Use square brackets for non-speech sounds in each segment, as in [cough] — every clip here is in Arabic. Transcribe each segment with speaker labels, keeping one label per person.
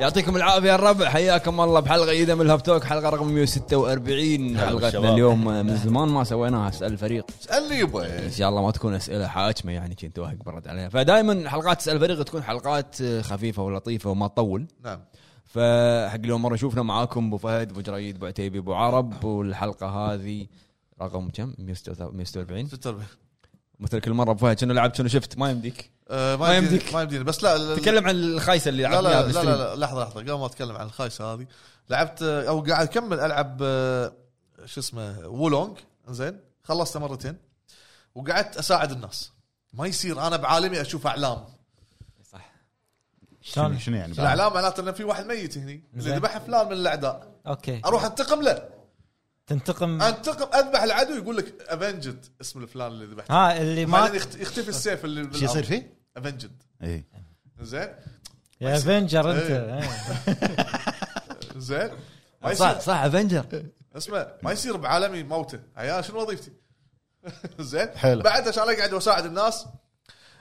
Speaker 1: يعطيكم العافيه يا الربع حياكم الله بحلقه جديده من الهاب توك حلقه رقم 146
Speaker 2: هلا
Speaker 1: حلقتنا
Speaker 2: بالشباب.
Speaker 1: اليوم آه، من زمان ما سويناها اسال الفريق
Speaker 2: اللي يبا
Speaker 1: ان شاء الله ما تكون اسئله حاكمه يعني كنت واهق برد عليها فدائما حلقات اسال الفريق تكون حلقات خفيفه ولطيفه وما تطول
Speaker 2: نعم
Speaker 1: فحق اليوم مره شوفنا معاكم ابو فهد ابو جريد ابو عتيبي ابو عرب والحلقه هذه رقم كم 146
Speaker 2: 46
Speaker 1: مثل كل مره ابو فهد شنو لعبت شنو شفت ما يمديك
Speaker 2: آه،
Speaker 1: ما
Speaker 2: ما يمديني-
Speaker 1: يمديك.
Speaker 2: ما يمديني بس لا لا-
Speaker 1: تكلم عن الخايسه اللي
Speaker 2: لا
Speaker 1: لعبناها
Speaker 2: لا, لا
Speaker 1: بالستريم.
Speaker 2: لا لا لحظه لحظه قبل ما اتكلم عن الخايسه هذه لعبت آه، او قاعد اكمل العب آه، شو اسمه وولونج زين خلصته مرتين وقعدت اساعد الناس ما يصير انا بعالمي اشوف اعلام
Speaker 3: شلون شنو يعني
Speaker 2: الاعلام معناته انه في واحد ميت هني اللي
Speaker 4: زين.
Speaker 2: ذبح فلان من الاعداء
Speaker 4: اوكي
Speaker 2: اروح انتقم له
Speaker 4: تنتقم
Speaker 2: انتقم اذبح العدو يقول لك افنجد اسم الفلان اللي ذبحته
Speaker 4: ها اللي
Speaker 2: بعدين
Speaker 4: ما
Speaker 2: يخت- يختفي السيف اللي
Speaker 3: شو يصير فيه؟
Speaker 2: افنجد
Speaker 3: اي
Speaker 2: زين
Speaker 4: يا افنجر انت
Speaker 2: إيه.
Speaker 4: إيه.
Speaker 2: زين ما
Speaker 1: صح
Speaker 2: يصير
Speaker 1: صح افنجر
Speaker 2: اسمع ما يصير بعالمي موته عيال شنو وظيفتي؟ [laughs] زين
Speaker 3: حلو.
Speaker 2: بعد عشان اقعد واساعد الناس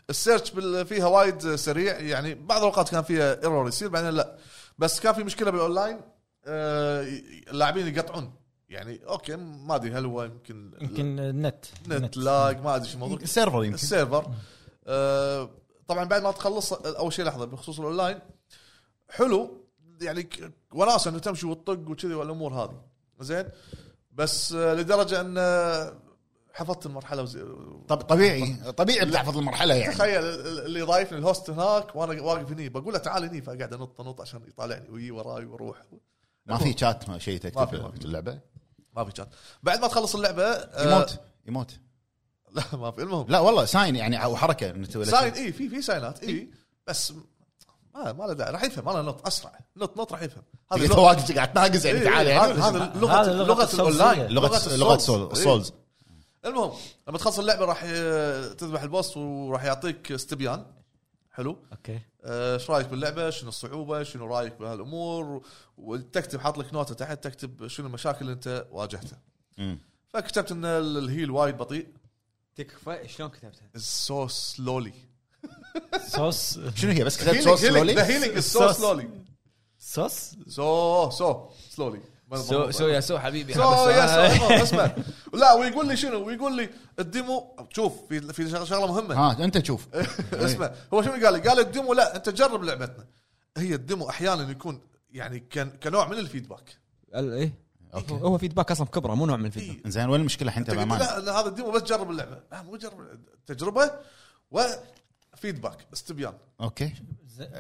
Speaker 2: السيرش بال... فيها وايد سريع يعني بعض الاوقات كان فيها ايرور يصير بعدين لا بس كان في مشكله بالاونلاين آه، اللاعبين يقطعون يعني اوكي ما ادري هل هو يمكن
Speaker 4: يمكن النت إيه،
Speaker 2: نت لاج ما ادري شو الموضوع
Speaker 3: السيرفر يمكن
Speaker 2: السيرفر آه، طبعا بعد ما تخلص اول شيء لحظه بخصوص الاونلاين حلو يعني ك- وناسه انه تمشي وتطق وكذي والامور هذه زين بس آه، لدرجه ان آه، حفظت المرحله وزي...
Speaker 3: طب طبيعي طبيعي بتحفظ المرحله يعني
Speaker 2: تخيل ال- اللي ضايفني الهوست هناك وانا واقف هني بقول له تعال هني فقاعد انط انط عشان يطالعني ويجي وراي واروح
Speaker 3: ما في شات ما شيء
Speaker 2: ما في- ما
Speaker 3: تكتب
Speaker 2: في.
Speaker 3: اللعبه
Speaker 2: ما في شات بعد ما تخلص اللعبه آه،
Speaker 3: يموت يموت
Speaker 2: [laughs] لا ما في المهم
Speaker 3: لا والله ساين يعني او حركه إنه تسوي له شيء.
Speaker 2: ساين
Speaker 3: إيه.
Speaker 2: اي إيه، في في ساينات اي بس ما ما له داعي راح يفهم انا نط اسرع نط نط راح يفهم هذا
Speaker 3: تقعد
Speaker 2: اللغة-
Speaker 3: تواقف قاعد تناقز يعني
Speaker 2: إيه،
Speaker 3: تعال
Speaker 2: إيه،
Speaker 3: يعني
Speaker 2: هذا- هذا لغه
Speaker 4: هذا لغة
Speaker 2: لغه
Speaker 4: السولز.
Speaker 2: الاونلاين
Speaker 3: لغة لغة سول
Speaker 2: إيه.
Speaker 3: السولز
Speaker 2: المهم لما تخلص اللعبه راح ي- تذبح البوس وراح يعطيك استبيان حلو
Speaker 4: اوكي
Speaker 2: آه، ايش رايك باللعبه شنو الصعوبه شنو رايك بهالامور وتكتب حاط لك نوته تحت تكتب شنو المشاكل اللي انت واجهتها
Speaker 3: مم.
Speaker 2: فكتبت ان ال- الهيل وايد بطيء
Speaker 1: تكفى شلون كتبتها؟
Speaker 2: سو سلولي
Speaker 4: صوص
Speaker 3: شنو هي بس كتبت سول
Speaker 2: ذا
Speaker 3: سلولي
Speaker 2: هيلينج سو
Speaker 4: Sauce.
Speaker 2: سلولي
Speaker 4: صوص
Speaker 2: سو سو سلولي
Speaker 1: سو
Speaker 3: [laughs]
Speaker 1: سو يا سو حبيبي
Speaker 2: سو يا سو اسمع لا ويقول لي شنو ويقول لي الديمو شوف في في شغ- شغله مهمه
Speaker 3: ها إيه. انت تشوف
Speaker 2: اسمع هو شنو قال لي؟ قال الديمو لا انت جرب لعبتنا هي الديمو احيانا يكون يعني كان كنوع من الفيدباك
Speaker 1: ايه
Speaker 3: أوكي.
Speaker 1: هو فيدباك اصلا كبره مو نوع من الفيدباك
Speaker 2: إيه.
Speaker 3: زين وين المشكله الحين
Speaker 2: انت
Speaker 3: انت
Speaker 2: قلت
Speaker 3: بامان
Speaker 2: لا لا، هذا الديمو بس جرب اللعبه لا مو جرب تجربه وفيدباك استبيان
Speaker 3: اوكي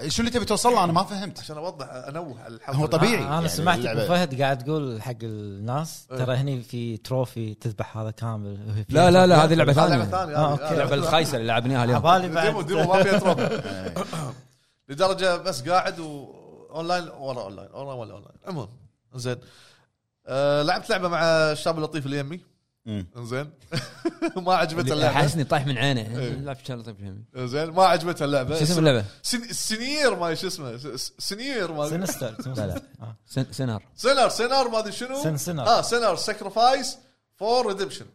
Speaker 3: شنو اللي تبي توصل له انا ما فهمت
Speaker 2: عشان اوضح انوه على الحلقه
Speaker 3: هو طبيعي
Speaker 4: انا
Speaker 3: يعني
Speaker 4: سمعت
Speaker 3: اللعبة-
Speaker 4: ابو فهد قاعد تقول حق الناس
Speaker 2: إيه.
Speaker 4: ترى هني في تروفي تذبح هذا كامل
Speaker 1: لا لا لا هذه لعبه
Speaker 2: هذا لعبه
Speaker 1: ثانيه
Speaker 2: ثانيه
Speaker 4: آه،
Speaker 2: هذه.
Speaker 4: أوكي.
Speaker 1: اللعبه الخايسه اللي لعبناها اليوم
Speaker 4: عبالي
Speaker 2: ديمو
Speaker 4: بعد
Speaker 2: ديمو ما فيها تروب [laughs] لدرجه بس قاعد واونلاين ورا اونلاين ورا ولا اونلاين المهم زين أه لعبت لعبه مع الشاب اللطيف اللي يمي
Speaker 3: مم.
Speaker 2: زين [laughs] ما عجبته
Speaker 1: اللي
Speaker 2: اللعبه
Speaker 1: حاسني طايح من عينه
Speaker 2: إيه.
Speaker 1: لا في شغله طيب فهمي
Speaker 2: زين ما عجبته اللعبه
Speaker 1: شو اسم اللعبه؟
Speaker 2: سن... السنير ما شو اسمه س- س- سنير ما
Speaker 4: سينستر
Speaker 1: لا لا
Speaker 4: آه.
Speaker 1: سن- سنار
Speaker 2: سينر سينر ما ادري شنو
Speaker 4: سن- سينر.
Speaker 2: اه سينر سكرفايس فور ريدمشن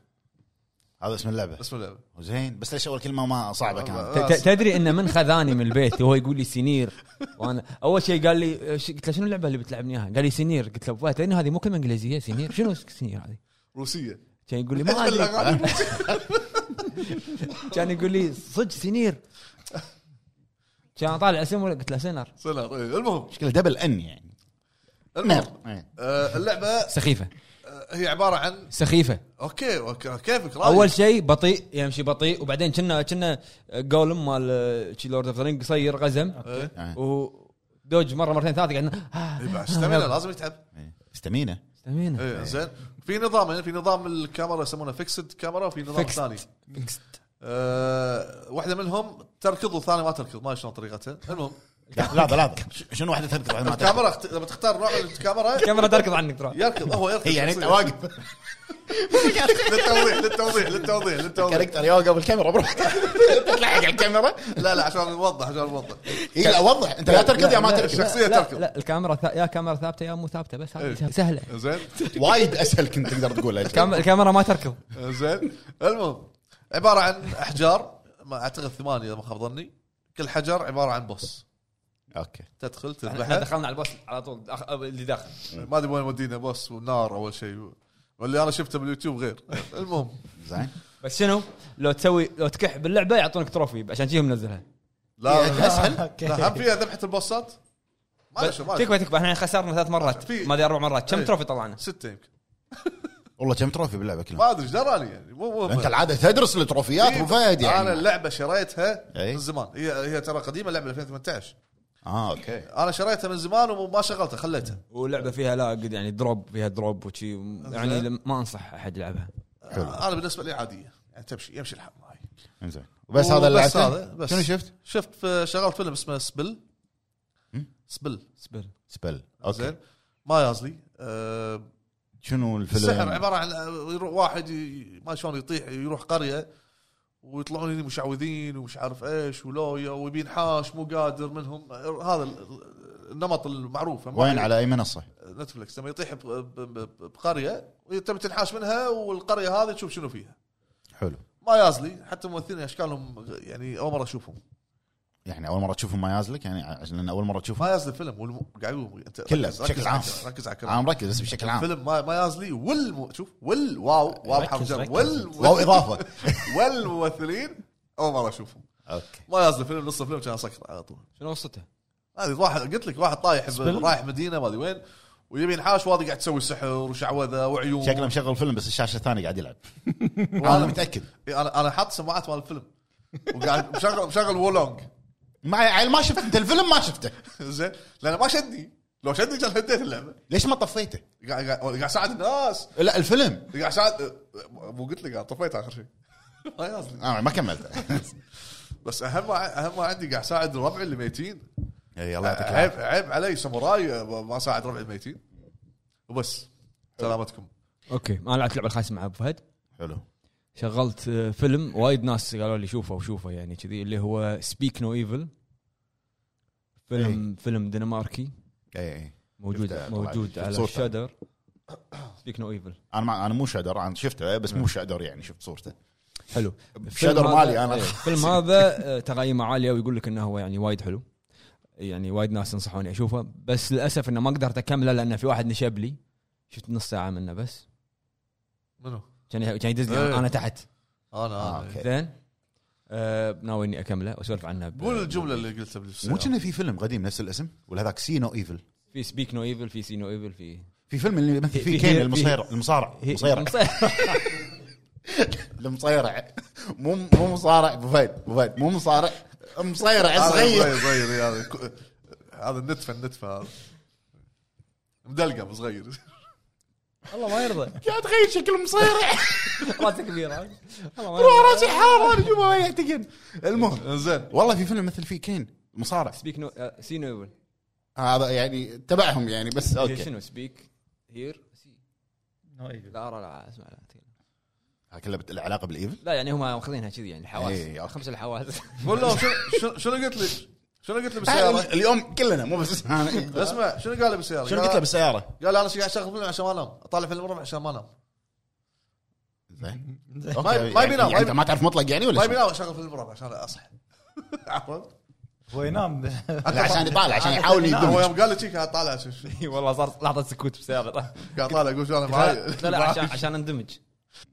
Speaker 3: هذا اسم اللعبه
Speaker 2: اسم اللعبه
Speaker 3: زين بس ليش اول كلمه ما صعبه كانت
Speaker 2: آه،
Speaker 1: ت- ت- تدري انه من خذاني من البيت وهو يقول لي سنير وانا اول شيء قال لي ش- قلت له شنو اللعبه اللي بتلعبني اياها؟ قال لي سنير قلت له فهد لان هذه مو كلمه انجليزيه سنير شنو سنير هذه؟
Speaker 2: روسيه
Speaker 1: كان يقول لي ما ادري
Speaker 2: [laughs] الأغاني
Speaker 1: كان يقول لي صدق سنير كان طالع اسم ولا- قلت له سنر
Speaker 2: سينر إيه، المهم
Speaker 3: مشكله دبل ان يعني
Speaker 1: نعم.
Speaker 2: المهم
Speaker 3: نار إيه.
Speaker 2: آه، اللعبه
Speaker 1: سخيفه
Speaker 2: آه، هي عباره عن
Speaker 1: سخيفه
Speaker 2: اوكي أوكي، كيفك رايك
Speaker 1: اول شيء بطيء يمشي بطيء وبعدين كنا كنا جولم مال شي لورد اوف ذا رينج قصير غزم
Speaker 2: إيه.
Speaker 3: آه.
Speaker 1: ودوج مره مرتين ثلاثه قعدنا
Speaker 2: إيه،
Speaker 1: آه،
Speaker 2: بعد استمينا لازم يتعب
Speaker 3: إيه. استمينه
Speaker 1: استمينا
Speaker 2: إيه، زين في نظامين في نظام الكاميرا يسمونه فيكسد كاميرا وفي نظام
Speaker 1: Fixed.
Speaker 2: ثاني أه واحده منهم تركض والثانيه ما تركض ما أدري شلون طريقتها المهم
Speaker 3: لحظه لحظه ش- شنو واحده تذكر واحدة ما تذكر
Speaker 2: الكاميرا اخت- لما تختار نوع من الكاميرا
Speaker 1: الكاميرا تركض عنك ترى
Speaker 2: يركض هو يركض
Speaker 3: هي يعني انت
Speaker 2: شخصياً.
Speaker 3: واقف
Speaker 2: [laughs] للتوضيح للتوضيح للتوضيح للتوضيح
Speaker 3: كاركتر يوقف قبل
Speaker 2: [laughs]
Speaker 3: الكاميرا بروحك تلحق على الكاميرا
Speaker 2: لا لا عشان نوضح عشان نوضح
Speaker 3: اي إيه، لا وضح انت لا تركض يا ما تركض
Speaker 2: شخصيه
Speaker 1: لا,
Speaker 2: إيه، تركض
Speaker 1: لا الكاميرا ثا... يا كاميرا ثابته يا مو ثابته بس هذه
Speaker 2: إيه.
Speaker 1: سهله
Speaker 2: زين
Speaker 3: وايد اسهل كنت تقدر تقولها
Speaker 1: كام- الكاميرا ما
Speaker 2: [laughs]
Speaker 1: تركض
Speaker 2: زين المهم عباره عن احجار ما اعتقد ثمانيه اذا ما خاب ظني كل حجر عباره عن بوس
Speaker 3: اوكي
Speaker 2: تدخل
Speaker 3: يعني
Speaker 1: احنا
Speaker 2: تذبحه
Speaker 1: دخلنا على البوس على طول أخ- اللي داخل
Speaker 2: ما ادري وين ودينا بوس ونار اول شيء واللي انا شفته باليوتيوب [laughs] غير المهم
Speaker 3: زين
Speaker 1: بس شنو لو تسوي لو تكح باللعبه يعطونك تروفي عشان جيهم منزلها
Speaker 3: إيه،
Speaker 2: لا
Speaker 3: اسهل
Speaker 4: أوكي.
Speaker 2: لا هم فيها ذبحه البوسات ما أدري شو، ما أدري شو.
Speaker 1: تكفى تكفى احنا خسرنا ثلاث مرات
Speaker 2: في-
Speaker 1: ما ادري اربع مرات كم
Speaker 2: إيه.
Speaker 1: تروفي طلعنا؟
Speaker 2: سته يمكن
Speaker 3: والله كم تروفي باللعبه كلها
Speaker 2: ما ادري ايش دراني يعني مو مو
Speaker 3: انت العاده تدرس التروفيات
Speaker 2: إيه،
Speaker 3: ابو فهد يعني
Speaker 2: انا اللعبه شريتها
Speaker 3: إيه.
Speaker 2: من زمان هي هي ترى قديمه لعبه 2018
Speaker 3: اه اوكي
Speaker 2: انا شريتها من زمان وما شغلتها خليتها
Speaker 1: ولعبه فيها لا قد يعني دروب فيها دروب وشي يعني
Speaker 2: زين.
Speaker 1: ما انصح احد يلعبها
Speaker 3: حلو.
Speaker 2: انا بالنسبه لي عاديه يعني تمشي يمشي الحال معي
Speaker 3: زين وبس هذا اللي
Speaker 2: وبس
Speaker 3: لعبته
Speaker 2: هذا، بس.
Speaker 3: شنو شفت؟
Speaker 2: شفت في- شغلت فيلم اسمه سبل سبل
Speaker 1: سبل
Speaker 3: سبل اوكي
Speaker 2: زين ما يازلي أه
Speaker 3: شنو الفيلم؟
Speaker 2: السحر عباره عن آه، يروح واحد ي- ما شلون يطيح يروح قريه ويطلعون هني مشعوذين ومش عارف ايش ولويا ويبين حاش مو قادر منهم آه، هذا ال- ال- النمط المعروف
Speaker 3: وين على اي منصه؟
Speaker 2: نتفلكس لما يطيح ب- ب- ب- بقريه وتبي تنحاش منها والقريه هذه تشوف شنو فيها
Speaker 3: حلو
Speaker 2: ما يازلي حتى ممثلين اشكالهم يعني اول مره اشوفهم
Speaker 3: يعني اول مره تشوفهم ما يازلك يعني عشان لان اول مره تشوفهم
Speaker 2: ما يازلي الفيلم والم... قاعد يقول انت
Speaker 3: كله
Speaker 2: ركز-
Speaker 3: بشكل
Speaker 2: ركز
Speaker 3: عام.
Speaker 2: على الكلام، ركز على
Speaker 3: انا
Speaker 2: الكلام
Speaker 3: مركز بس بشكل عام
Speaker 2: الفيلم ما, ما يازلي والم... شوف وال واو واو
Speaker 4: ركز-
Speaker 2: حرف جر
Speaker 4: ركز.
Speaker 2: وال
Speaker 3: واو اضافه
Speaker 2: [laughs] والممثلين اول مره اشوفهم
Speaker 3: اوكي
Speaker 2: ما يازلي الفيلم نص الفيلم كان سكر على طول
Speaker 1: شنو قصته؟
Speaker 2: هذه واحد قلت لك واحد طايح ب-
Speaker 4: سبل؟
Speaker 2: رايح مدينه ما ادري وين ويبي ينحاش واضي قاعد تسوي سحر وشعوذه وعيون
Speaker 3: شكله مشغل فيلم بس الشاشه الثانيه
Speaker 2: [laughs]
Speaker 3: قاعد يلعب انا
Speaker 2: وأنا-
Speaker 3: متاكد
Speaker 2: انا انا إيه، حاط سماعات مال الفيلم وقاعد [laughs] مشغل مشغل وولونج [laughs]
Speaker 3: ما عيل ما شفت انت الفيلم ما شفته
Speaker 2: زين لانه ما شدني لو شدني كان هديت اللعبه
Speaker 3: ليش ما طفيته؟
Speaker 2: قاعد قاعد- قاعد اساعد الناس
Speaker 3: لا الفيلم
Speaker 2: قاعد اساعد مو قلت لك أنا طفيت اخر شيء [laughs] ما يازلي.
Speaker 3: انا آه، ما [laughs] كملته
Speaker 2: بس اهم اهم ما عندي قاعد اساعد ربعي اللي ميتين
Speaker 3: اي إيه، الله [laughs] يعطيك
Speaker 2: عيب
Speaker 3: العافيه
Speaker 2: عيب علي ساموراي ما اساعد ربعي الميتين وبس سلامتكم
Speaker 1: اوكي انا لعبت لعبه الخايسه مع ابو فهد
Speaker 3: حلو
Speaker 1: شغلت آه، فيلم وايد ناس قالوا لي شوفه وشوفه يعني كذي اللي هو سبيك نو ايفل فيلم فيلم دنماركي
Speaker 3: اي اي
Speaker 1: موجود
Speaker 3: إيه. شفته،
Speaker 1: موجود
Speaker 3: شفت
Speaker 1: على
Speaker 3: صورته.
Speaker 1: شادر سبيك نو ايفل
Speaker 3: انا ما انا مو شادر انا شفته بس مو شادر يعني شفت صورته
Speaker 1: حلو الفيلم
Speaker 3: شادر مالي
Speaker 1: هذا-
Speaker 3: أنا.
Speaker 1: إيه، الفيلم هذا آه، تقييمه عاليه ويقول لك انه هو يعني وايد حلو يعني وايد ناس نصحوني اشوفه بس للاسف انه ما قدرت اكمله لان في واحد نشب لي شفت نص ساعه منه بس
Speaker 2: منو؟
Speaker 1: كان كان يدز لي
Speaker 2: إيه.
Speaker 1: انا تحت
Speaker 2: انا
Speaker 3: آه،
Speaker 2: أنا.
Speaker 3: أوكي.
Speaker 1: زين آه، ناوي اني اكمله واسولف عنه ب-
Speaker 2: قول الجمله اللي قلتها
Speaker 3: مو
Speaker 2: بالفيلم
Speaker 3: كنا في فيلم قديم نفس الاسم ولا هذاك سينو ايفل
Speaker 1: في سبيك نو ايفل في سي نو ايفل في
Speaker 3: في فيلم اللي يمثل
Speaker 1: في-
Speaker 3: فيه كين
Speaker 1: في-
Speaker 3: المصيرع المصارع المصيرع [laughs] المصيرع مو مو مصارع ابو فهد ابو فهد مو مصارع مصيرع صغير
Speaker 2: صغير صغير هذا ك- هذا النتفه النتفه هذا مدلقم صغير [laughs]
Speaker 1: والله ما يرضى
Speaker 3: قاعد تخيل شكل [laughs] مصيرع
Speaker 1: راسه كبيره
Speaker 3: روح راسي حار انا شو ما يعتقد المهم
Speaker 2: زين
Speaker 3: والله في فيلم مثل فيه كين مصارع
Speaker 1: سبيك نو سي نو ايفل
Speaker 3: هذا يعني تبعهم يعني بس اوكي
Speaker 1: شنو سبيك هير لا لا لا اسمع لا تكلم.
Speaker 3: كلها بت- العلاقه بالايفل
Speaker 1: لا يعني هم ماخذينها كذي يعني
Speaker 3: إيه،
Speaker 1: الحواس
Speaker 3: أوكي.
Speaker 1: خمس
Speaker 3: [laughs]
Speaker 1: الحواس
Speaker 2: قول لهم شنو- شنو شنو قلت لي شنو قلت لي بالسياره
Speaker 3: آه، اليوم كلنا مو
Speaker 1: [laughs]
Speaker 3: بس أنا.
Speaker 2: اسمع شنو قال لي بالسياره؟
Speaker 3: شنو
Speaker 2: قال-
Speaker 3: قلت له بالسياره؟
Speaker 2: قال انا قاعد اشغل فيلم عشان ما انام اطالع فيلم ربع عشان ما انام
Speaker 3: زين
Speaker 2: ما
Speaker 3: اوكي
Speaker 2: يبي نام، ما
Speaker 3: يعني انت
Speaker 2: يبي-
Speaker 3: ما تعرف مطلق يعني
Speaker 2: ما
Speaker 3: ولا
Speaker 2: يبي
Speaker 3: شنو؟
Speaker 2: نام اشغل طيب، فيلم ربع عشان
Speaker 3: [laughs]
Speaker 2: اصحى عرفت؟
Speaker 4: هو [laughs] ينام
Speaker 3: لا عشان يطالع عشان يحاول
Speaker 2: هو
Speaker 3: يدمج
Speaker 2: يوم قال لي شي قاعد طالع شو- شو-
Speaker 1: والله صار لحظه سكوت بالسياره
Speaker 2: قاعد طالع اقول شو انا معاي
Speaker 1: لا لا عشان عشان اندمج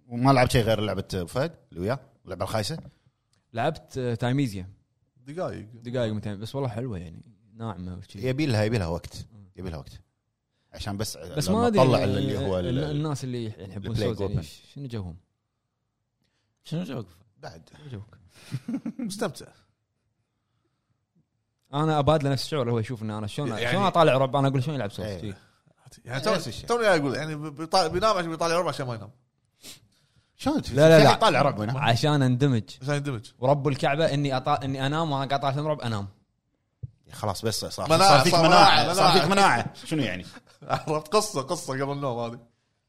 Speaker 3: وما لعب شيء غير لعبه أبو فهد اللي وياه اللعبه الخايسه
Speaker 1: لعبت آه، تايميزيا
Speaker 2: دقايق
Speaker 1: دقائق 200 بس والله حلوه يعني ناعمه وشي.
Speaker 3: يبي لها يبي لها وقت يبي لها وقت عشان بس
Speaker 1: بس
Speaker 3: لما
Speaker 1: ما ادري
Speaker 3: طلع
Speaker 1: آه،
Speaker 3: اللي هو ال-
Speaker 1: ال- الناس اللي يحبون
Speaker 3: البلاي
Speaker 1: سولز يعني
Speaker 3: جروب.
Speaker 1: شنو جوهم؟
Speaker 4: شنو جوك
Speaker 3: بعد
Speaker 1: شنو جوك؟
Speaker 2: مستمتع
Speaker 1: انا ابادله نفس الشعور اللي هو يشوف ان انا شلون
Speaker 2: يعني-
Speaker 1: شلون اطالع رب انا اقول شلون يلعب سولز
Speaker 3: إيه.
Speaker 1: شي.
Speaker 2: يعني
Speaker 3: نفس
Speaker 2: توني
Speaker 3: الشيء.
Speaker 2: توني قاعد اقول يعني بيطالع- بينام عشان بيطالع ربع عشان ما ينام
Speaker 3: شلون يعني
Speaker 1: لا لا لا
Speaker 3: طالع رعب هنا
Speaker 1: عشان اندمج
Speaker 2: عشان يندمج [laughs]
Speaker 1: ورب الكعبه اني أطا... اني انام وانا قاعد طالع فيلم رعب انام
Speaker 3: خلاص بس صار
Speaker 2: مناعة،
Speaker 3: صار فيك
Speaker 2: صار
Speaker 3: مناعه
Speaker 2: مناعة،
Speaker 3: صار فيك
Speaker 2: مناعة.
Speaker 3: مناعه شنو يعني؟
Speaker 2: عرفت قصه قصه قبل النوم هذه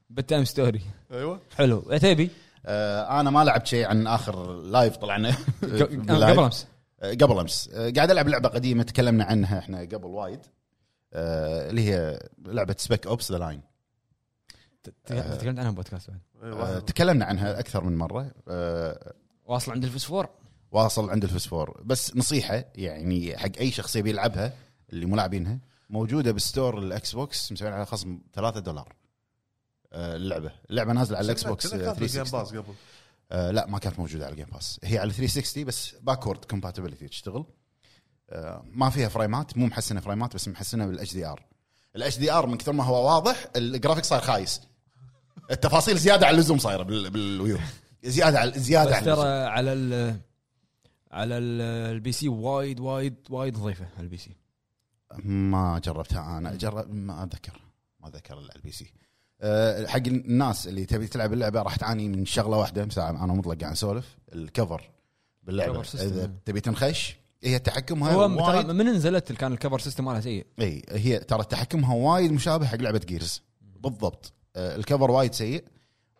Speaker 1: بالتايم ستوري
Speaker 2: ايوه
Speaker 1: حلو إيه، عتيبي
Speaker 3: آه، انا ما لعبت شيء عن اخر لايف طلعنا باللايف.
Speaker 1: قبل امس
Speaker 3: آه، قبل امس آه، قاعد العب لعبه قديمه تكلمنا عنها احنا قبل وايد آه، اللي هي لعبه سبيك اوبس ذا لاين
Speaker 1: ت- ت- تكلمت عنها بودكاست بعد
Speaker 3: آه،
Speaker 2: أيوة،
Speaker 3: تكلمنا عنها اكثر من مره آه،
Speaker 1: واصل عند الفسفور
Speaker 3: واصل عند الفسفور بس نصيحه يعني حق اي شخص يبي يلعبها اللي مو لاعبينها موجوده بالستور الاكس بوكس مسوين على خصم 3 دولار آه، اللعبه اللعبه نازله على الاكس بوكس آه،
Speaker 2: جيم
Speaker 3: 360
Speaker 2: باس قبل
Speaker 3: آه، لا ما كانت موجوده على الجيم باس هي على 360 بس باكورد كومباتبلتي تشتغل آه، ما فيها فريمات مو محسنه فريمات بس محسنه بالاتش دي ار الاتش دي ار من كثر ما هو واضح الجرافيك صار خايس التفاصيل زياده على اللزوم صايره بال- بالويو زياده على زياده
Speaker 1: بس
Speaker 3: على اللزوم.
Speaker 1: ترى على ال على ال- البي سي وايد وايد وايد ضيفه على البي سي
Speaker 3: ما جربتها انا جرب ما اتذكر ما اتذكر اللي على البي سي أه، حق الناس اللي تبي تلعب اللعبه راح تعاني من شغله واحده مساعة انا مطلق قاعد اسولف الكفر باللعبه
Speaker 1: كفر سيستم.
Speaker 3: اذا تبي تنخش هي تحكمها
Speaker 1: هو
Speaker 3: وايد-
Speaker 1: ترى من نزلت كان الكفر سيستم مالها سيء
Speaker 3: اي هي ترى تحكمها وايد مشابه حق لعبه جيرز بالضبط آه، الكفر وايد سيء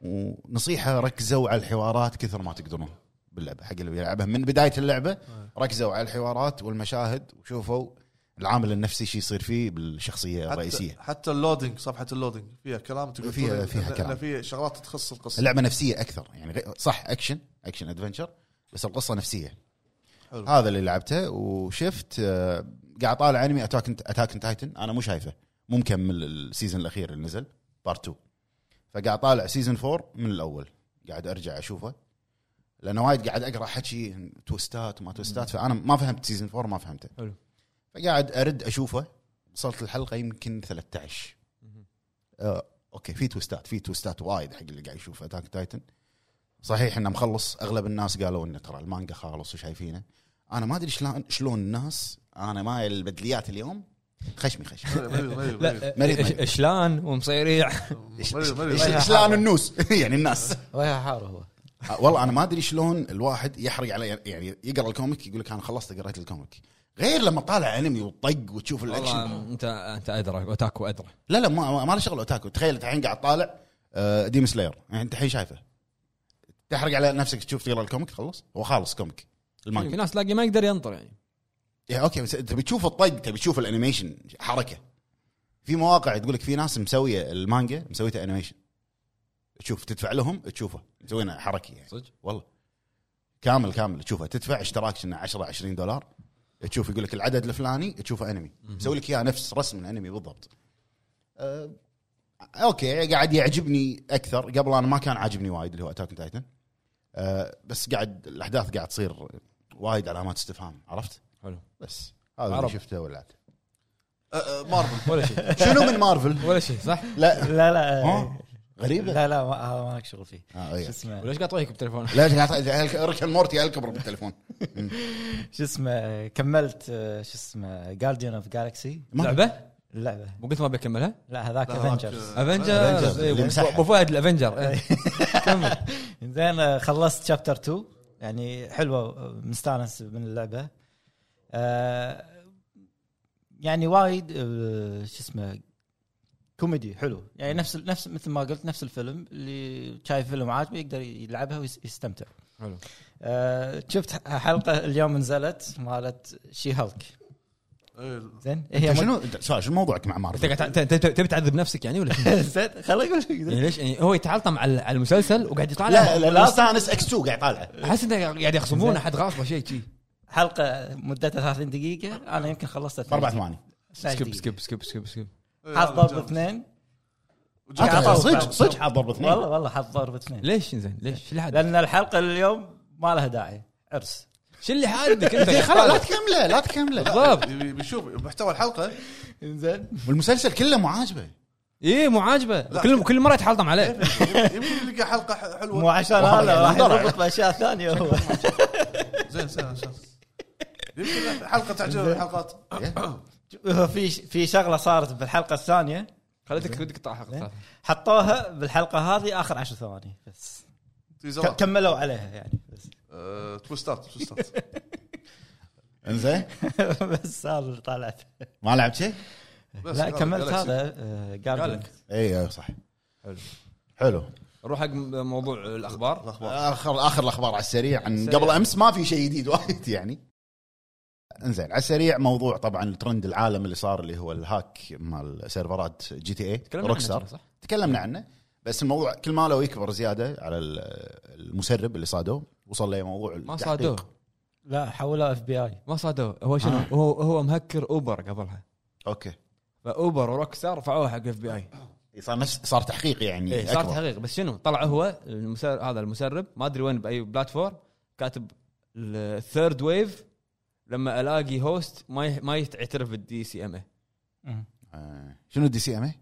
Speaker 3: ونصيحه ركزوا على الحوارات كثر ما تقدرون باللعبه حق اللي بيلعبها من بدايه اللعبه ركزوا على الحوارات والمشاهد وشوفوا العامل النفسي شو يصير فيه بالشخصيه
Speaker 2: حتى,
Speaker 3: الرئيسيه
Speaker 2: حتى اللودنج صفحه اللودنج فيها كلام تقول
Speaker 3: فيها-
Speaker 2: تقول إن-
Speaker 3: فيها
Speaker 2: إن- إن
Speaker 3: كلام.
Speaker 2: فيها شغلات تخص القصه [laughs]
Speaker 3: اللعبه نفسيه اكثر يعني غي- صح اكشن اكشن ادفنشر بس القصه نفسيه
Speaker 2: حلو.
Speaker 3: هذا اللي لعبته وشفت آه، قاعد طالع انمي اتاك اتاك تايتن انا مو شايفه مو مكمل السيزون الاخير اللي نزل بارت 2 فقاعد طالع سيزون 4 من الاول قاعد ارجع اشوفه لانه وايد قاعد اقرا حكي توستات وما توستات فانا ما فهمت سيزون 4 ما فهمته
Speaker 1: حلو.
Speaker 3: فقاعد ارد اشوفه وصلت الحلقه يمكن 13 آه، اوكي في توستات في توستات وايد حق اللي قاعد يشوف اتاك تايتن صحيح انه مخلص اغلب الناس قالوا انه ترى المانجا خالص وشايفينه انا ما ادري شلون شلون الناس انا ما البدليات اليوم خشمي
Speaker 2: [laughs]
Speaker 3: خشمي
Speaker 2: مريض مريض مريض
Speaker 1: لا
Speaker 3: مريض،
Speaker 1: إش-
Speaker 3: مريض.
Speaker 1: اشلان ومصيريع
Speaker 2: مريض مريض
Speaker 3: إيش- شلون النوس يعني الناس [laughs]
Speaker 5: رايح حار هو
Speaker 3: آه، والله انا ما ادري شلون الواحد يحرق على يعني يقرا الكوميك يقول لك انا خلصت قريت الكوميك غير لما طالع انمي وطق وتشوف الاكشن
Speaker 1: والله انت انت ادرى اوتاكو ادرى
Speaker 3: لا لا ما ما- ما له شغل اوتاكو تخيل أنت الحين قاعد طالع آه، ديم سلاير يعني انت الحين شايفه تحرق على نفسك تشوف تقرا الكوميك خلص هو خالص كوميك
Speaker 1: في
Speaker 3: المانجا
Speaker 1: ناس تلاقي ما يقدر ينطر يعني
Speaker 3: يعني اوكي بس تبي تشوف الطق تبي تشوف الانيميشن حركه في مواقع تقول لك في ناس مسويه المانجا مسويته انيميشن تشوف تدفع لهم تشوفه مسوينه حركي يعني
Speaker 1: صدق؟
Speaker 3: والله كامل كامل تشوفه تدفع اشتراك شنو 10 20 دولار تشوف يقول لك العدد الفلاني تشوفه انمي مسوي لك اياه نفس رسم الانمي بالضبط أه اوكي قاعد يعجبني اكثر قبل انا ما كان عاجبني وايد اللي هو اتاك تايتن أه بس قاعد الاحداث قاعد تصير وايد علامات استفهام عرفت؟
Speaker 1: حلو.
Speaker 3: بس هذا اللي
Speaker 1: عرب.
Speaker 3: شفته ولعبته
Speaker 2: آه، آه، مارفل
Speaker 1: ولا شيء
Speaker 3: شنو من مارفل؟
Speaker 1: ولا شيء صح؟
Speaker 3: لا
Speaker 4: لا لا إيه.
Speaker 3: ها؟
Speaker 1: طيب.
Speaker 3: غريبه
Speaker 4: لا لا ما- هذا ما لك شغل فيه
Speaker 3: آه، إيه.
Speaker 4: شو اسمه
Speaker 1: وليش قاعد طويك بتليفون؟
Speaker 3: لا قاعد ركن مورتي الكبر بالتليفون
Speaker 4: شو اسمه كملت آه، شو اسمه جارديان اوف جالكسي
Speaker 3: ما-
Speaker 1: لعبه؟
Speaker 4: اللعبه
Speaker 1: مو قلت ما بكملها؟
Speaker 4: لا هذاك
Speaker 2: لا، هذاك،
Speaker 4: افنجرز
Speaker 2: آه،
Speaker 1: افنجرز
Speaker 3: اللي مسحها.
Speaker 1: ابو فهد الافنجر إيه. كمل
Speaker 4: زين آه، خلصت شابتر 2 يعني حلوه آه، مستانس من اللعبه آه، يعني وايد آه، شو اسمه كوميدي حلو يعني نفس نفس مثل ما قلت نفس الفيلم اللي شايف فيلم عاجبه يقدر يلعبها ويستمتع
Speaker 1: حلو
Speaker 4: آه، شفت حلقه اليوم نزلت مالت شي هالك
Speaker 2: إيه،
Speaker 4: زين
Speaker 3: أنت
Speaker 4: هي مج-
Speaker 3: شنو سؤال شنو موضوعك مع
Speaker 1: انت
Speaker 3: مارفل؟
Speaker 1: قاعد تع- ت- ت- تبي تعذب نفسك يعني ولا شنو؟
Speaker 4: زين خليني اقول لك
Speaker 1: يعني ليش يعني هو يتعلطم على على المسلسل وقاعد يطالع
Speaker 3: لا لا لا استانس اكس 2 قاعد طالعه
Speaker 1: احس انه قاعد يخصمون احد غاصبه شيء شيء
Speaker 4: حلقه مدتها 30 دقيقه انا يمكن خلصتها
Speaker 3: اربع ثواني
Speaker 1: سكيب سكيب سكيب سكيب سكيب
Speaker 2: إيه،
Speaker 4: حاط
Speaker 2: هذا
Speaker 4: ضرب
Speaker 2: جامد.
Speaker 4: اثنين
Speaker 2: وجاك
Speaker 4: أوكي.
Speaker 2: عطاء.
Speaker 3: صدق صدق حاط ضرب اثنين
Speaker 4: والله والله حاط ضرب اثنين
Speaker 1: ليش زين ليش اللي حادك؟
Speaker 4: لان الحلقه اليوم ما لها داعي عرس
Speaker 1: شو اللي حادك انت
Speaker 3: [laughs] زين، خلاص لا
Speaker 1: خلاص
Speaker 3: تكمله لا تكمله
Speaker 1: بالضبط
Speaker 2: يبي- بيشوف محتوى
Speaker 3: [laughs]
Speaker 2: الحلقه
Speaker 4: زين
Speaker 3: والمسلسل كله مو عاجبه
Speaker 1: ايه مو عاجبه كل كل مره يتحلطم عليه
Speaker 2: يمكن يلقى حلقه ح- حلوه
Speaker 4: مو عشان
Speaker 3: والله
Speaker 4: هذا راح
Speaker 3: يعني ضرب.
Speaker 4: يربط باشياء ثانيه هو
Speaker 2: زين زين عشان يمكن حلقه تعجبه الحلقات
Speaker 4: هو في في شغله صارت بالحلقه الثانيه
Speaker 1: خليتك ودك تقطع حلقة.
Speaker 4: حطوها بالحلقه هذه اخر عشر ثواني بس ك-
Speaker 2: تيزرات
Speaker 4: كملوا عليها يعني بس [laughs]
Speaker 2: آه، تويستات تويستات
Speaker 3: انزين
Speaker 4: بس هذا اللي طالعت
Speaker 3: ما لعبت شيء؟
Speaker 2: بس
Speaker 4: لا
Speaker 2: هذا
Speaker 4: كملت
Speaker 2: Galaxy.
Speaker 4: هذا آه، Guardian.
Speaker 1: Galaxy.
Speaker 3: اي اي إيه، صح
Speaker 1: حلو.
Speaker 3: حلو
Speaker 1: نروح حق موضوع الاخبار
Speaker 2: الاخبار
Speaker 3: اخر اخر الاخبار على السريع عن
Speaker 1: سريع.
Speaker 3: قبل امس ما في شيء جديد [laughs] وايد يعني انزين على السريع موضوع طبعا الترند العالم اللي صار اللي هو الهاك مال سيرفرات جي تي اي
Speaker 1: تكلمنا
Speaker 3: روك
Speaker 1: عنه
Speaker 3: ستار
Speaker 1: كنا، صح؟
Speaker 3: تكلمنا عنه بس الموضوع كل ما لو يكبر زياده على ال- المسرب اللي صادوه وصل لموضوع
Speaker 1: ما
Speaker 3: التحقيق.
Speaker 1: صادوه.
Speaker 4: لا حولها اف بي اي
Speaker 1: ما صادوه هو شنو
Speaker 3: آه.
Speaker 1: هو هو مهكر اوبر قبلها
Speaker 3: اوكي
Speaker 1: فاوبر وروك ستار رفعوها حق اف بي اي
Speaker 3: إيه، صار نفس صار تحقيق يعني
Speaker 1: إيه صار
Speaker 3: أكبر.
Speaker 1: تحقيق بس شنو طلع هو المسر... هذا المسرب ما ادري وين باي بلاتفورم كاتب الثيرد ويف لما الاقي هوست ما ي... ما يعترف بالدي سي ام اي
Speaker 3: آه. شنو الدي سي ام اي؟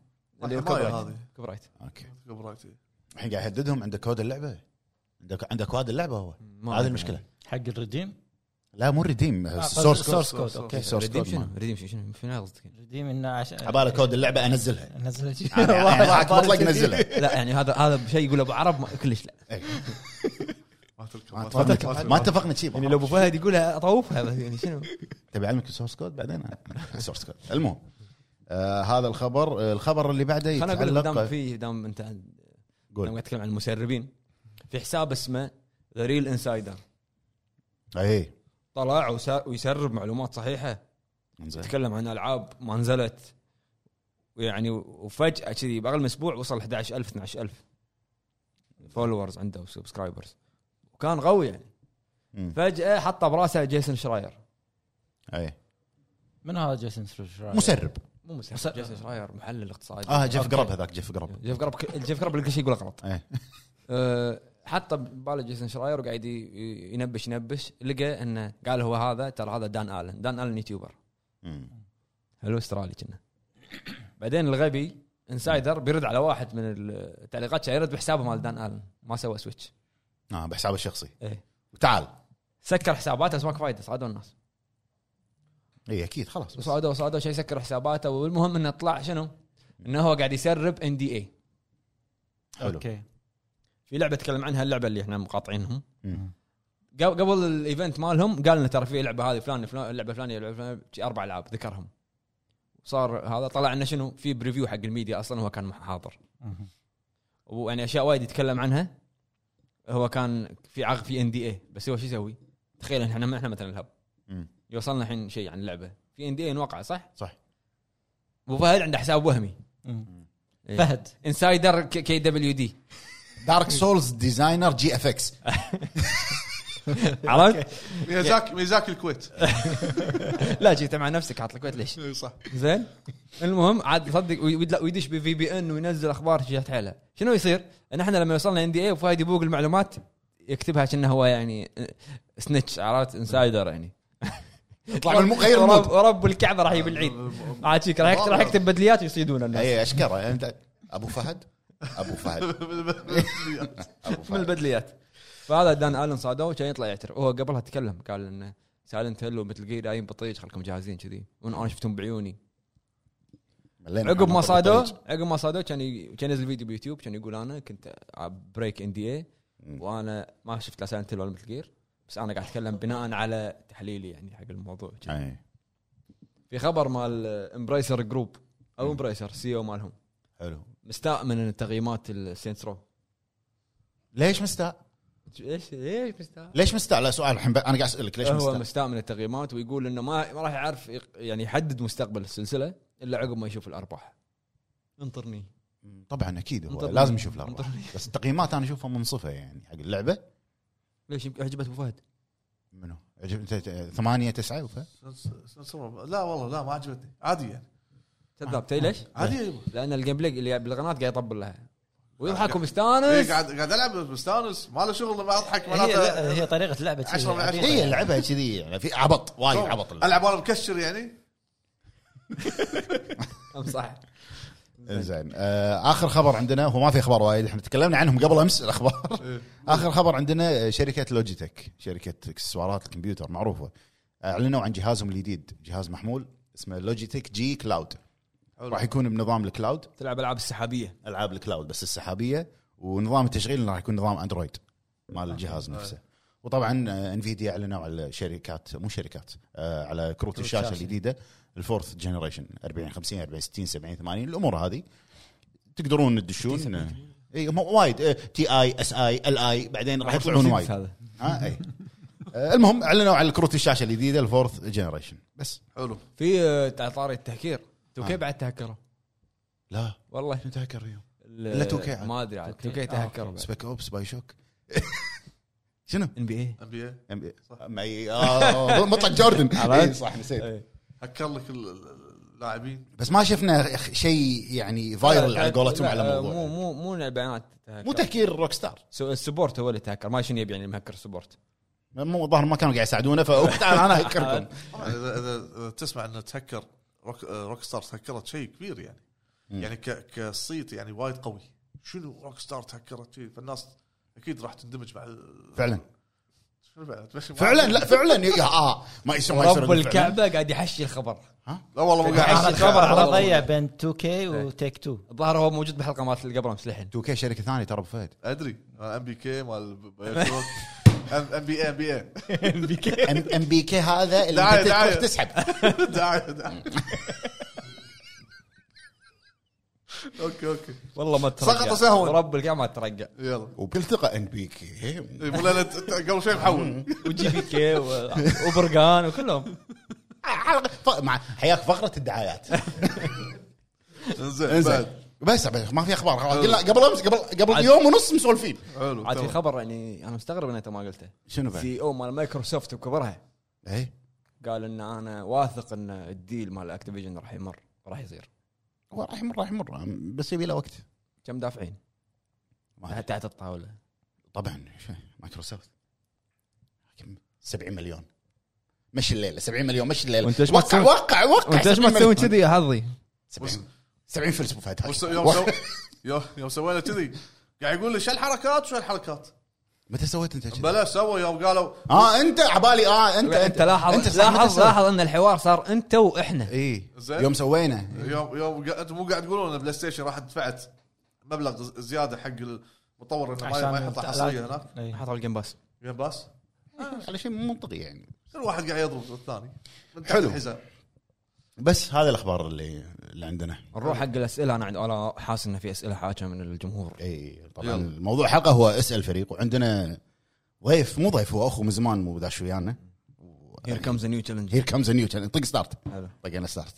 Speaker 1: اللي هو
Speaker 2: حماية
Speaker 1: كوبرايت.
Speaker 2: هذه.
Speaker 1: كوبرايت
Speaker 3: اوكي
Speaker 2: كبرايتي
Speaker 3: الحين قاعد يهددهم عند كود اللعبه عندك عندك كود اللعبه هو
Speaker 1: ما
Speaker 3: هذه
Speaker 1: أدري. آه،
Speaker 3: المشكله
Speaker 4: حق الريديم
Speaker 3: لا مو ريديم
Speaker 4: قصدي
Speaker 3: سورس كود
Speaker 4: source code، اوكي
Speaker 3: اوكي سورس
Speaker 1: ريديم
Speaker 3: كود
Speaker 1: شنو
Speaker 3: ما.
Speaker 1: ريديم شنو شنو شنو قصدك
Speaker 4: ريديم انه عشان
Speaker 3: عبالي كود
Speaker 1: [laughs]
Speaker 3: اللعبه انزلها
Speaker 4: نزلها شي.
Speaker 3: يعني- يعني معك مطلق نزلها إيه.
Speaker 1: لا يعني هذا هذا شيء يقول ابو عرب ما- كلش لا [laughs]
Speaker 2: ما تركب
Speaker 3: ما
Speaker 2: ما تركب
Speaker 3: اتفقنا- ما اتفقنا شيء
Speaker 1: يعني لو ابو فهد يقولها اطوفها بس يعني شنو
Speaker 3: تبي اعلمك السورس كود بعدين السورس كود المهم آه هذا الخبر آه، الخبر اللي بعده
Speaker 1: خليني اقول لك دام
Speaker 3: يتعلق
Speaker 1: في دام انت عن- دام
Speaker 3: قول
Speaker 1: قاعد تتكلم عن المسربين في حساب اسمه ذا ريل انسايدر
Speaker 3: اي
Speaker 1: طلع وس- ويسرب معلومات صحيحه
Speaker 3: انزين
Speaker 1: تتكلم عن العاب ما نزلت ويعني وفجاه كذي باقل من اسبوع وصل 11000 12000 فولورز عنده وسبسكرايبرز وكان قوي يعني
Speaker 3: مم.
Speaker 1: فجاه حطه براسه جيسون شراير
Speaker 3: اي
Speaker 4: من هذا جيسون
Speaker 1: آه،
Speaker 4: شراير؟
Speaker 3: إيه. مسرب
Speaker 1: مو مسرع جيسون شراير محلل اقتصادي
Speaker 3: اه جيف إيه.
Speaker 1: أوكي.
Speaker 3: قرب هذاك جيف قرب
Speaker 1: جيف قرب جيف قرب كل شيء يقوله غلط
Speaker 3: اي
Speaker 1: أه، حطه بباله جيسون شراير وقاعد ي- ي- ينبش ينبش لقى انه قال هو هذا ترى هذا دان الن دان الن يوتيوبر
Speaker 3: مم.
Speaker 1: حلو استرالي كنا بعدين الغبي انسايدر بيرد على واحد من التعليقات شا يرد بحسابه مال دان الن ما سوى سويتش
Speaker 3: اه بحسابه الشخصي
Speaker 1: ايه
Speaker 3: تعال
Speaker 1: سكر حساباته بس ماكو فايده صعدوا الناس
Speaker 3: اي اكيد إيه، خلاص بس.
Speaker 1: صعدوا صعدوا شي سكر حساباته والمهم انه طلع شنو؟ انه هو قاعد يسرب ان دي اي
Speaker 3: حلو
Speaker 4: اوكي
Speaker 1: في لعبه تكلم عنها اللعبه اللي احنا مقاطعينهم
Speaker 3: مم.
Speaker 1: قب- قبل الايفنت مالهم قال لنا ترى في لعبه هذه فلان فلان اللعبه الفلانيه اللعبه الفلانيه شي اربع العاب ذكرهم صار هذا طلع لنا شنو في بريفيو حق الميديا اصلا هو كان حاضر ويعني اشياء وايد يتكلم عنها هو كان في عقد في ان دي اي بس هو شو يسوي؟ تخيل إن احنا احنا مثلا الهب
Speaker 3: مم.
Speaker 1: يوصلنا الحين شيء عن اللعبه في ان دي اي نوقع صح؟
Speaker 3: صح.
Speaker 1: ابو فهد عنده حساب وهمي إيه.
Speaker 4: فهد
Speaker 1: انسايدر كي دبليو [laughs] دي
Speaker 3: دارك سولز ديزاينر جي اف اكس
Speaker 1: عرفت؟
Speaker 2: ميزاكي ميزاكي
Speaker 4: [laughs]
Speaker 2: الكويت [laughs]
Speaker 1: لا جيته مع نفسك عط الكويت ليش؟
Speaker 2: إي صح
Speaker 1: زين المهم عاد تصدق وي- ويدل- ويدش بفي بي ان وينزل اخبار جهات حيله شنو يصير؟ ان احنا لما وصلنا ان دي اي وفايد يبوق المعلومات يكتبها كأنه هو يعني سنتش عرفت انسايدر يعني
Speaker 3: يطلع من المو- غير
Speaker 1: ورب,
Speaker 3: المود
Speaker 1: ورب الكعبه راح يجيب العيد عاد شيك راح يكتب راح يكتب بدليات ويصيدون الناس
Speaker 3: اي اشكره انت ابو فهد ابو
Speaker 1: [laughs]
Speaker 3: فهد ابو
Speaker 1: من
Speaker 3: فهد
Speaker 1: البدليات فهذا دان الن صادوه كان يطلع يعترف هو قبلها تكلم قال انه سالنت هلو مثل جير جايين بطيج خلكم جاهزين كذي وانا أنا شفتهم بعيوني
Speaker 3: ملينا
Speaker 1: عقب ما
Speaker 3: عن
Speaker 1: صادوه
Speaker 3: الطريق.
Speaker 1: عقب ما صادوه كان ي- كان ينزل فيديو بيوتيوب كان يقول انا كنت بريك ان دي اي وانا ما شفت لا سالنت هيل ولا مثل جير بس انا قاعد اتكلم بناء على تحليلي يعني حق الموضوع
Speaker 3: اي
Speaker 1: في خبر مال امبريسر جروب او امبريسر سي او E مالهم
Speaker 3: حلو
Speaker 1: مستاء من تقييمات السينتس رو
Speaker 3: ليش مستاء؟
Speaker 1: ايش ايش مستاء؟
Speaker 3: ليش مستاء؟ لا سؤال الحين ب- انا قاعد اسالك ليش
Speaker 1: هو
Speaker 3: مستاء؟
Speaker 1: مستاء من التقييمات ويقول انه ما ما راح يعرف يق- يعني يحدد مستقبل السلسله الا عقب ما يشوف الارباح. انطرني
Speaker 3: طبعا اكيد هو
Speaker 1: انطرني.
Speaker 3: لازم يشوف الارباح
Speaker 1: انطرني
Speaker 3: بس التقييمات انا اشوفها منصفه يعني حق اللعبه
Speaker 1: ليش يمكن عجبت ابو فهد؟
Speaker 3: منو؟ عجب انت ثمانية تسعة وفا
Speaker 2: لا والله لا ما عجبتني عادي يعني
Speaker 1: كذاب تدري ليش؟
Speaker 2: عادي يبا.
Speaker 1: لان الجيم بلاي اللي بالقناه قاعد يطبل لها ويضحك
Speaker 2: قاعد-
Speaker 3: آه،
Speaker 1: ومستانس
Speaker 2: إيه، قاعد قاعد العب مستانس ما له شغل ما اضحك
Speaker 4: هي لا،
Speaker 2: معناته
Speaker 4: هي طريقه لعبه شي.
Speaker 2: عشرة من عشرة.
Speaker 3: هي لعبها كذي يعني في عبط وايد عبط
Speaker 2: العب وانا مكشر يعني
Speaker 1: صح
Speaker 3: زين آه اخر خبر عندنا هو ما في اخبار وايد احنا تكلمنا عنهم قبل امس الاخبار اخر خبر عندنا آه، شركه لوجيتك شركه اكسسوارات الكمبيوتر معروفه اعلنوا آه، عن جهازهم الجديد جهاز محمول اسمه لوجيتك جي كلاود
Speaker 2: حلو.
Speaker 3: راح يكون بنظام الكلاود
Speaker 1: تلعب العاب السحابيه
Speaker 3: العاب الكلاود بس السحابيه ونظام التشغيل راح يكون نظام اندرويد مال الجهاز نفسه وطبعا آه، انفيديا اعلنوا على شركات مو شركات آه، على كروت الشاشه
Speaker 1: الشاشة.
Speaker 3: الجديده الفورث جنريشن 40 50 40 60 70 80 الامور هذه تقدرون تدشون آه، اي هم وايد آه، تي اي اس اي ال اي بعدين راح يطلعون وايد
Speaker 1: هذا
Speaker 3: ها اي آه، المهم اعلنوا على كروت الشاشه الجديده الفورث جنريشن بس
Speaker 2: حلو
Speaker 1: في آه، على طاري التهكير تو كي
Speaker 3: آه.
Speaker 1: بعد تهكروا
Speaker 3: لا
Speaker 1: والله
Speaker 3: شنو تهكر اليوم
Speaker 1: ال-
Speaker 3: إلا 2K عاد.
Speaker 1: آه، ما ادري عاد 2K تهكروا بعد.
Speaker 3: سبيك اوبس باي شوك [laughs] شنو؟
Speaker 1: ان بي اي
Speaker 2: ام بي إيه. اي
Speaker 3: معي آه، مطلق
Speaker 1: [laughs]
Speaker 3: جوردن
Speaker 4: عرفت؟
Speaker 3: إي، صح نسيت
Speaker 1: إيه.
Speaker 2: هكر لك ال- ال- اللاعبين
Speaker 3: بس ما شفنا شيء يعني فايرل على قولتهم على
Speaker 1: مو
Speaker 3: الموضوع
Speaker 1: مو مو إن البيانات
Speaker 3: مو تهكير روك ستار
Speaker 1: السبورت هو اللي تهكر ما شنو يبي يعني المهكر سبورت
Speaker 3: مو الظاهر ما كانوا قاعد يساعدونه ف تعال انا
Speaker 1: [laughs]
Speaker 3: اهكركم
Speaker 2: طبعا اذا اذا آه، إذا تسمع ان تهكر روك, آه، روك ستار تهكرت شيء كبير يعني
Speaker 3: مم.
Speaker 2: يعني ك- كصيت يعني وايد قوي شنو روك ستار تهكرت شيء فالناس اكيد راح تندمج مع ال-
Speaker 3: فعلا
Speaker 2: شنو بعد؟ تمشي معاه.
Speaker 3: فعلا لا فعلا يا- اه ما يسمى
Speaker 1: رب الكعبه قاعد يحشي الخبر
Speaker 2: لا والله مو
Speaker 1: عشان
Speaker 2: قاعد
Speaker 1: الخبر
Speaker 4: عرضيه بين 2 كي وتيك 2
Speaker 1: الظاهر هو موجود بحلقه مالت اللي قبل امس
Speaker 3: [laughs]
Speaker 1: للحين
Speaker 3: 2 كي شركه ثانيه ترى أبو فهد
Speaker 2: ادري ام بي كي مال بايوشوك ام بي اي ام بي [laughs] اي
Speaker 3: ام بي إيه. كي هذا اللي
Speaker 2: دعاية-
Speaker 3: أنت تروح
Speaker 2: دعاية.
Speaker 3: تسحب
Speaker 2: دعاية- دعاية. [laughs] اوكي اوكي
Speaker 1: والله ما ترجع
Speaker 2: ترقع. سهوا.
Speaker 1: رب الكعبه ما ترقع
Speaker 2: يلا
Speaker 3: وكل ثقه ان بي كي
Speaker 2: إي، مو لا، لا، ت- قبل شوي محول
Speaker 1: وجي بي كي و- وبرقان وكلهم
Speaker 3: حلقه ف- مع حياك فقره
Speaker 1: [laughs]
Speaker 3: الدعايات
Speaker 2: انزين بعد
Speaker 3: انزين بس أبي- ما في اخبار خلاص قلنا قبل امس قبل قبل يوم ونص مسولفين
Speaker 2: حلو
Speaker 1: عاد في
Speaker 2: تمام.
Speaker 1: خبر يعني انا مستغرب ان انت ما قلته
Speaker 3: شنو بعد؟
Speaker 1: سي او مال مايكروسوفت وكبرها
Speaker 3: اي
Speaker 1: قال ان انا واثق ان الديل مال اكتيفيجن راح يمر راح يصير
Speaker 3: هو راح يمر راح يمر بس يبي له وقت
Speaker 1: كم دافعين
Speaker 3: ما أدري.
Speaker 1: تحت الطاوله
Speaker 3: طبعا شو- مايكروسوفت كم 70 مليون مشي الليله 70 مليون مشي الليله
Speaker 1: وأنت إيش ما
Speaker 3: وقع
Speaker 1: تسوي؟
Speaker 3: وقع وقع
Speaker 1: وانت ليش ما
Speaker 3: 70
Speaker 1: تسوي
Speaker 3: مليون.
Speaker 1: كذي يا حظي
Speaker 3: 70 70 فلس ابو فهد هاي.
Speaker 2: وس- يوم
Speaker 3: وقع.
Speaker 2: سو- يوم- يوم سوينا كذي قاعد يقول لي شو الحركات وشو الحركات
Speaker 3: متى سويت انت كذي؟
Speaker 2: بلا سوى يوم قالوا
Speaker 3: اه انت عبالي اه انت
Speaker 1: انت لاحظ
Speaker 3: صح متى
Speaker 1: لاحظ
Speaker 3: سويت؟
Speaker 1: لاحظ ان الحوار صار انت واحنا
Speaker 3: اي
Speaker 2: زين.
Speaker 3: يوم سوينا
Speaker 2: يوم يوم قا- انتم مو قاعد تقولون ان بلاي ستيشن راح دفعت مبلغ ز- زياده حق المطور انه ما- ما يحط حصريه هناك
Speaker 4: إي.
Speaker 1: حطوا الجيم باس
Speaker 2: يا باس
Speaker 3: على شيء مو منطقي يعني
Speaker 2: كل واحد قاعد يضرب الثاني من تحت
Speaker 3: حلو.
Speaker 2: الحزام
Speaker 3: بس هذا الاخبار اللي اللي عندنا
Speaker 1: نروح حق الاسئله انا عندي انا حاسس ان في اسئله حاجه من الجمهور
Speaker 3: اي طبعا
Speaker 2: يلا.
Speaker 3: الموضوع حلقه هو اسال فريق وعندنا ضيف مو ضيف هو اخو من زمان مو داش ويانا
Speaker 1: هير كمز نيو تشالنج
Speaker 3: هير كمز نيو طق ستارت طقنا ستارت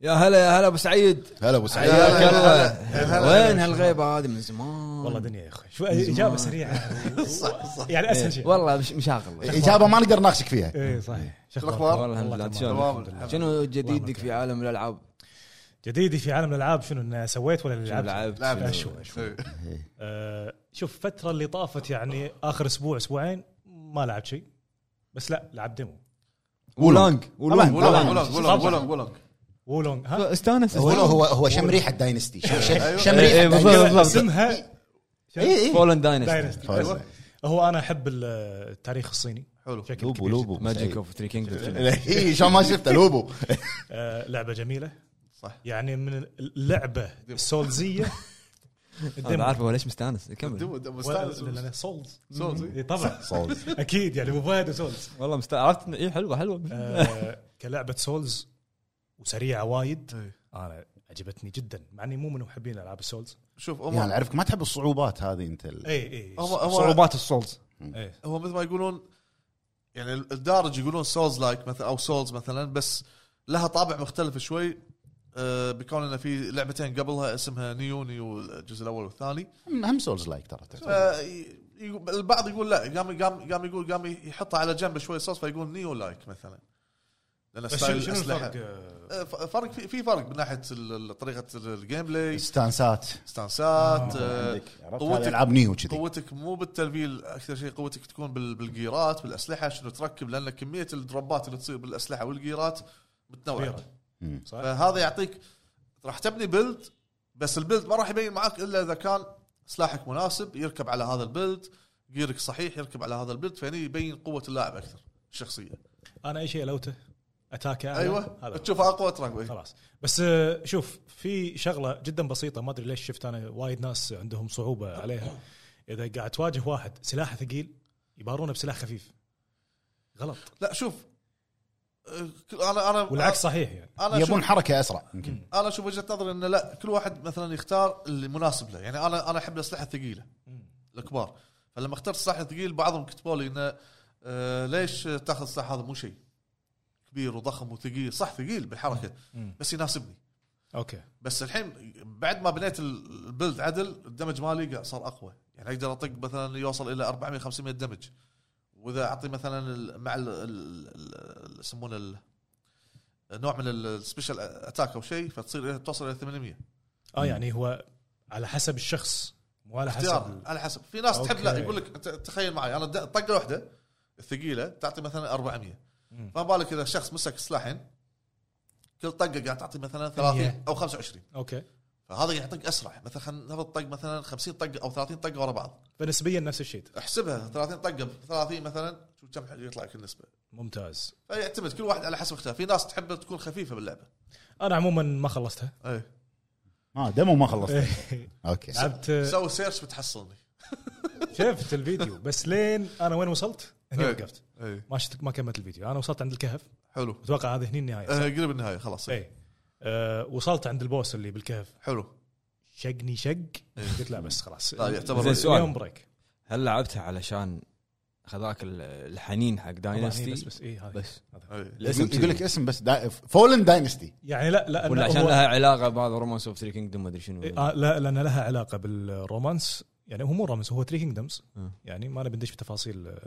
Speaker 1: يا هلا يا هلا ابو سعيد
Speaker 3: هلا ابو سعيد
Speaker 2: هلا،
Speaker 1: حياك
Speaker 2: هلا،
Speaker 1: الله.
Speaker 2: هلا، هلا.
Speaker 1: وين هالغيبه هذه من زمان
Speaker 5: والله دنيا يا اخوي شو اجابه سريعه
Speaker 2: [laughs]
Speaker 5: يعني اسهل شيء
Speaker 1: والله مش- مشاغل
Speaker 2: إيه.
Speaker 3: اجابه ما نقدر نناقشك فيها
Speaker 5: اي صحيح شو
Speaker 2: الأخبار؟
Speaker 1: والله الحمد
Speaker 5: والله
Speaker 1: لله أنت
Speaker 5: تمام.
Speaker 1: شلونك؟
Speaker 2: تمام الحمد
Speaker 1: شنو جديدك
Speaker 5: يبارك
Speaker 1: في عالم الالعاب؟
Speaker 5: جديدي في عالم الالعاب شنو إن سويت ولا
Speaker 1: شنو
Speaker 5: لعبت؟
Speaker 1: لعبت؟
Speaker 2: لعبت.
Speaker 1: شنو-
Speaker 5: شوي شوي
Speaker 2: إيه.
Speaker 5: آه، شوف الفتره اللي طافت يعني اخر اسبوع اسبوعين ما لعبت شيء بس لا لعبت ديمو
Speaker 1: ولانج
Speaker 2: ولونج
Speaker 3: ولانج.
Speaker 2: ولونج ولونج ولونج ولونج
Speaker 5: وولونج ها
Speaker 1: استانس
Speaker 3: هو هو هو شم ريحه داينستي شم- شم شم
Speaker 1: إيه، إيه، بالضبط،
Speaker 3: ريحه
Speaker 1: بالضبط.
Speaker 5: اسمها
Speaker 2: إيه،
Speaker 1: إيه،
Speaker 3: اي اي
Speaker 1: فولن داينستي
Speaker 5: داينستي
Speaker 3: طيب.
Speaker 5: بس
Speaker 3: أيوة.
Speaker 5: هو انا احب ال- التاريخ الصيني
Speaker 2: حلو
Speaker 5: بشكل
Speaker 3: لوبو
Speaker 5: كبير
Speaker 3: لوبو إيه.
Speaker 1: ماجيك
Speaker 2: إيه.
Speaker 1: اوف ثري كينجدوم
Speaker 3: اي شلون ما شفته لوبو
Speaker 5: آه، لعبه جميله
Speaker 2: صح.
Speaker 5: يعني من اللعبه السولزيه
Speaker 1: انا عارف هو ليش مستانس كمل
Speaker 2: دم- دم- مستانس.
Speaker 5: ولا سولز
Speaker 2: سولز، إيه.
Speaker 5: إيه، طبعا
Speaker 3: صوت
Speaker 5: اكيد يعني ابو فهد وسولز
Speaker 1: والله مستانس عرفت إن- إيه، اي حلوه حلوه
Speaker 5: آه، كلعبه سولز وسريعه وايد
Speaker 2: إيه.
Speaker 5: انا عجبتني جدا مع اني مو من محبين العاب السولز
Speaker 2: شوف
Speaker 3: يعني
Speaker 2: هم
Speaker 3: اعرفك ما تحب الصعوبات هذه انت ال-
Speaker 5: اي اي
Speaker 2: هم هم
Speaker 1: صعوبات السولز
Speaker 5: إيه.
Speaker 2: هو مثل ما يقولون يعني الدارج يقولون سولز لايك مثلا او سولز مثلا بس لها طابع مختلف شوي آه، بكون انه في لعبتين قبلها اسمها نيو نيو الجزء الاول والثاني
Speaker 3: هم سولز لايك
Speaker 5: طيب.
Speaker 3: ترى
Speaker 2: ف- يقو- البعض يقول لا قام قام قام يقول قام يحطها على جنب شوي صوص فيقول نيو لايك مثلا لان
Speaker 5: بس شنو
Speaker 2: ستايل
Speaker 5: شنو
Speaker 2: الاسلحه
Speaker 5: الفرق آه،
Speaker 2: آه، ف- فرق في في فرق من ناحيه ال- ال- طريقه ال- الجيم بلاي
Speaker 3: ستانسات
Speaker 2: ستانسات آه،
Speaker 3: قوه
Speaker 2: قوتك
Speaker 3: العاب نيو كذي
Speaker 2: قوتك مو بالتلفيل اكثر شيء قوتك تكون بال- بالجيرات بالاسلحه شنو تركب لان كميه الدروبات اللي تصير بالاسلحه والجيرات متنوعه
Speaker 5: كبيرة.
Speaker 3: مم.
Speaker 5: صح؟
Speaker 2: فهذا يعطيك راح تبني بيلد بس البيلد ما راح يبين معاك الا اذا كان سلاحك مناسب يركب على هذا البيلد جيرك صحيح يركب على هذا البيلد فهني يبين قوه اللاعب اكثر الشخصيه
Speaker 5: انا اي شيء لوته اتاك أعلى، هذا
Speaker 2: ايوه
Speaker 5: هو.
Speaker 2: تشوف اقوى تراك
Speaker 5: خلاص بس آه، شوف في شغله جدا بسيطه ما ادري ليش شفت انا وايد ناس عندهم صعوبه عليها اذا قاعد تواجه واحد سلاحه ثقيل يبارونه بسلاح خفيف غلط
Speaker 2: لا شوف أه، انا انا
Speaker 5: والعكس صحيح يعني
Speaker 2: انا أشوف-
Speaker 3: يبون حركه اسرع يمكن
Speaker 2: انا اشوف وجهه نظري انه لا كل واحد مثلا يختار اللي مناسب له يعني انا انا احب الاسلحه الثقيله الكبار فلما اخترت سلاح ثقيل بعضهم كتبوا لي انه آه ليش تاخذ سلاح هذا مو شيء كبير وضخم وثقيل صح ثقيل بالحركه
Speaker 5: مم.
Speaker 2: بس يناسبني
Speaker 5: اوكي
Speaker 2: بس الحين بعد ما بنيت ال- البيلد عدل الدمج مالي قا- صار اقوى يعني اقدر اطق مثلا يوصل الى 400 500 دمج واذا اعطي مثلا ال- مع ال- ال- ال- يسمونه ال- نوع من السبيشال اتاك او شيء فتصير إلى- توصل الى 800
Speaker 5: اه يعني هو على حسب الشخص مو على
Speaker 2: اختيار
Speaker 5: حسب
Speaker 2: على حسب في ناس تحب لا
Speaker 5: أوكي.
Speaker 2: يقول لك أنت تخيل معي انا د- طقه واحده الثقيله تعطي مثلا 400
Speaker 5: مم.
Speaker 2: فما بالك اذا شخص مسك سلاحين كل طقه قاعد تعطي مثلا 30 او 25
Speaker 5: اوكي
Speaker 2: فهذا قاعد يطق اسرع مثلا خلينا نفرض طق مثلا 50 طقه او 30 طقه ورا بعض
Speaker 5: فنسبيا نفس الشيء
Speaker 2: احسبها 30 طقه ب 30 مثلا شوف كم يطلع لك النسبه
Speaker 5: ممتاز
Speaker 2: فيعتمد كل واحد على حسب اختياره في ناس تحب تكون خفيفه باللعبه
Speaker 5: انا عموما ما خلصتها
Speaker 2: اي
Speaker 3: اه ديمو ما خلصت [laughs] اوكي
Speaker 5: لعبت
Speaker 2: سوي سيرش بتحصلني
Speaker 5: شفت الفيديو بس لين انا وين وصلت؟ هني
Speaker 2: إيه.
Speaker 5: وقفت
Speaker 2: اي
Speaker 5: ما شفت ما كملت الفيديو انا وصلت عند الكهف
Speaker 2: حلو
Speaker 5: اتوقع هذه هني النهايه
Speaker 2: آه، قريب النهايه خلاص
Speaker 5: اي أه وصلت عند البوس اللي بالكهف
Speaker 2: حلو
Speaker 5: شقني شق قلت لا بس خلاص إيه،
Speaker 2: لا، إيه. طيب، يعتبر-
Speaker 1: زين، سؤال.
Speaker 5: اليوم بريك
Speaker 1: هل لعبتها علشان خذاك ال- الحنين حق
Speaker 5: طبعاً هي إيه، بس
Speaker 1: داينستي
Speaker 5: بس اي هذه
Speaker 1: بس
Speaker 2: اي
Speaker 1: الاسم
Speaker 3: يقول يقول لك اسم بس دا... فولن داينستي
Speaker 5: يعني لا لا
Speaker 1: ولا
Speaker 5: لا
Speaker 1: عشان
Speaker 5: هو-
Speaker 1: لها علاقه بهذا رومانس اوف ثري كينجدوم ما ادري
Speaker 5: إيه،
Speaker 1: شنو
Speaker 5: آه لا لان لها علاقه بالرومانس يعني هو مو رومانس هو ثري كينجدمز
Speaker 1: مم.
Speaker 5: يعني ما نبي ندش بتفاصيل آه،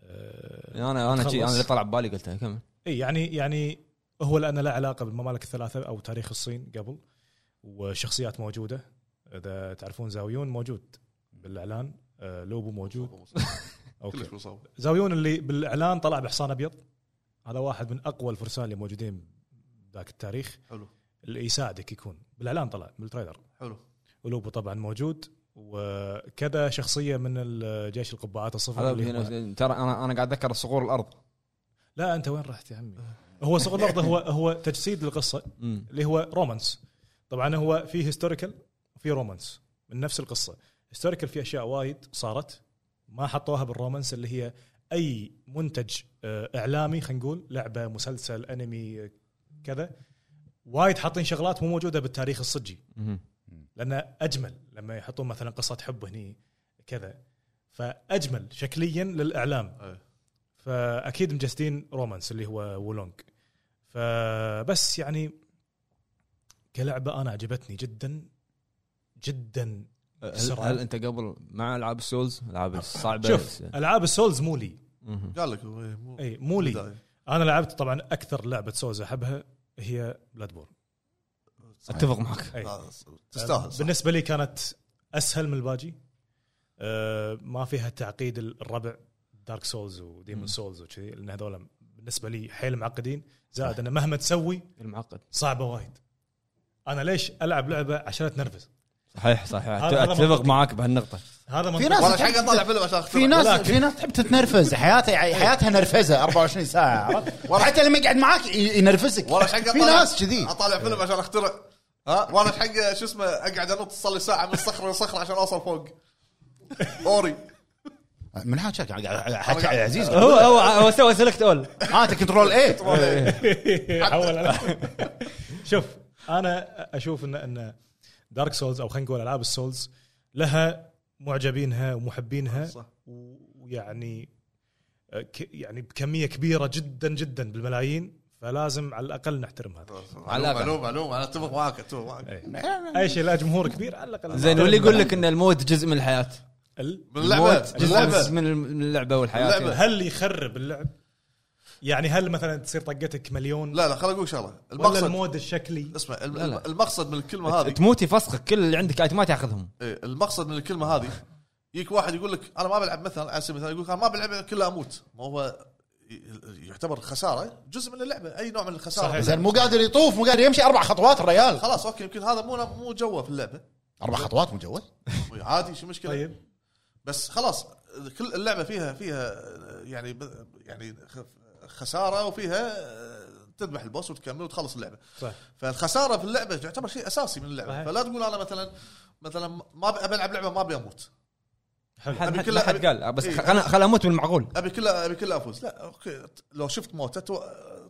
Speaker 5: آه،
Speaker 1: انا انا شي- انا
Speaker 5: تخلص.
Speaker 1: اللي طلع ببالي قلتها كمل
Speaker 5: اي يعني يعني هو لان له علاقه بالممالك الثلاثه او تاريخ الصين قبل وشخصيات موجوده اذا تعرفون زاويون موجود بالاعلان آه، لوبو موجود
Speaker 2: كلش
Speaker 5: اوكي
Speaker 2: مصاب
Speaker 5: زاويون اللي بالاعلان طلع بحصان ابيض هذا واحد من اقوى الفرسان اللي موجودين ذاك التاريخ
Speaker 2: حلو
Speaker 5: اللي يساعدك يكون بالاعلان طلع بالتريلر
Speaker 2: حلو
Speaker 5: ولوبو طبعا موجود وكذا شخصيه من ال- جيش القبعات الصفر
Speaker 1: هذا
Speaker 5: اللي هم-
Speaker 1: ترى انا انا قاعد اتذكر صقور الارض
Speaker 5: لا انت وين رحت يا عمي
Speaker 2: أه.
Speaker 5: هو صقر الارض هو هو تجسيد للقصه
Speaker 1: مم.
Speaker 5: اللي هو رومانس طبعا هو في هيستوريكال وفي رومانس من نفس القصه هيستوريكال في اشياء وايد صارت ما حطوها بالرومانس اللي هي اي منتج آه، اعلامي خلينا نقول لعبه مسلسل انمي آه، كذا وايد حاطين شغلات مو موجوده بالتاريخ الصجي
Speaker 1: مم.
Speaker 5: لانه اجمل لما يحطون مثلا قصه حب هني كذا فاجمل شكليا للاعلام
Speaker 2: إيه.
Speaker 5: فاكيد مجسدين رومانس اللي هو وولونج فبس يعني كلعبه انا عجبتني جدا جدا
Speaker 1: أه، هل,
Speaker 5: بسرعة.
Speaker 1: هل انت قبل مع العاب السولز
Speaker 5: [laughs]
Speaker 1: العاب الصعبه
Speaker 5: شوف العاب السولز مو لي
Speaker 1: مم.
Speaker 2: قال لك هو إيه، مو
Speaker 5: اي مو لي
Speaker 2: بداية.
Speaker 5: انا لعبت طبعا اكثر لعبه سولز احبها هي بلاد بورن
Speaker 1: اتفق معك
Speaker 5: أي.
Speaker 2: لا، تستاهل صح.
Speaker 5: بالنسبه آه، لي كانت اسهل من الباجي أه ما فيها تعقيد الربع دارك سولز وديمون سولز وكذي لان هذول بالنسبه لي حيل معقدين زائد انه مهما تسوي
Speaker 1: المعقد
Speaker 5: صعبه وايد انا ليش العب لعبه عشان اتنرفز
Speaker 1: صحيح صحيح أت-
Speaker 5: هذا
Speaker 1: اتفق
Speaker 5: منطقي.
Speaker 1: معك بهالنقطه
Speaker 5: هذا
Speaker 3: في
Speaker 5: منطقي
Speaker 3: ناس
Speaker 2: والله
Speaker 3: تحب-
Speaker 2: حق اطلع فيلم عشان أخترع.
Speaker 3: في ناس
Speaker 5: ولكن-
Speaker 3: في ناس تحب تتنرفز حياتها حياتها نرفزه 24 ساعه
Speaker 1: [laughs]
Speaker 3: عرفت؟ حتى لما يقعد معاك ي- ينرفزك
Speaker 2: والله ايش حق
Speaker 3: في ناس كذي
Speaker 2: اطالع فيلم عشان اخترع ها [laughs] وانا ايش حق شو اسمه اقعد انط صار لي ساعه من صخره لصخره عشان اوصل فوق اوري
Speaker 1: إيه.
Speaker 3: من حاجك قاعد حكي على عزيز
Speaker 1: [laughs] هو هو هو سوى سلكت اول
Speaker 3: [laughs] اه انت كنترول اي
Speaker 5: حول على- [laughs] شوف انا اشوف ان ان دارك سولز او خلينا نقول العاب السولز لها معجبينها ومحبينها
Speaker 2: صح.
Speaker 5: ويعني آه، ك- يعني بكميه كبيره جدا جدا بالملايين فلازم على الاقل نحترم هذا
Speaker 1: على إيه. الأقل.
Speaker 2: معلومه معلومه انا اتفق معك اتفق معك
Speaker 5: أي. اي شيء لا جمهور كبير على
Speaker 1: زين
Speaker 5: الاقل نحترم
Speaker 1: واللي يقول
Speaker 5: هذا. [laughs]
Speaker 1: لك ان الموت جزء من الحياه
Speaker 5: ال-
Speaker 2: من اللعبه
Speaker 1: الموت
Speaker 2: من
Speaker 1: جزء
Speaker 2: اللعبه
Speaker 1: من من اللعبه والحياه
Speaker 2: اللعبة.
Speaker 5: هل يخرب اللعب؟ يعني هل مثلا تصير طقتك مليون
Speaker 2: لا لا خل اقول شغله
Speaker 5: ولا
Speaker 2: المقصد
Speaker 5: المود الشكلي
Speaker 2: اسمع
Speaker 1: لا، لا.
Speaker 2: الم- المقصد من الكلمه هذه
Speaker 1: تموتي فسخك يعني كل اللي عندك ايتمات تاخذهم
Speaker 2: إيه، المقصد من الكلمه هذه يجيك واحد يقول لك انا ما بلعب مثلا على سبيل المثال يقول لك انا ما بلعب كله اموت ما هو ي- يعتبر خساره جزء من اللعبه اي نوع من الخساره
Speaker 5: صحيح.
Speaker 2: باللعبة.
Speaker 3: زين مو قادر يطوف مو قادر يمشي اربع خطوات الريال
Speaker 2: خلاص اوكي يمكن هذا مو مو جوه في اللعبه
Speaker 3: اربع خطوات مو جوه
Speaker 2: عادي شو مشكله
Speaker 5: طيب
Speaker 2: بس خلاص كل اللعبه فيها فيها يعني يعني خ- خساره وفيها آه، تذبح البوس وتكمل وتخلص اللعبه
Speaker 5: صح
Speaker 2: فالخساره في اللعبه تعتبر شيء اساسي من اللعبه
Speaker 5: صحيح.
Speaker 2: فلا تقول انا مثلا مثلا ما ابي بلعب لعبه ما ابي اموت
Speaker 1: حد-
Speaker 2: أبي
Speaker 1: حد-
Speaker 2: كل-
Speaker 1: ما حد
Speaker 2: أبي-
Speaker 1: قال بس
Speaker 2: إيه.
Speaker 1: خل خل اموت بالمعقول
Speaker 2: ابي كله ابي كله افوز لا اوكي لو شفت موته تو...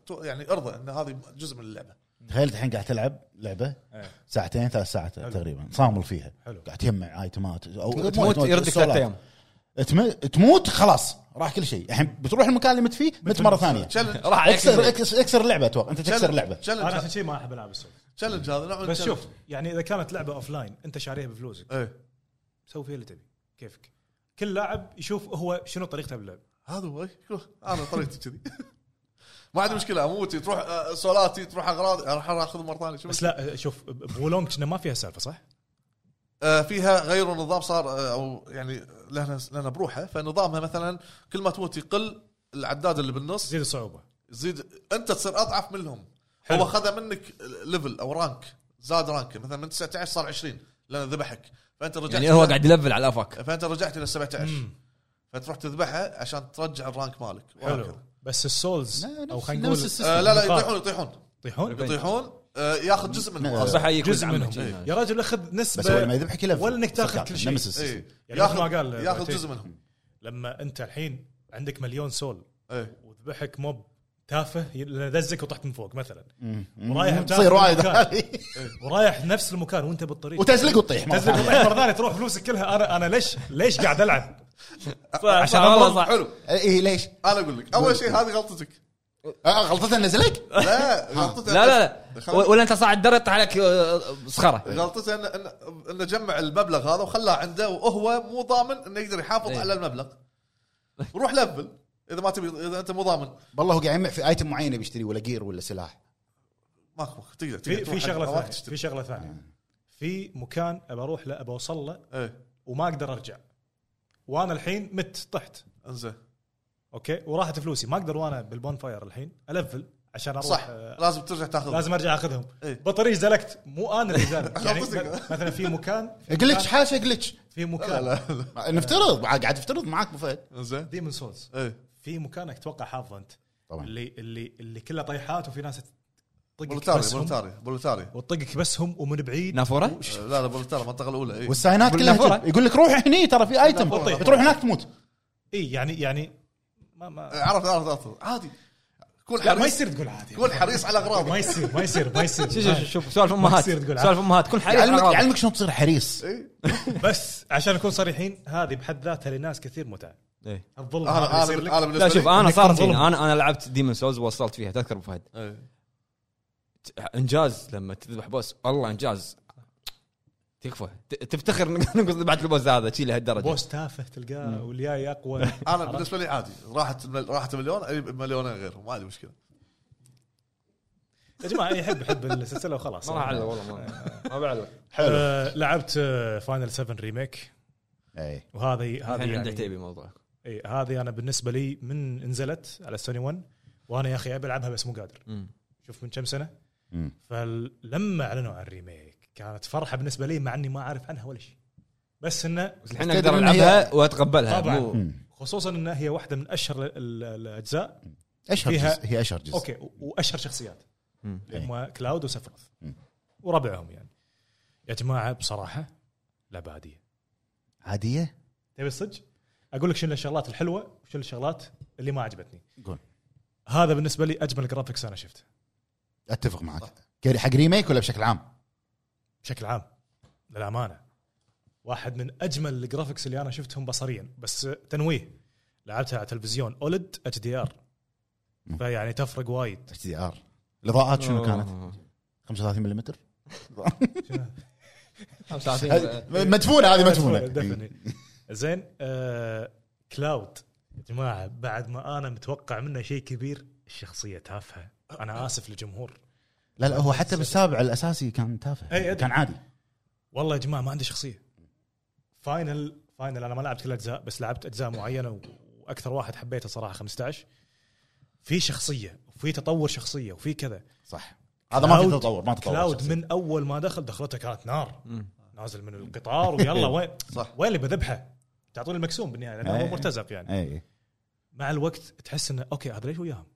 Speaker 2: تو... يعني ارضى ان هذه جزء من اللعبه
Speaker 3: تخيل الحين قاعد تلعب لعبه
Speaker 5: إيه.
Speaker 3: ساعتين ثلاث ساعات تقريبا صامل فيها
Speaker 5: حلو.
Speaker 3: قاعد تجمع ايتمات او
Speaker 1: تموت يردك ثلاث ايام
Speaker 3: تم- تموت خلاص راح كل شيء الحين بتروح المكان اللي مت فيه مت مره ثانيه
Speaker 2: تشالنج
Speaker 1: راح عليك
Speaker 3: اكسر
Speaker 1: البيت.
Speaker 3: اكسر اكسر لعبه اتوقع انت تكسر لعبه
Speaker 5: انا عشان
Speaker 2: تشالنج
Speaker 5: شيء ما احب العاب السولز
Speaker 2: تشالنج هذا نوع من
Speaker 5: بس
Speaker 2: challenge.
Speaker 5: شوف يعني اذا كانت لعبه اوف لاين انت شاريها بفلوسك
Speaker 2: ايه
Speaker 5: سوي فيها اللي تبي كيفك كل لاعب يشوف هو شنو طريقته باللعب
Speaker 2: هذا هو أي. انا طريقتي كذي [laughs] ما عندي مشكله اموتي تروح آه، سولاتي تروح اغراضي راح اخذ مره ثانيه شو
Speaker 5: بس لا شوف بولون كنا ما فيها سالفه صح؟
Speaker 2: آه، فيها غيروا النظام صار آه، او يعني لنا لنا بروحه فنظامها مثلا كل ما تموت يقل العداد اللي بالنص
Speaker 5: تزيد الصعوبه
Speaker 2: يزيد انت تصير اضعف منهم
Speaker 5: حلو.
Speaker 2: هو خذ منك ليفل او رانك زاد رانك مثلا من 19 صار 20 لان ذبحك فانت رجعت
Speaker 1: يعني هو
Speaker 2: إلى-
Speaker 1: قاعد يلفل على افاك
Speaker 2: فانت رجعت الى 17 فتروح تذبحه عشان ترجع الرانك مالك
Speaker 5: حلو
Speaker 2: وهكذا.
Speaker 5: بس السولز
Speaker 3: لا، نفس-
Speaker 5: او خلينا
Speaker 3: نفس
Speaker 5: نقول
Speaker 3: السيستم.
Speaker 2: آه لا لا
Speaker 5: نقاط.
Speaker 2: يطيحون يطيحون
Speaker 5: يطيحون
Speaker 1: ريفنج.
Speaker 2: يطيحون آه ياخذ جزء من
Speaker 3: نعم.
Speaker 2: الرصاص.
Speaker 1: صح يجيك
Speaker 5: جزء
Speaker 1: وزع منك.
Speaker 5: منهم
Speaker 2: إيه.
Speaker 5: يا رجل اخذ نسبه
Speaker 3: بس هو لما يذبحك يلفل
Speaker 5: ولا إنك تاخذ كل شيء.
Speaker 3: نمسس
Speaker 2: إيه.
Speaker 5: يعني مثل ما
Speaker 2: ياخذ
Speaker 5: قال
Speaker 2: ياخذ
Speaker 5: بعتيب.
Speaker 2: جزء منهم
Speaker 5: لما انت الحين عندك مليون سول
Speaker 2: إيه.
Speaker 5: وذبحك موب تافه ي- لأنه دزك وطحت من فوق مثلا ورايح
Speaker 3: رايح
Speaker 5: بتاخذ
Speaker 3: تصير وايد
Speaker 5: مكان.
Speaker 3: [laughs]
Speaker 5: ورايح نفس المكان وانت بالطريق
Speaker 3: وتزلق وتطيح مرة
Speaker 5: تزلق
Speaker 3: [laughs] ثانية.
Speaker 5: وطيح مره ثانيه تروح فلوسك كلها انا انا ليش ليش قاعد العب؟
Speaker 1: عشان
Speaker 5: فأنا
Speaker 1: والله
Speaker 5: برضو-
Speaker 1: صح
Speaker 2: حلو
Speaker 3: اي إيه، ليش؟
Speaker 2: انا اقول لك اول شيء هذه
Speaker 5: [laughs]
Speaker 2: غلطتك
Speaker 3: آه، غلطتها انه زلق؟
Speaker 2: لا غلطتها
Speaker 1: لا لا لا
Speaker 2: خلاص.
Speaker 1: ولا انت صاعد درة عليك آه، صخره
Speaker 2: غلطته انه انه إنه جمع المبلغ هذا وخلاه عنده وهو مو ضامن انه يقدر يحافظ
Speaker 1: إيه.
Speaker 2: على المبلغ روح لفل اذا ما تبي اذا انت مو ضامن
Speaker 3: والله هو قاعد يجمع في ايتم معينه بيشتري ولا جير ولا سلاح
Speaker 2: ماكو ماكو تقدر تقدر
Speaker 5: في
Speaker 2: تروح
Speaker 5: في شغله
Speaker 2: عند- أوقات
Speaker 5: ثانيه
Speaker 2: تشتري.
Speaker 5: في شغله ثانيه في مكان ابى اروح له ابى اوصل له
Speaker 2: ايه
Speaker 5: وما اقدر ارجع وانا الحين مت طحت
Speaker 2: انزين
Speaker 5: اوكي وراحت فلوسي ما اقدر وانا بالبون فاير الحين الفل عشان اروح
Speaker 2: صح
Speaker 5: آه،
Speaker 2: لازم ترجع تاخذ
Speaker 5: لازم ارجع اخذهم
Speaker 2: إيه.
Speaker 5: بطريق زلقت مو انا اللي زلقت يعني
Speaker 2: خلصتك.
Speaker 5: م- مثلا في مكان في
Speaker 3: جلتش
Speaker 5: مكان-
Speaker 3: حاشا جلتش
Speaker 5: في
Speaker 2: لا
Speaker 5: مكان
Speaker 2: لا لا
Speaker 3: نفترض قاعد قاعد افترض معاك ابو فهد
Speaker 2: انزين
Speaker 5: ديمون سولز
Speaker 2: ايه
Speaker 5: في مكان اتوقع حافظه انت
Speaker 3: طبعا
Speaker 5: اللي اللي اللي كله طيحات وفي ناس تطقك
Speaker 2: بولتاري
Speaker 5: بسهم
Speaker 2: بولتاري بولتاري
Speaker 5: وتطقك بسهم ومن بعيد
Speaker 1: نافوره
Speaker 2: آه، لا لا بولتاري المنطقه الاولى ايه
Speaker 3: والساينات كلها
Speaker 1: والنافورة.
Speaker 3: يقول لك روح هني ترى في ايتم
Speaker 5: والنافورة.
Speaker 3: بتروح هناك تموت
Speaker 5: اي يعني يعني ما ما
Speaker 2: آه، عرفت عرفت عرفت عادي كون
Speaker 5: لا ما
Speaker 2: حريص
Speaker 5: يصير تقول عادي
Speaker 2: كون حريص على اغراضك
Speaker 5: ما يصير ما يصير ما يصير
Speaker 1: [laughs] شوف شوف شوف سوالف امهات
Speaker 5: يصير تقول
Speaker 1: سوالف امهات كل حريص على
Speaker 3: يعلمك
Speaker 1: أغراضك.
Speaker 3: يعلمك شلون تصير حريص
Speaker 5: بس عشان نكون صريحين هذه بحد ذاتها لناس كثير متعه
Speaker 1: إيه.
Speaker 5: الظلم هذا
Speaker 2: انا
Speaker 5: يصير
Speaker 2: انا
Speaker 5: لك
Speaker 2: انا
Speaker 1: لا
Speaker 2: بالنسبه
Speaker 1: شوف
Speaker 2: لي
Speaker 1: انا
Speaker 5: إنك
Speaker 1: صارت
Speaker 5: تنظلم.
Speaker 1: فيني. انا انا لعبت ديمون سولز ووصلت فيها تذكر ابو فهد
Speaker 2: إيه.
Speaker 1: انجاز لما تذبح بوس والله انجاز تكفى ت- تفتخر إنك ذبحت البوس هذا شي لهالدرجه
Speaker 5: بوس تافه تلقاه والجاي اقوى
Speaker 2: انا بالنسبه لي عادي راحت راحت مليون اجيب مليونين غيره ما عندي مشكله
Speaker 5: يا جماعه يحب يحب السلسله وخلاص
Speaker 1: ما راح اعلق والله ما- ما بعلق
Speaker 5: آه، لعبت فاينل 7 ريميك
Speaker 3: اي
Speaker 5: وهذه هذه
Speaker 1: الحين عنده
Speaker 5: يعني
Speaker 1: تيبي موضوع
Speaker 5: إي، هذه انا بالنسبه لي من نزلت على سوني 1 وانا يا اخي ابي العبها بس مو قادر شوف من كم سنه
Speaker 3: مم.
Speaker 5: فلما اعلنوا عن الريميك كانت فرحه بالنسبه لي مع اني ما اعرف عنها ولا شيء بس انه
Speaker 1: بس الحين
Speaker 3: تدري
Speaker 1: اقدر
Speaker 3: إن هي-
Speaker 1: العبها واتقبلها
Speaker 5: طبعاً.
Speaker 1: مو-
Speaker 3: مم.
Speaker 5: خصوصا انها هي واحده من اشهر ال- ال- الاجزاء
Speaker 3: اشهر
Speaker 5: فيها-
Speaker 3: جزء هي اشهر جزء إيه.
Speaker 5: اوكي و- واشهر شخصيات
Speaker 1: مم.
Speaker 5: هم كلاود وسفرث
Speaker 3: مم.
Speaker 5: وربعهم يعني يا جماعه بصراحه لعبه عاديه
Speaker 3: عاديه
Speaker 5: تبي الصدق؟ اقول لك شنو الشغلات الحلوه وشنو الشغلات اللي ما عجبتني
Speaker 3: قول
Speaker 5: هذا بالنسبه لي اجمل جرافيكس انا شفته
Speaker 3: اتفق معك كري- حق ريميك ولا بشكل عام؟
Speaker 5: بشكل عام للامانه واحد من اجمل الجرافيكس اللي انا شفتهم بصريا بس تنويه لعبتها على تلفزيون اولد اتش دي ار فيعني تفرق وايد
Speaker 3: اتش دي ار الاضاءات شنو كانت؟
Speaker 1: أوه.
Speaker 3: 35 ملم
Speaker 1: 35
Speaker 3: مدفونه هذه مدفونه
Speaker 5: دفني. زين آه كلاود يا جماعه بعد ما انا متوقع منه شيء كبير الشخصيه تافهه انا اسف للجمهور
Speaker 3: لا لا هو حتى بالسابع الاساسي كان
Speaker 5: أي
Speaker 3: تافه
Speaker 5: أدري.
Speaker 3: كان عادي
Speaker 5: والله يا جماعه ما عندي شخصيه فاينل فاينل انا ما لعبت كل اجزاء بس لعبت اجزاء معينه و- واكثر واحد حبيته صراحه 15 في شخصيه وفي تطور شخصيه وفي كذا
Speaker 3: صح هذا ما في
Speaker 5: كلاود-
Speaker 3: تطور ما تطور
Speaker 5: كلاود
Speaker 3: شخصياً.
Speaker 5: من اول ما دخل دخلته كانت نار نازل من
Speaker 3: [laughs]
Speaker 5: القطار ويلا وين
Speaker 2: صح.
Speaker 5: وين اللي بذبحه تعطوني المكسوم بالنهايه لانه هو
Speaker 3: إيه.
Speaker 5: مرتزق يعني
Speaker 3: اي
Speaker 5: مع الوقت تحس انه اوكي هذا ليش وياهم؟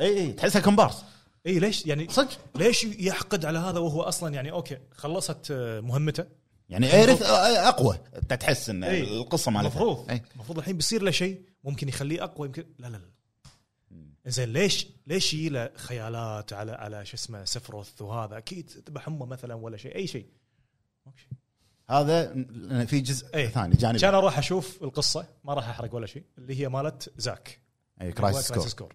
Speaker 3: اي اي تحسها كومبارس
Speaker 5: اي ليش يعني
Speaker 3: صدق
Speaker 5: ليش يحقد على هذا وهو اصلا يعني اوكي خلصت آه، مهمته
Speaker 3: يعني ايرث اقوى انت تحس ان
Speaker 5: إي.
Speaker 3: القصه مالتها
Speaker 5: المفروض
Speaker 3: إي.
Speaker 5: المفروض الحين بيصير له شيء ممكن يخليه اقوى يمكن لا لا لا زين ليش ليش يجي له خيالات على على شو اسمه سفروث وهذا اكيد ذبح امه مثلا ولا شيء اي شيء ماكو شيء
Speaker 3: هذا لأن في جزء
Speaker 5: إي.
Speaker 3: ثاني جانبي
Speaker 5: كان اروح اشوف القصه ما راح احرق ولا شيء اللي هي مالت زاك
Speaker 3: اي
Speaker 5: اللي هو
Speaker 3: كرايسيس
Speaker 5: Crisis
Speaker 3: كور
Speaker 5: Core.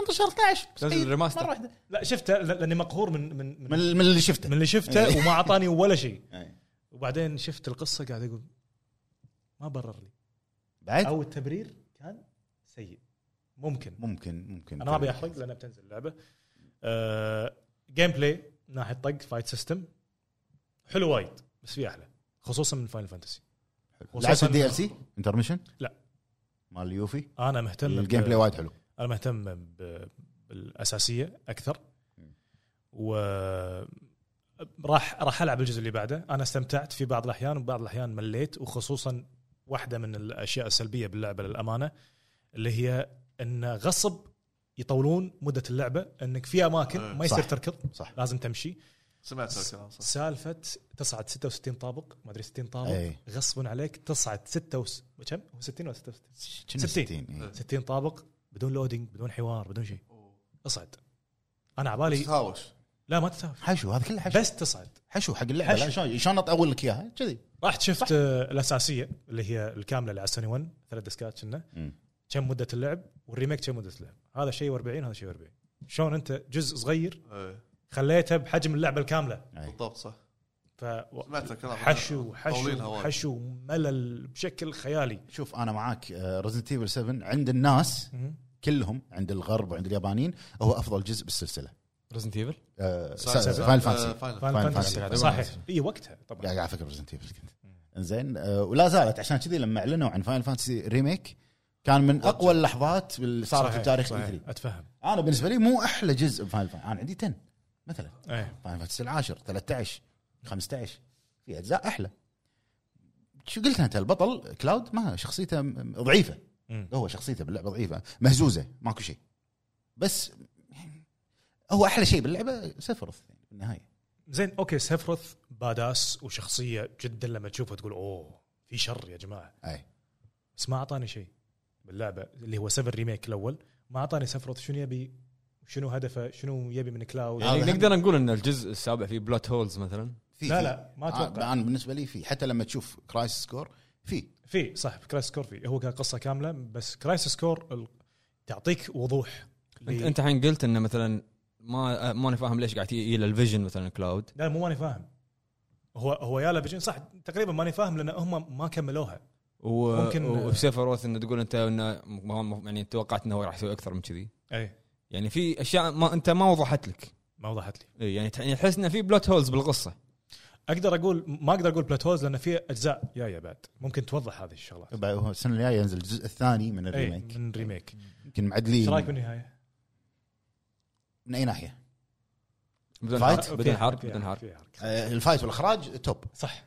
Speaker 3: انت شهر 12
Speaker 1: تنزل الريماستر.
Speaker 3: مره واحده
Speaker 5: لا شفته ل- لاني مقهور من من
Speaker 3: إيه، من
Speaker 5: من,
Speaker 3: من اللي
Speaker 5: من
Speaker 3: شفته
Speaker 5: اللي شفته
Speaker 3: إي.
Speaker 5: وما اعطاني ولا شيء
Speaker 3: إي.
Speaker 5: وبعدين شفت القصه قاعد اقول ما برر لي
Speaker 3: بعد
Speaker 5: او التبرير كان سيء ممكن
Speaker 3: ممكن ممكن
Speaker 5: انا ما ابي احرق لان بتنزل اللعبه آه، جيم بلاي من ناحيه طق فايت سيستم حلو وايد بس في احلى خصوصا من فاينل فانتسي
Speaker 3: لعبت الدي ال سي انترميشن؟
Speaker 5: لا.
Speaker 3: مال يوفي
Speaker 5: انا مهتم
Speaker 3: الجيم بلاي
Speaker 5: ب-
Speaker 3: وايد حلو
Speaker 5: انا مهتم ب- بالاساسيه اكثر و راح راح العب الجزء اللي بعده انا استمتعت في بعض الاحيان وبعض الاحيان مليت وخصوصا واحده من الاشياء السلبيه باللعبه للامانه اللي هي ان غصب يطولون مده اللعبه انك في اماكن ما يصير
Speaker 3: صح.
Speaker 5: تركض
Speaker 3: صح.
Speaker 5: لازم تمشي
Speaker 2: سمعت الكلام صح
Speaker 5: سالفه تصعد 66 طابق ما ادري 60 طابق
Speaker 3: أي.
Speaker 5: غصبا عليك تصعد 6 وس... كم؟ هو 60 ولا 66
Speaker 3: كنا 60
Speaker 5: 60.
Speaker 3: إيه.
Speaker 5: 60 طابق بدون لودينج بدون حوار بدون شيء اصعد انا على بالي
Speaker 2: تهاوش
Speaker 5: لا ما تسافر
Speaker 3: حشو هذا كله حشو
Speaker 5: بس تصعد
Speaker 3: حشو حق اللعبه
Speaker 5: حشو.
Speaker 3: لا، شلون شلون اطول لك اياها كذي
Speaker 5: رحت شفت آه، الاساسيه اللي هي الكامله اللي على سوني 1 ثلاث ديسكات كنا
Speaker 3: مم.
Speaker 5: كم مده اللعب والريميك كم مده اللعب هذا شيء و40 هذا شيء و40 شلون انت جزء صغير
Speaker 2: إيه،
Speaker 5: خليته بحجم اللعبه الكامله
Speaker 3: أي.
Speaker 2: بالضبط صح
Speaker 5: ف
Speaker 2: سمعت الكلام
Speaker 5: حشو
Speaker 2: طولينها
Speaker 5: حشو
Speaker 2: وايد.
Speaker 5: حشو ملل بشكل خيالي
Speaker 3: شوف انا معاك آه، ريزنت ايفل 7 عند الناس كلهم عند الغرب وعند اليابانيين هو افضل جزء بالسلسله
Speaker 1: ريزنت ايفل
Speaker 3: فاينل
Speaker 2: آه،
Speaker 3: فانسي
Speaker 2: فاينل
Speaker 5: فاينل
Speaker 3: فاينل
Speaker 5: فانتسي
Speaker 1: فانتسي.
Speaker 5: صحيح اي وقتها طبعا
Speaker 3: قاعد افكر بريزنت ايفل كنت انزين آه، ولا زالت عشان كذي لما اعلنوا عن فاينل فانتسي ريميك كان من اقوى اللحظات اللي صارت في E
Speaker 5: صحيح،
Speaker 3: تاريخ
Speaker 5: صحيح.
Speaker 3: E3.
Speaker 5: اتفهم
Speaker 3: انا بالنسبه لي مو احلى جزء بفاينل فانتسي انا عندي 10 مثلا
Speaker 5: ايه
Speaker 3: فاينل فانتسي العاشر 13 15 في اجزاء احلى شو قلت انت البطل كلاود ما شخصيته م- م- ضعيفه
Speaker 5: مم.
Speaker 3: هو شخصيته باللعبه ضعيفه مهزوزه ماكو شيء بس هو احلى شيء باللعبه سفرث يعني بالنهايه
Speaker 5: زين اوكي سيفرث باداس وشخصيه جدا لما تشوفها تقول اوه في شر يا جماعه
Speaker 3: اي
Speaker 5: بس ما اعطاني شيء باللعبه اللي هو 7 ريميك الاول ما اعطاني سيفرث شنو يبي شنو هدفه شنو يبي من كلاود
Speaker 3: هذا
Speaker 1: يعني
Speaker 3: هم.
Speaker 1: نقدر نقول ان الجزء السابع فيه بلوت هولز مثلا
Speaker 3: في
Speaker 5: لا
Speaker 3: في.
Speaker 5: لا ما
Speaker 3: آه،
Speaker 5: اتوقع
Speaker 3: انا بالنسبه لي في حتى لما تشوف كرايس سكور في
Speaker 5: في صح كرايس كور في هو كان قصه كامله بس كرايس كور ال... تعطيك وضوح
Speaker 1: انت
Speaker 5: ل-
Speaker 1: انت الحين قلت انه مثلا ما ما انا فاهم ليش قاعد يجي الفيجن مثلا كلاود
Speaker 5: لا مو ماني فاهم هو هو يا لبجين صح تقريبا ماني فاهم لان هم ما كملوها
Speaker 1: و...
Speaker 5: ممكن-
Speaker 1: ممكن وسيفروث انه تقول انت انه ما- ما- يعني توقعت انه هو راح يسوي اكثر من كذي
Speaker 5: اي
Speaker 1: يعني في اشياء ما انت ما وضحت لك
Speaker 5: إيه، ما وضحت لي
Speaker 1: إي، يعني تح- يعني تحس انه في بلوت هولز بالقصه
Speaker 5: اقدر اقول ما اقدر اقول بلاتوز لان في اجزاء جايه بعد ممكن توضح هذه الشغلات
Speaker 3: بعد- هو السنه الجايه ينزل الجزء الثاني إيه، من
Speaker 5: اي
Speaker 3: الريميك
Speaker 5: من ريميك
Speaker 3: يمكن
Speaker 5: ايش رايك
Speaker 3: معدلين
Speaker 5: بالنهايه؟
Speaker 3: من اي ناحيه
Speaker 1: بدون
Speaker 3: فايت؟
Speaker 1: حرب بدون
Speaker 5: فيها-
Speaker 1: حرب
Speaker 5: فيها-
Speaker 1: بدون حرب
Speaker 5: فيها حرق.
Speaker 3: آه، الفايت والاخراج توب
Speaker 5: صح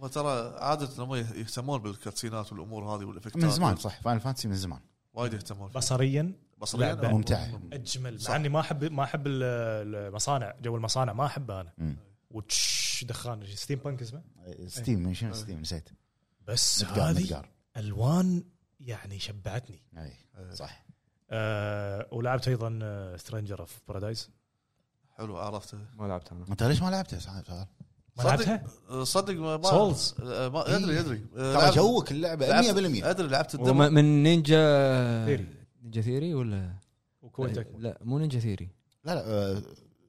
Speaker 2: وترى عاده هم يهتمون بالكاتسينات والامور هذه والافكتات
Speaker 3: من زمان صح فاينل فانتسي من زمان
Speaker 2: وايد يهتمون فيها.
Speaker 5: بصريا
Speaker 2: بصريا
Speaker 5: لعبة
Speaker 3: ممتعة.
Speaker 5: اجمل
Speaker 2: صح.
Speaker 5: مع اني ما احب ما احب ال- المصانع جو المصانع ما احبه انا
Speaker 3: مم.
Speaker 5: وتش دخان ستيم بانك اسمه
Speaker 3: آه، ستيم من شنو ستيم نسيت
Speaker 5: بس
Speaker 3: مدقار
Speaker 5: هذه
Speaker 3: مدقار
Speaker 5: الوان يعني شبعتني
Speaker 3: اي صح
Speaker 5: أه ولعبت آه، ايضا سترينجر اوف بارادايز
Speaker 2: حلو عرفته
Speaker 1: ما لعبت انا
Speaker 3: انت ليش ما لعبته سعد سعد؟
Speaker 5: ما
Speaker 2: صدق؟
Speaker 5: لعبتها؟
Speaker 2: صدق ما ما-
Speaker 5: Souls.
Speaker 2: آه، ما يدري
Speaker 3: إيه.
Speaker 2: يدري آه،
Speaker 3: ترى
Speaker 2: لعب-
Speaker 3: جوك اللعبه
Speaker 2: لعبت-
Speaker 3: 100%
Speaker 2: ادري لعبت
Speaker 1: هو
Speaker 2: الدم
Speaker 1: م- من نينجا
Speaker 5: ثيري.
Speaker 1: نينجا ثيري ولا
Speaker 5: وكويتك
Speaker 1: لا مو نينجا ثيري
Speaker 3: لا لا آه،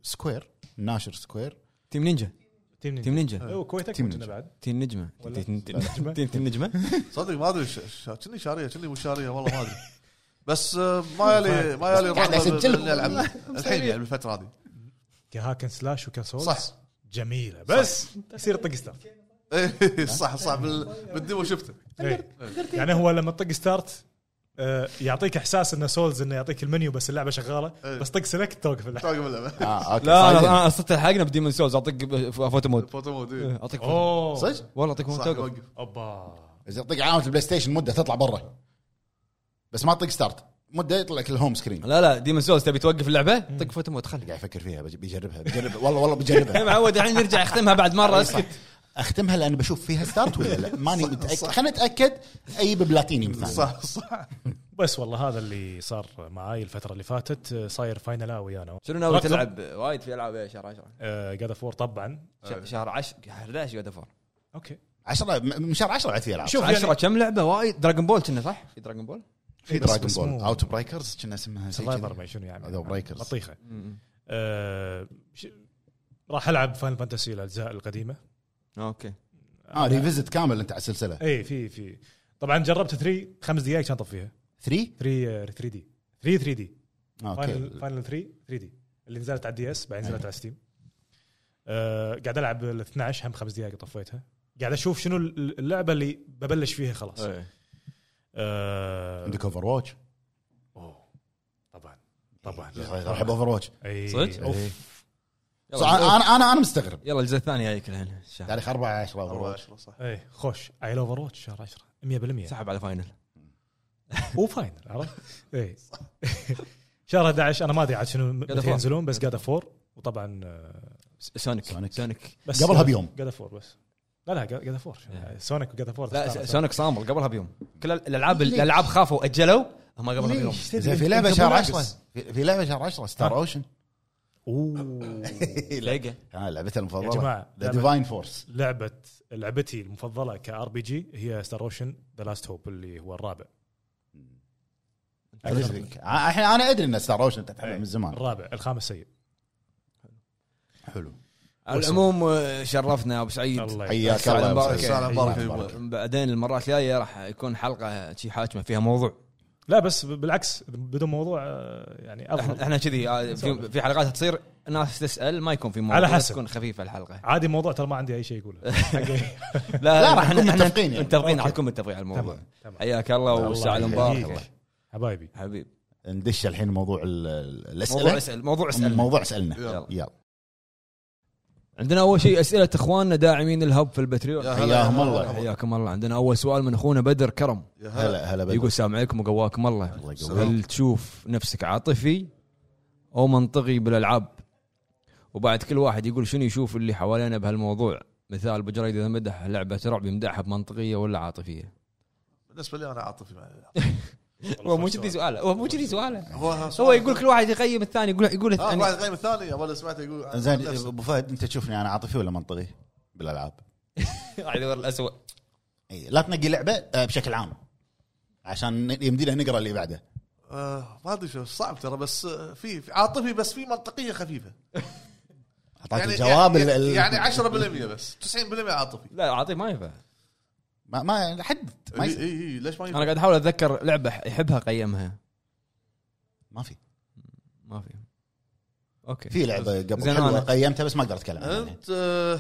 Speaker 3: سكوير ناشر سكوير
Speaker 1: تيم نينجا
Speaker 5: تيم
Speaker 1: تيم
Speaker 5: نينجا
Speaker 1: نينجا
Speaker 5: أيوة، وكويتك
Speaker 3: تيم
Speaker 5: موجودة
Speaker 3: نينجا.
Speaker 5: بعد
Speaker 1: تيم نجمه
Speaker 5: ولا؟
Speaker 1: تيم
Speaker 5: نجمة.
Speaker 1: تيم تيم نجمه
Speaker 2: صدق ما ادري ش- ش- كني شاريه كني مو شاريه والله ما ادري بس آه، ما يلي ما يلي
Speaker 3: قاعد
Speaker 2: الرغبة
Speaker 3: أسجلهم.
Speaker 2: بإني ألعب الحين يعني بالفتره هذه
Speaker 5: كهاكن سلاش وكسول
Speaker 2: صح
Speaker 5: جميله بس تصير طق ستارت
Speaker 2: إيه، [laughs] صح صح بال- بالديمو شفته
Speaker 5: إيه. يعني هو لما تطق ستارت آه، يعطيك احساس انه سولز انه يعطيك المنيو بس اللعبه شغاله
Speaker 2: إيه.
Speaker 5: بس طق سلكت توقف اللعبه
Speaker 2: توقف اللعبه
Speaker 3: اه اوكي
Speaker 1: لا أنا-
Speaker 3: صايدين.
Speaker 1: انا صرت حقنا بديمون سولز اعطيك ب- فوتو مود
Speaker 2: [laughs] فوتو مود إيه.
Speaker 1: اعطيك فوتو-
Speaker 5: اوه
Speaker 3: صدق؟
Speaker 1: والله اعطيك مود
Speaker 2: صح
Speaker 1: توقف
Speaker 2: يوقف
Speaker 5: اوبا
Speaker 3: اذا تطق علامه البلاي ستيشن مده تطلع برا بس ما تطق ستارت مده يطلع لك الهوم سكرين
Speaker 1: لا لا ديمون سولز تبي توقف اللعبه طق فوتو مود خلي
Speaker 3: قاعد افكر فيها بج- بيجربها بجربها والله والله
Speaker 4: [laughs]
Speaker 3: بجربها
Speaker 1: معود الحين نرجع اختمها بعد
Speaker 3: [laughs]
Speaker 1: مره اسكت
Speaker 3: اختمها لان بشوف فيها ستارت ولا لا ماني متاكد خلينا نتاكد اي ببلاتينيوم ثاني
Speaker 2: صح صح
Speaker 5: بس والله هذا اللي صار معاي الفتره اللي فاتت آه، صاير فاينلا ويانا آه،
Speaker 1: شنو ناوي تلعب وايد في العاب إيه، شهر 10
Speaker 5: جاد فور طبعا
Speaker 1: شهر 10 11 قاعد افور
Speaker 5: اوكي
Speaker 3: 10 من شهر 10 بعد في العاب
Speaker 5: شوف
Speaker 1: 10
Speaker 5: يعني
Speaker 1: كم لعبه وايد دراجون بول كنا صح؟ في دراجون بول؟
Speaker 3: في
Speaker 5: إيه، بس-
Speaker 3: دراجون
Speaker 5: بس
Speaker 3: بول
Speaker 5: مو-
Speaker 3: اوت بريكرز كنا اسمها شيء
Speaker 5: سرفايفر
Speaker 3: كذي.
Speaker 5: ما شنو يعني
Speaker 3: هذا بريكرز.
Speaker 5: بطيخه آه، ش- راح العب فاينل فانتسي الاجزاء القديمه
Speaker 1: اوكي
Speaker 3: اه ريفيزت كامل انت على السلسله
Speaker 5: اي إيه، في في طبعا جربت 3 خمس دقائق كان طب فيها آه،
Speaker 3: 3
Speaker 5: 3 3 دي 3 3 دي
Speaker 3: آه، اوكي
Speaker 5: فاينل فاينل 3 3 دي اللي نزلت على الدي اس بعدين نزلت على ستيم آه قاعد العب ال 12 هم خمس دقائق طفيتها قاعد اشوف شنو اللعبه اللي ببلش فيها خلاص
Speaker 1: إيه.
Speaker 5: آه
Speaker 3: عندك اوفر واتش
Speaker 5: أوه. طبعا طبعا
Speaker 3: احب اوفر واتش
Speaker 5: اي
Speaker 3: إيه.
Speaker 1: صدق؟
Speaker 5: اوف
Speaker 1: يلا،
Speaker 3: انا انا انا مستغرب
Speaker 1: آه. يلا الجزء الثاني جايك الحين إن شاء الله.
Speaker 3: تاريخ 4 10 اوفر
Speaker 2: 4
Speaker 3: واتش
Speaker 2: 10 صح
Speaker 5: اي إيه. خوش عيل اوفر واتش شهر 10 100%
Speaker 1: سحب على فاينل
Speaker 5: وفاينل عرفت؟ اي [laughs] شهر 11 انا ما ادري عاد شنو
Speaker 1: God of War.
Speaker 5: متى ينزلون بس جاد فور وطبعا آه،
Speaker 1: سونيك
Speaker 3: سونيك.
Speaker 1: سونيك
Speaker 5: بس
Speaker 3: قبلها بيوم.
Speaker 5: جاد فور بس لا لا جاد فور سونيك وجاد فور
Speaker 1: إيه. لا سونيك صامل قبلها بيوم كل الالعاب الالعاب خافوا اجلوا هم قبلها [laughs] بيوم
Speaker 3: زين في لعبه شهر 10 في في لعبه شهر 10 ستار اوشن
Speaker 1: تلاقى
Speaker 3: آه لعبتها المفضله
Speaker 5: يا جماعة،
Speaker 3: ذا
Speaker 5: لعبة-
Speaker 3: ديفاين فورس
Speaker 5: لعبه لعبتي المفضله كار بي جي هي ستار اوشن ذا لاست هوب اللي هو الرابع
Speaker 3: الحين انا ادري ان ستار اوشن تتحمل
Speaker 5: إيه.
Speaker 3: من زمان
Speaker 5: الرابع الخامس سيء
Speaker 3: حلو
Speaker 1: على العموم آه، شرفنا ابو سعيد
Speaker 5: الله يسلمك.
Speaker 3: حياك
Speaker 1: سعد
Speaker 3: الله يا أبو
Speaker 1: مبارك.
Speaker 3: سعيد.
Speaker 2: سعد مبارك يا
Speaker 3: حياك
Speaker 2: أبو
Speaker 3: مبارك.
Speaker 1: بعدين المرات الجايه راح يكون حلقه شي حاكمه فيها موضوع
Speaker 5: لا بس بالعكس بدون موضوع آه، يعني
Speaker 1: احنا
Speaker 5: افضل
Speaker 1: احنا كذي آه، في, في حلقات تصير ناس تسال ما يكون في موضوع
Speaker 5: على حسب.
Speaker 1: تكون خفيفه
Speaker 5: [laughs]
Speaker 1: الحلقه
Speaker 5: عادي موضوع ترى ما عندي اي
Speaker 2: [laughs]
Speaker 5: شيء اقوله حقي.
Speaker 3: لا، راح نكون متفقين يعني.
Speaker 1: متفقين راح
Speaker 5: أوكي.
Speaker 1: نكون متفقين على الموضوع
Speaker 5: تمام تمام
Speaker 1: حياك الله
Speaker 5: الله
Speaker 1: وسعد
Speaker 5: يحييك.
Speaker 1: مبارك
Speaker 2: إيه.
Speaker 5: حبايبي
Speaker 1: حبيب
Speaker 3: ندش الحين موضوع ال- ال-
Speaker 1: موضوع
Speaker 3: الاسئله
Speaker 1: اسال موضوع اسال
Speaker 3: موضوع اسالنا
Speaker 1: يلا.
Speaker 3: يلا
Speaker 1: عندنا اول شيء اسئله اخواننا داعمين الهب في البتريون
Speaker 2: يا هلا،
Speaker 3: حياهم
Speaker 2: يا هلا،
Speaker 3: الله.
Speaker 2: يا هلا.
Speaker 1: حياكم الله عندنا اول سؤال من اخونا بدر كرم
Speaker 2: يا هلا
Speaker 3: هلا هلا بدر.
Speaker 1: يقول السلام عليكم وقواكم الله
Speaker 3: الله يقويك.
Speaker 1: هل تشوف نفسك عاطفي او منطقي بالالعاب وبعد كل واحد يقول شنو يشوف اللي حوالينا بهالموضوع مثال ابو جريد اذا مدح لعبه رعب يمدحها بمنطقيه ولا عاطفيه؟
Speaker 2: بالنسبه لي انا عاطفي مع الألعاب.
Speaker 1: هو مو كذي سؤاله هو مو كذي سؤاله
Speaker 2: هو
Speaker 1: هو يقول كل واحد يقيم الثاني يقول يقول
Speaker 2: اه
Speaker 1: الثاني
Speaker 2: واحد غير الثاني اول سمعته يقول
Speaker 3: زين
Speaker 2: نفسه.
Speaker 3: ابو فهد انت تشوفني انا عاطفي ولا منطقي بالالعاب؟
Speaker 1: قاعد يدور الاسوء
Speaker 3: إي، لا تنقي لعبه آه، بشكل عام عشان ن- يمدينا نقرا اللي بعده
Speaker 2: آه، ما ادري شو صعب ترى بس آه، في في عاطفي بس في منطقيه خفيفه
Speaker 3: اعطاك
Speaker 1: يعني
Speaker 3: الجواب ال- ال-
Speaker 2: يعني 10% بس 90% عاطفي
Speaker 1: لا عاطفي ما ينفع
Speaker 3: ما, ما حد ما,
Speaker 2: اي
Speaker 3: يصير.
Speaker 2: اي إيه، ليش ما
Speaker 1: انا
Speaker 2: ينفع؟
Speaker 1: قاعد احاول اتذكر لعبه يحبها قيمها
Speaker 3: ما في
Speaker 1: ما في اوكي
Speaker 3: في لعبه قبل
Speaker 1: زين
Speaker 3: حلوه
Speaker 1: أنا. أه؟
Speaker 3: قيمتها بس ما اقدر اتكلم عنها
Speaker 2: انت آه،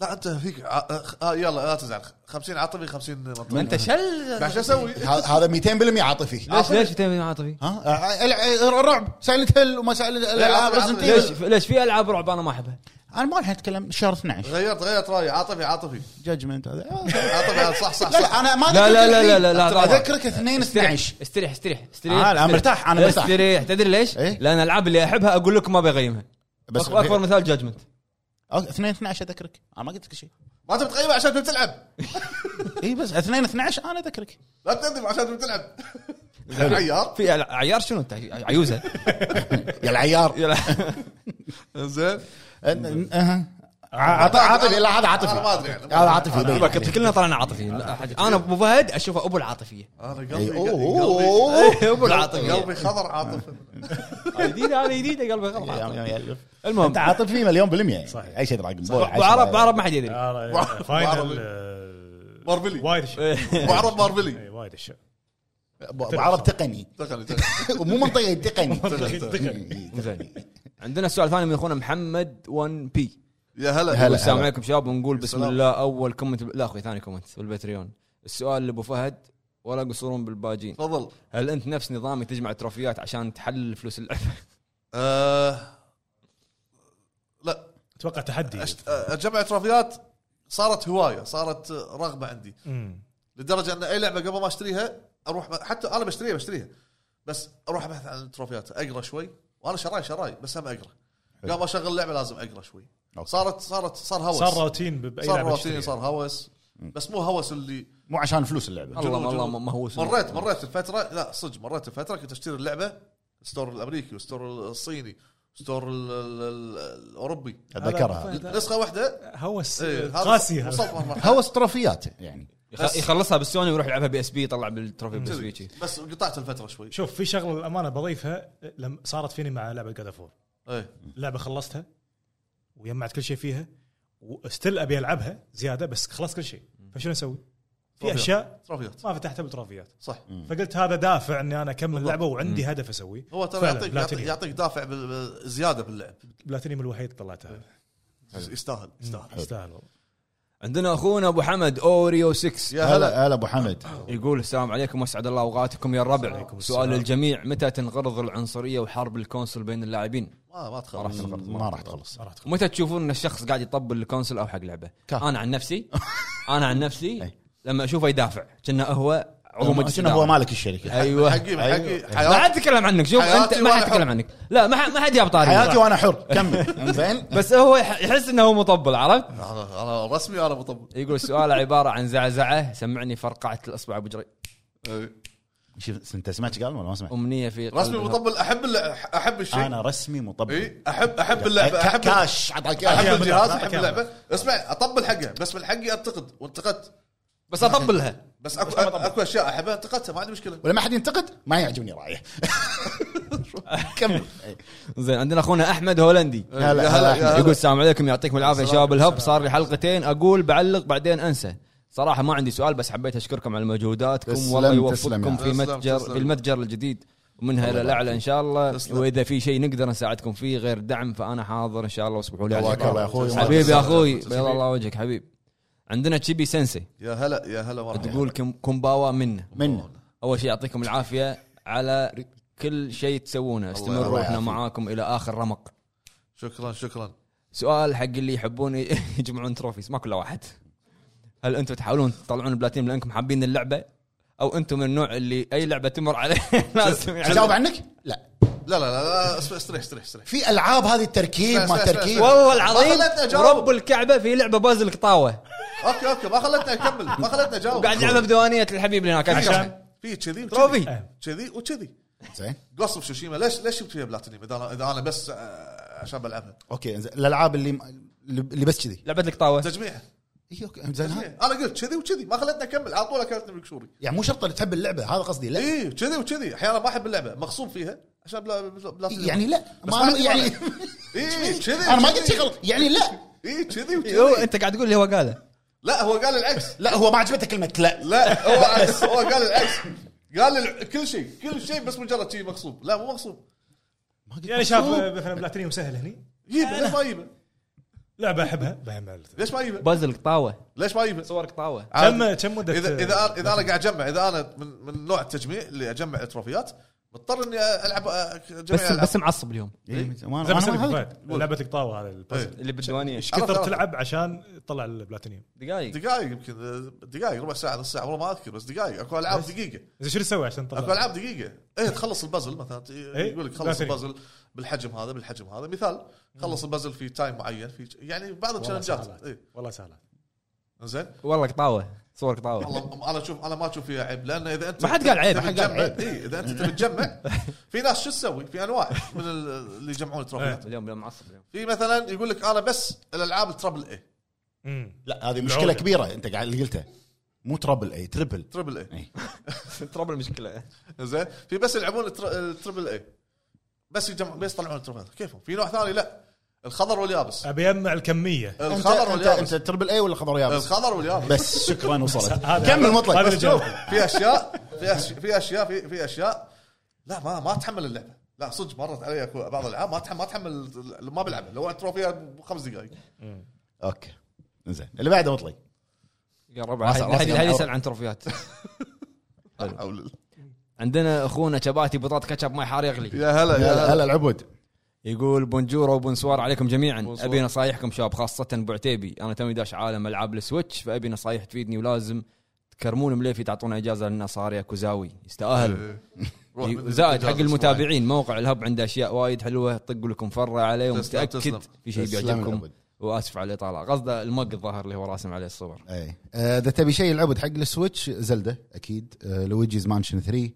Speaker 2: لا انت فيك ع- آه يلا لا تزعل 50 عاطفي 50 منطقي إيه،
Speaker 1: انت شل
Speaker 2: بعد شو [laughs] اسوي؟
Speaker 3: ه- هذا 200% عاطفي
Speaker 1: ليش ليش تعمل عاطفي؟
Speaker 3: ها آه، الع- الرعب سايلنت هيل وما سايلنت العاب
Speaker 2: عاطفي،
Speaker 3: Resident
Speaker 1: ليش
Speaker 3: Evil.
Speaker 1: ليش في العاب رعب انا ما احبها؟
Speaker 3: انا ما راح اتكلم شهر 12
Speaker 2: غيرت غيرت رايي عاطفي عاطفي
Speaker 3: جادجمنت
Speaker 1: [laughs]
Speaker 3: هذا آه،
Speaker 2: عاطفي عاطفي، صح صح
Speaker 3: لا،
Speaker 2: صح
Speaker 3: لا انا ما
Speaker 1: لا،
Speaker 3: ذكرت
Speaker 1: لا، لا،
Speaker 3: اثنين.
Speaker 1: لا، لا، لا، لا.
Speaker 3: اذكرك 2 12
Speaker 1: استريح استريح استريح
Speaker 3: آه، أنا
Speaker 1: استريح.
Speaker 3: مرتاح، أنا مرتاح.
Speaker 1: استريح تدري ليش؟
Speaker 3: إيه؟
Speaker 1: لان الالعاب اللي احبها اقول لكم ما بقيمها
Speaker 3: بس
Speaker 1: أك- اكبر مثال جاجمنت
Speaker 3: 2 12 اذكرك انا
Speaker 1: إيه،
Speaker 3: ما قلت لك شيء
Speaker 2: ما تبي تقيمه عشان تبي تلعب
Speaker 3: اي إيه، بس 2 12 انا اذكرك
Speaker 2: لا تندم عشان تبي
Speaker 3: [laughs]
Speaker 2: تلعب عيار
Speaker 1: في ألع- عيار شنو انت
Speaker 3: [laughs]
Speaker 1: عيوزه
Speaker 3: يا العيار
Speaker 1: يلا.
Speaker 2: زين
Speaker 3: عاطفي عاطفي لا هذا عاطفي
Speaker 2: أنا ما أدري يعني.
Speaker 3: هذا عاطفي
Speaker 1: يبا،
Speaker 3: يبين.
Speaker 1: كنت كلنا طلعنا عاطفي لا أحد- انا ابو فهد اشوفه ابو العاطفيه
Speaker 2: انا
Speaker 3: إي،
Speaker 2: قلبي
Speaker 3: إيه، أوه،
Speaker 2: قلبي
Speaker 3: أوه،
Speaker 1: [laughs]
Speaker 3: أوه.
Speaker 1: ابو
Speaker 2: قلبي
Speaker 1: العاطفيه
Speaker 2: خضر عاطفي
Speaker 3: [laughs]
Speaker 1: جديده هذه جديده قلبي غلط
Speaker 3: يا- يا-
Speaker 1: عاطفي.
Speaker 3: يا-
Speaker 1: المهم
Speaker 3: انت عاطفي فيه مليون بالمية يعني.
Speaker 5: صحيح.
Speaker 3: اي شيء دراجون بول
Speaker 1: ابو عرب ابو عرب ما حد يدري
Speaker 2: [laughs]
Speaker 5: آه،
Speaker 2: بعربي.
Speaker 5: فاينل آه،
Speaker 2: مارفلي.
Speaker 5: وايد اشياء
Speaker 2: ابو عرب مارفلي
Speaker 5: إي، وايد اشياء
Speaker 3: ابو عرب تقني
Speaker 2: تقني تقني
Speaker 3: ومو منطقي تقني إيه،
Speaker 1: زين عندنا سؤال ثاني من اخونا محمد 1 بي
Speaker 2: يا هلا
Speaker 3: هلا.
Speaker 1: السلام عليكم شباب ونقول بسم
Speaker 2: السلام.
Speaker 1: الله اول كومنت لا اخوي ثاني كومنت بالبتريون السؤال لابو فهد ولا قصورون بالباجين
Speaker 2: تفضل
Speaker 1: هل انت نفس نظامي تجمع تروفيات عشان تحلل فلوس اللعبه؟
Speaker 2: آه، لا
Speaker 5: اتوقع تحدي
Speaker 2: أشت- آه، اجمع تروفيات صارت هوايه صارت آه، رغبه عندي
Speaker 5: أمم.
Speaker 2: لدرجه ان اي لعبه قبل ما اشتريها اروح حتى انا بشتريها بشتريها بس اروح ابحث عن التروفيات اقرا شوي وانا شراي شراي بس هم اقرا قبل اشغل لعبه لازم اقرا شوي
Speaker 3: أوكي.
Speaker 2: صارت صارت صار هوس
Speaker 5: صار روتين باي
Speaker 2: صار
Speaker 5: لعبه
Speaker 2: روتيني
Speaker 5: تشتريها.
Speaker 2: صار هوس بس مو هوس اللي
Speaker 3: مو عشان فلوس اللعبه
Speaker 1: الله
Speaker 2: جنون،
Speaker 1: الله
Speaker 2: جنون.
Speaker 1: ما هو سوء.
Speaker 2: مريت مريت الفتره لا صدق مريت الفتره كنت اشتري اللعبه ستور الامريكي وستور الصيني ستور ال- ال- ال- الاوروبي
Speaker 3: اتذكرها
Speaker 5: هذا-
Speaker 2: نسخه واحده
Speaker 5: هوس
Speaker 2: إيه، هذا
Speaker 5: قاسي هذا.
Speaker 2: وصلت مرحلة.
Speaker 3: هوس تروفيات يعني
Speaker 1: يخ- يخلصها بالسوني ويروح يلعبها بي اس بي يطلع بالتروفي بي اس بي شي.
Speaker 2: بس قطعت الفتره شوي
Speaker 5: شوف في شغله للامانه بضيفها لما صارت فيني مع لعبه جاد فور
Speaker 2: ايه
Speaker 5: لعبه خلصتها وجمعت كل شيء فيها وستيل ابي العبها زياده بس خلصت كل شيء فشنو اسوي؟ في
Speaker 2: تروفيات.
Speaker 5: اشياء
Speaker 2: تروفيات
Speaker 5: ما فتحتها بالتروفيات
Speaker 2: صح
Speaker 5: فقلت هذا دافع اني انا اكمل لعبه وعندي هدف اسويه
Speaker 2: هو ترى
Speaker 5: فعلاً،
Speaker 2: يعطيك يعطيك,
Speaker 5: بلاتينيوم.
Speaker 2: يعطيك دافع بال- بال- زياده باللعب
Speaker 5: بلاتينيوم الوحيد طلعته
Speaker 2: يستاهل إيه. يستاهل
Speaker 5: يستاهل والله
Speaker 1: عندنا اخونا ابو حمد اوريو 6
Speaker 2: يا هلا
Speaker 3: هلا هلا ابو حمد
Speaker 1: يقول السلام عليكم واسعد الله اوقاتكم يا الربع
Speaker 5: عليكم السلام.
Speaker 1: سؤال للجميع متى تنغرض العنصريه وحرب الكونسل بين اللاعبين
Speaker 2: ما ما
Speaker 1: ما راح
Speaker 2: تخاف
Speaker 1: تنغرض
Speaker 3: ما راح تخلص
Speaker 5: ما راح تخ-
Speaker 1: متى تشوفون ان الشخص قاعد يطبل الكونسل او حق لعبه
Speaker 3: كاف.
Speaker 1: انا عن نفسي انا عن نفسي
Speaker 3: أي.
Speaker 1: لما اشوفه يدافع كنا هو عضو مجلس
Speaker 3: شنو هو
Speaker 1: إدارة.
Speaker 3: مالك الشركه
Speaker 1: ايوه
Speaker 2: حقي حقي
Speaker 1: ما
Speaker 2: حياتي
Speaker 1: حد يتكلم عنك شوف
Speaker 2: حياتي
Speaker 1: انت ما حد
Speaker 2: وأنا
Speaker 1: يتكلم
Speaker 2: حر.
Speaker 1: عنك لا ما حد- ما حد جاب طاري
Speaker 3: حياتي وانا حر كمل زين
Speaker 1: بس هو يح- يحس انه هو مطبل عرفت
Speaker 2: انا أنا رسمي انا بطبل
Speaker 1: يقول السؤال عباره عن زعزعه سمعني فرقعت الاصبع بجري
Speaker 2: أيوه.
Speaker 3: شوف انت سمعت قال ولا ما سمعت؟
Speaker 1: امنيه في قلبها.
Speaker 2: رسمي بطبل احب اللع- احب الشيء إيه؟
Speaker 3: انا رسمي مطبل
Speaker 2: اي احب احب اللعبه
Speaker 3: كا-
Speaker 2: احب
Speaker 3: كاش عطاك
Speaker 2: احب
Speaker 5: كامل،
Speaker 2: الجهاز
Speaker 5: لا،
Speaker 2: احب
Speaker 5: كامل.
Speaker 2: اللعبه اسمع اطبل حقها بس من حقي انتقد وانتقدت
Speaker 1: بس اطبلها
Speaker 2: بس اكو اكو اشياء احبها انتقدتها ما عندي مشكله
Speaker 3: ولما احد ينتقد ما يعجبني [laughs] رايه كمل إي.
Speaker 1: زين عندنا اخونا احمد هولندي
Speaker 3: هلا هلا أحمد.
Speaker 1: يقول السلام عليكم يعطيكم العافيه شباب الهب صار لي حلقتين اقول بعلق بعدين انسى صراحه ما عندي سؤال بس حبيت اشكركم على مجهوداتكم
Speaker 3: تسلم،
Speaker 1: والله
Speaker 3: تسلم يا
Speaker 1: يوفقكم في
Speaker 2: عم. تسلم،
Speaker 1: متجر
Speaker 2: تسلم.
Speaker 1: في المتجر الجديد ومنها الى الاعلى ان شاء الله
Speaker 2: تسلم.
Speaker 1: واذا في شيء نقدر نساعدكم فيه غير دعم فانا حاضر ان شاء الله واسمحوا لي على
Speaker 3: حياك الله يا
Speaker 1: الإطالة.
Speaker 3: اخوي
Speaker 1: حبيبي يا اخوي
Speaker 2: تسلم.
Speaker 1: بيض الله وجهك حبيب عندنا تشيبي سensei
Speaker 2: يا هلا يا هلا مرحبا
Speaker 1: تقول كم- كومباوا منا
Speaker 3: من
Speaker 1: اول شيء يعطيكم العافيه على كل شيء تسوونه استمروا
Speaker 3: الله
Speaker 1: احنا
Speaker 3: يعافيك.
Speaker 1: معاكم الى اخر رمق
Speaker 2: شكرا شكرا
Speaker 1: سؤال حق اللي يحبون [laughs] يجمعون تروفيز ما كل واحد هل انتم تحاولون تطلعون البلاتين لانكم حابين اللعبه او انتم من النوع اللي اي لعبه تمر [laughs] عليه لازم يعني
Speaker 3: اجاوب عنك؟ لا
Speaker 2: لا لا لا, لا اسمع، استريح استريح استريح
Speaker 3: في العاب هذه التركيب
Speaker 2: اسمع،
Speaker 3: ما
Speaker 2: اسمع،
Speaker 3: تركيب
Speaker 2: اسمع.
Speaker 1: والله العظيم
Speaker 2: ما خلتني أجاوب.
Speaker 1: رب الكعبه في لعبه بازل قطاوه
Speaker 2: اوكي اوكي ما خلتني اكمل ما خلتني اجاوب
Speaker 1: وقاعد يلعبها بديوانيه الحبيب اللي هناك
Speaker 5: عشان-
Speaker 2: في كذي
Speaker 1: تروفي.
Speaker 2: وكذي أه. كذي وكذي
Speaker 3: زين
Speaker 2: قص اوف شوشيما ليش ليش جبت فيها بلاتينيوم اذا انا اذا انا بس آه، عشان بلعبها
Speaker 3: اوكي زين. الالعاب اللي اللي بس كذي
Speaker 1: لعبه القطاوه
Speaker 2: تجميع
Speaker 3: اي اوكي زين ها؟
Speaker 2: انا قلت كذي وكذي ما خلتني اكمل على طول اكلتني بالقشوري
Speaker 3: يعني مو شرط تحب اللعبه هذا قصدي لا
Speaker 2: اي كذي وكذي احيانا ما احب اللعبه مغصوب فيها عشان بلا بلا بلاتينيوم
Speaker 3: يعني لا
Speaker 2: بس
Speaker 3: ما أنا
Speaker 2: عندي
Speaker 3: يعني
Speaker 2: اي
Speaker 3: [laughs]
Speaker 2: إيه، كذي
Speaker 3: انا ما قلت شيء غلط يعني لا
Speaker 2: اي
Speaker 3: [laughs]
Speaker 2: كذي
Speaker 1: يو،
Speaker 2: وكذي
Speaker 1: انت أيوه، قاعد تقول اللي هو قاله
Speaker 2: لا هو قال العكس
Speaker 3: لا هو ما عجبته كلمه لا
Speaker 2: لا هو عكس هو قال العكس قال الع- كل شيء كل شيء بس مجرد شيء مغصوب لا مو مغصوب
Speaker 5: يعني شاف
Speaker 3: آه،
Speaker 5: مثلا بلاتينيوم سهل هني
Speaker 2: جيبه ليش ما جيبه
Speaker 5: لعبه
Speaker 2: [laughs]
Speaker 5: احبها بعمل
Speaker 2: ليش ما جيبه
Speaker 1: بازل قطاوه
Speaker 2: ليش ما جيبه
Speaker 1: صور قطاوه
Speaker 5: كم كم مده
Speaker 2: اذا اذا أنا- اذا انا قاعد اجمع اذا انا من من نوع التجميع اللي اجمع تروفيات مضطر آه، اني العب اجمع
Speaker 1: بس بس معصب اليوم
Speaker 3: إيه،
Speaker 5: زي ما سالك فهد، لعبه القطاوه هذا
Speaker 2: إيه.
Speaker 5: البازل
Speaker 1: اللي بالديوانيه
Speaker 5: ايش كثر
Speaker 2: عرفت.
Speaker 5: تلعب عشان تطلع البلاتينيوم
Speaker 1: دقايق
Speaker 2: دقائق يمكن دقائق ربع ساعه نص ساعه والله ما اذكر بس دقائق اكو العاب دقيقه
Speaker 5: زين شنو تسوي عشان
Speaker 2: اكو
Speaker 5: تطلع
Speaker 2: العاب دقيقه ايه تخلص البازل مثلا
Speaker 5: إيه،
Speaker 2: يقول لك
Speaker 5: لا
Speaker 2: خلص
Speaker 5: تريد.
Speaker 2: البازل بالحجم هذا بالحجم هذا مثال خلص البازل في تايم معين في يعني بعض
Speaker 5: والله
Speaker 2: التشالنجات
Speaker 5: سهلات
Speaker 3: إيه.
Speaker 2: ايه
Speaker 5: والله سهلات
Speaker 2: زين
Speaker 1: والله قطاوه صور قطاوه
Speaker 2: والله انا اشوف انا ما اشوف فيها عيب لان اذا انت
Speaker 1: ما حد قال عيب، ما حد
Speaker 2: تبي
Speaker 1: قال
Speaker 2: تجمع-
Speaker 3: عيب.
Speaker 2: إيه، اذا انت تبي
Speaker 1: [laughs]
Speaker 2: تجمع في ناس شو تسوي؟ في انواع من ال- اللي يجمعون التروفيات
Speaker 1: اليوم اليوم معصب
Speaker 2: [laughs]
Speaker 1: اليوم
Speaker 2: في مثلا يقول لك انا بس إيه، الالعاب التربل اي
Speaker 5: أمم.
Speaker 3: لا هذه مشكله
Speaker 5: العودة.
Speaker 3: كبيره انت قاعد اللي قلته مو تربل اي تربل
Speaker 2: تربل اي
Speaker 1: ترابل المشكله
Speaker 2: إيه، زين في بس يلعبون التر- التربل اي بس يجمع بس يطلعون التروفيات كيفهم في نوع ثاني لا الخضر واليابس
Speaker 5: ابي اجمع الكميه
Speaker 3: انت
Speaker 2: الخضر
Speaker 3: انت,
Speaker 2: واليابس
Speaker 3: انت تربل اي ولا خضر يابس
Speaker 2: الخضر واليابس
Speaker 3: بس
Speaker 5: [laughs]
Speaker 3: شكرا وصلت
Speaker 5: هذا-
Speaker 3: كمل مطلق
Speaker 5: هذا
Speaker 3: بس
Speaker 5: اللي
Speaker 3: شوف.
Speaker 5: جاوبني.
Speaker 2: في اشياء في اشياء في اشياء في, في اشياء لا ما ما تحمل اللعبه لا صدق مرت علي أكو بعض الالعاب ما تحمل ما تحمل ما بلعبها لو التروفيات خمس دقائق
Speaker 3: اوكي زين اللي بعده مطلق
Speaker 1: يا ربع
Speaker 3: راسي- راسي
Speaker 1: هذه
Speaker 3: قام
Speaker 1: يسال عن تروفيات
Speaker 2: لا حول الله.
Speaker 1: عندنا اخونا شباتي بطاط كاتشب ماي حار يغلي
Speaker 2: يا هلا يا
Speaker 3: هلا
Speaker 2: هلا
Speaker 3: هلا العبود
Speaker 1: يقول بونجورو وبونسوار عليكم جميعا
Speaker 2: بونسوار.
Speaker 1: ابي نصايحكم شباب خاصه ابو عتيبي انا تومي داش عالم العاب السويتش فابي نصايح تفيدني ولازم تكرمون مليفي تعطونا اجازه للنصاري كوزاوي يستاهل
Speaker 2: إيه، روح
Speaker 1: ي-
Speaker 2: بدري
Speaker 1: زائد
Speaker 2: بالإجازة
Speaker 1: حق المتابعين موقع الهب عنده اشياء وايد حلوه طقوا لكم فره عليه
Speaker 2: تسلم، تسلم.
Speaker 1: ومتاكد في شيء
Speaker 3: تسلم
Speaker 1: بيعجبكم
Speaker 3: العبد.
Speaker 1: واسف على الاطاله قصده المق الظاهر اللي هو راسم عليه الصور
Speaker 3: اي آه، اذا تبي شيء العبد حق السويتش زلده اكيد آه، لويجيز مانشن 3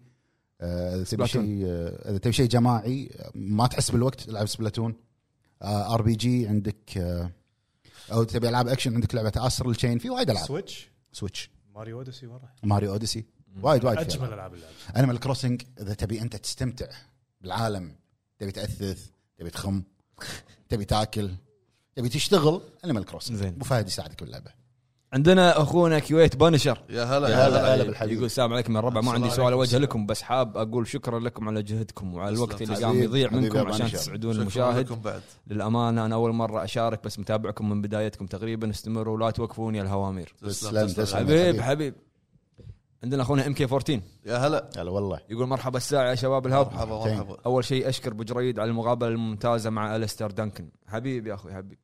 Speaker 3: آه، اذا تبي
Speaker 1: سبلاتون.
Speaker 3: شيء آه، اذا تبي شيء جماعي آه، ما تحس بالوقت العب سبلاتون ار بي جي عندك آه، او تبي العاب اكشن عندك لعبه اسر الشين في وايد العاب
Speaker 5: سويتش
Speaker 3: سويتش
Speaker 5: ماريو اوديسي ورا
Speaker 3: ماريو اوديسي وايد وايد في
Speaker 5: اجمل
Speaker 3: العاب
Speaker 5: العاب اللعبه
Speaker 3: انيمال كروسنج اذا تبي انت تستمتع بالعالم تبي تاثث تبي تخم تبي تاكل تبي تشتغل انيمال كروسنج
Speaker 1: زين.
Speaker 3: ابو فهد يساعدك باللعبه
Speaker 1: عندنا اخونا كويت بانشر
Speaker 2: يا هلا
Speaker 3: يا
Speaker 2: يا
Speaker 3: هلا.
Speaker 2: هلا
Speaker 3: هلا بالحبيب.
Speaker 1: طيب، إيه، يقول السلام عليكم من الربع ما
Speaker 2: السلام
Speaker 1: عندي سؤال
Speaker 2: عليكم.
Speaker 1: اوجهه لكم بس حاب اقول شكرا لكم على جهدكم وعلى الوقت
Speaker 2: تسلم.
Speaker 1: اللي قام
Speaker 3: حبيب-
Speaker 1: يضيع
Speaker 3: حبيب
Speaker 1: منكم
Speaker 3: يا
Speaker 1: عشان
Speaker 3: بانشر.
Speaker 1: تسعدون
Speaker 2: شكرا
Speaker 1: المشاهد
Speaker 2: لكم بعد
Speaker 1: للامانه انا اول مره اشارك بس متابعكم من بدايتكم تقريبا استمروا ولا توقفون يا الهوامير
Speaker 3: تسلم، تسلم.
Speaker 1: حبيب
Speaker 3: حبيب.
Speaker 1: حبيب عندنا اخونا ام كي 14
Speaker 2: يا هلا
Speaker 3: هلا والله
Speaker 1: يقول مرحبا الساعه يا شباب الهب
Speaker 2: مرحبا مرحبا
Speaker 1: اول شيء اشكر بجريد على المقابله الممتازه مع الستر دانكن حبيبي يا اخوي حبيبي